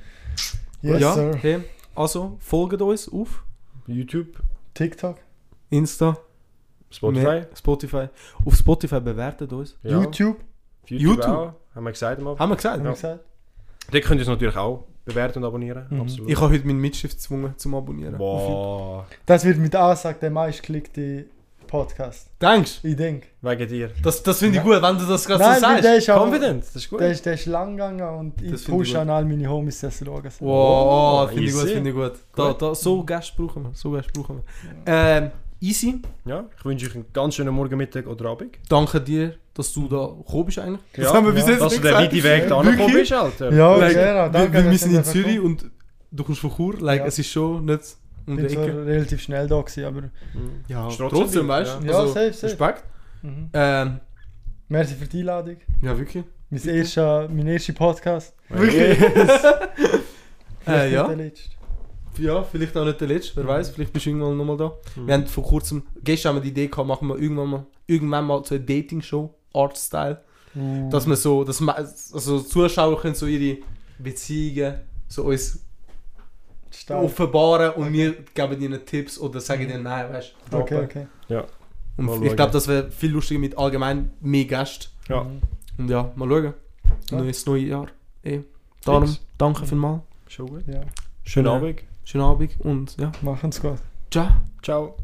[SPEAKER 3] Yes,
[SPEAKER 2] ja,
[SPEAKER 3] sir.
[SPEAKER 2] Hey, also folgt uns auf
[SPEAKER 1] YouTube,
[SPEAKER 3] TikTok,
[SPEAKER 2] Insta,
[SPEAKER 1] Spotify.
[SPEAKER 2] mehr- Spotify. Auf Spotify bewertet uns.
[SPEAKER 1] Ja.
[SPEAKER 3] YouTube,
[SPEAKER 1] YouTube,
[SPEAKER 2] YouTube.
[SPEAKER 1] auch. Haben wir gesagt mal.
[SPEAKER 2] Haben wir gesagt?
[SPEAKER 3] haben wir
[SPEAKER 1] Ja.
[SPEAKER 3] gesagt.
[SPEAKER 1] Dort könnt ihr es natürlich auch bewerten und abonnieren.
[SPEAKER 3] Mhm.
[SPEAKER 1] Absolut.
[SPEAKER 2] Ich habe heute meinen Mitschrift gezwungen zum Abonnieren.
[SPEAKER 1] Boah.
[SPEAKER 3] Das wird mit Ansage der meistgeklickte Podcast.
[SPEAKER 2] Denkst
[SPEAKER 3] Ich denke.
[SPEAKER 1] Wegen dir.
[SPEAKER 2] Das, das finde ich gut, wenn du das gerade so
[SPEAKER 3] Nein, weil
[SPEAKER 2] sagst.
[SPEAKER 3] der ist auch,
[SPEAKER 1] Confident, das ist gut.
[SPEAKER 3] der ist, der ist lang gegangen und
[SPEAKER 2] Das
[SPEAKER 3] ich
[SPEAKER 2] finde ich
[SPEAKER 3] pushe
[SPEAKER 2] gut.
[SPEAKER 3] an all meine Homies, dass sie schauen.
[SPEAKER 2] Wow,
[SPEAKER 1] Oh,
[SPEAKER 2] finde ich gut,
[SPEAKER 1] easy.
[SPEAKER 2] finde ich gut. Da,
[SPEAKER 1] Gut.
[SPEAKER 2] da, so Gäste brauchen wir, so Gäste brauchen wir. Ähm, easy,
[SPEAKER 1] Ja, ich wünsche euch einen ganz schönen Morgen, Mittag oder Abend.
[SPEAKER 2] danke dir, dass du da gekommen bist eigentlich.
[SPEAKER 1] Ja,
[SPEAKER 2] Das haben wir bis
[SPEAKER 3] ja.
[SPEAKER 2] jetzt
[SPEAKER 1] Dass du
[SPEAKER 2] nicht
[SPEAKER 1] den
[SPEAKER 2] gesagt.
[SPEAKER 1] weiten Weg da angekommen
[SPEAKER 2] Wirklich?
[SPEAKER 1] bist, Alter.
[SPEAKER 3] Ja,
[SPEAKER 2] Like,
[SPEAKER 3] genau. Danke,
[SPEAKER 2] wir,
[SPEAKER 3] dass
[SPEAKER 2] wir
[SPEAKER 3] ihr
[SPEAKER 2] sind in
[SPEAKER 3] dürfen
[SPEAKER 2] Zürich
[SPEAKER 3] kommen.
[SPEAKER 2] und du kommst von Chur, like,
[SPEAKER 3] Ja.
[SPEAKER 2] es ist schon nicht um
[SPEAKER 3] Ich
[SPEAKER 2] die
[SPEAKER 3] bin
[SPEAKER 2] Ecke.
[SPEAKER 3] zwar relativ schnell da gewesen, aber...
[SPEAKER 1] Mm.
[SPEAKER 2] Ja,
[SPEAKER 1] Ist trotzdem
[SPEAKER 2] trotzdem,
[SPEAKER 1] weit,
[SPEAKER 2] weißt du? Also,
[SPEAKER 3] Ja, safe, safe.
[SPEAKER 2] Respekt.
[SPEAKER 3] Mhm.
[SPEAKER 2] Ähm,
[SPEAKER 3] Merci für die Einladung.
[SPEAKER 2] ja, wirklich.
[SPEAKER 3] Mein erster, mein erster Podcast.
[SPEAKER 1] Wirklich?
[SPEAKER 2] Äh,
[SPEAKER 3] Vielleicht
[SPEAKER 2] ja.
[SPEAKER 3] nicht der letzte.
[SPEAKER 2] ja, vielleicht auch nicht der letzte,
[SPEAKER 1] Mhm.
[SPEAKER 2] wer weiß, vielleicht bist du irgendwann nochmal da. Wir haben vor kurzem, gestern haben wir die Idee gehabt, machen wir irgendwann mal, irgendwann mal so eine Dating-Show, Art-Style.
[SPEAKER 1] Mhm.
[SPEAKER 2] Dass man so, dass man, also Zuschauer können so ihre Beziehungen so uns
[SPEAKER 3] Stark.
[SPEAKER 2] Oh, offenbaren und wir geben ihnen Tipps oder sagen ihnen nein, weißt du.
[SPEAKER 3] Okay, okay.
[SPEAKER 2] Und
[SPEAKER 1] Mhm. Mal
[SPEAKER 2] ich
[SPEAKER 1] schauen.
[SPEAKER 2] glaube, das wäre viel lustiger mit allgemein mehr Gästen.
[SPEAKER 1] Ja.
[SPEAKER 3] Mhm.
[SPEAKER 2] Und ja, mal schauen.
[SPEAKER 3] Ja.
[SPEAKER 2] Neues neue Jahr. Eh. Darum,
[SPEAKER 1] Fix. Mhm.
[SPEAKER 2] danke vielmals.
[SPEAKER 1] Schon gut.
[SPEAKER 3] Ja,
[SPEAKER 1] Schönen
[SPEAKER 2] Ja.
[SPEAKER 1] Abend.
[SPEAKER 2] Schönen Abend und ja,
[SPEAKER 3] machen's gut.
[SPEAKER 2] ciao.
[SPEAKER 1] Ciao.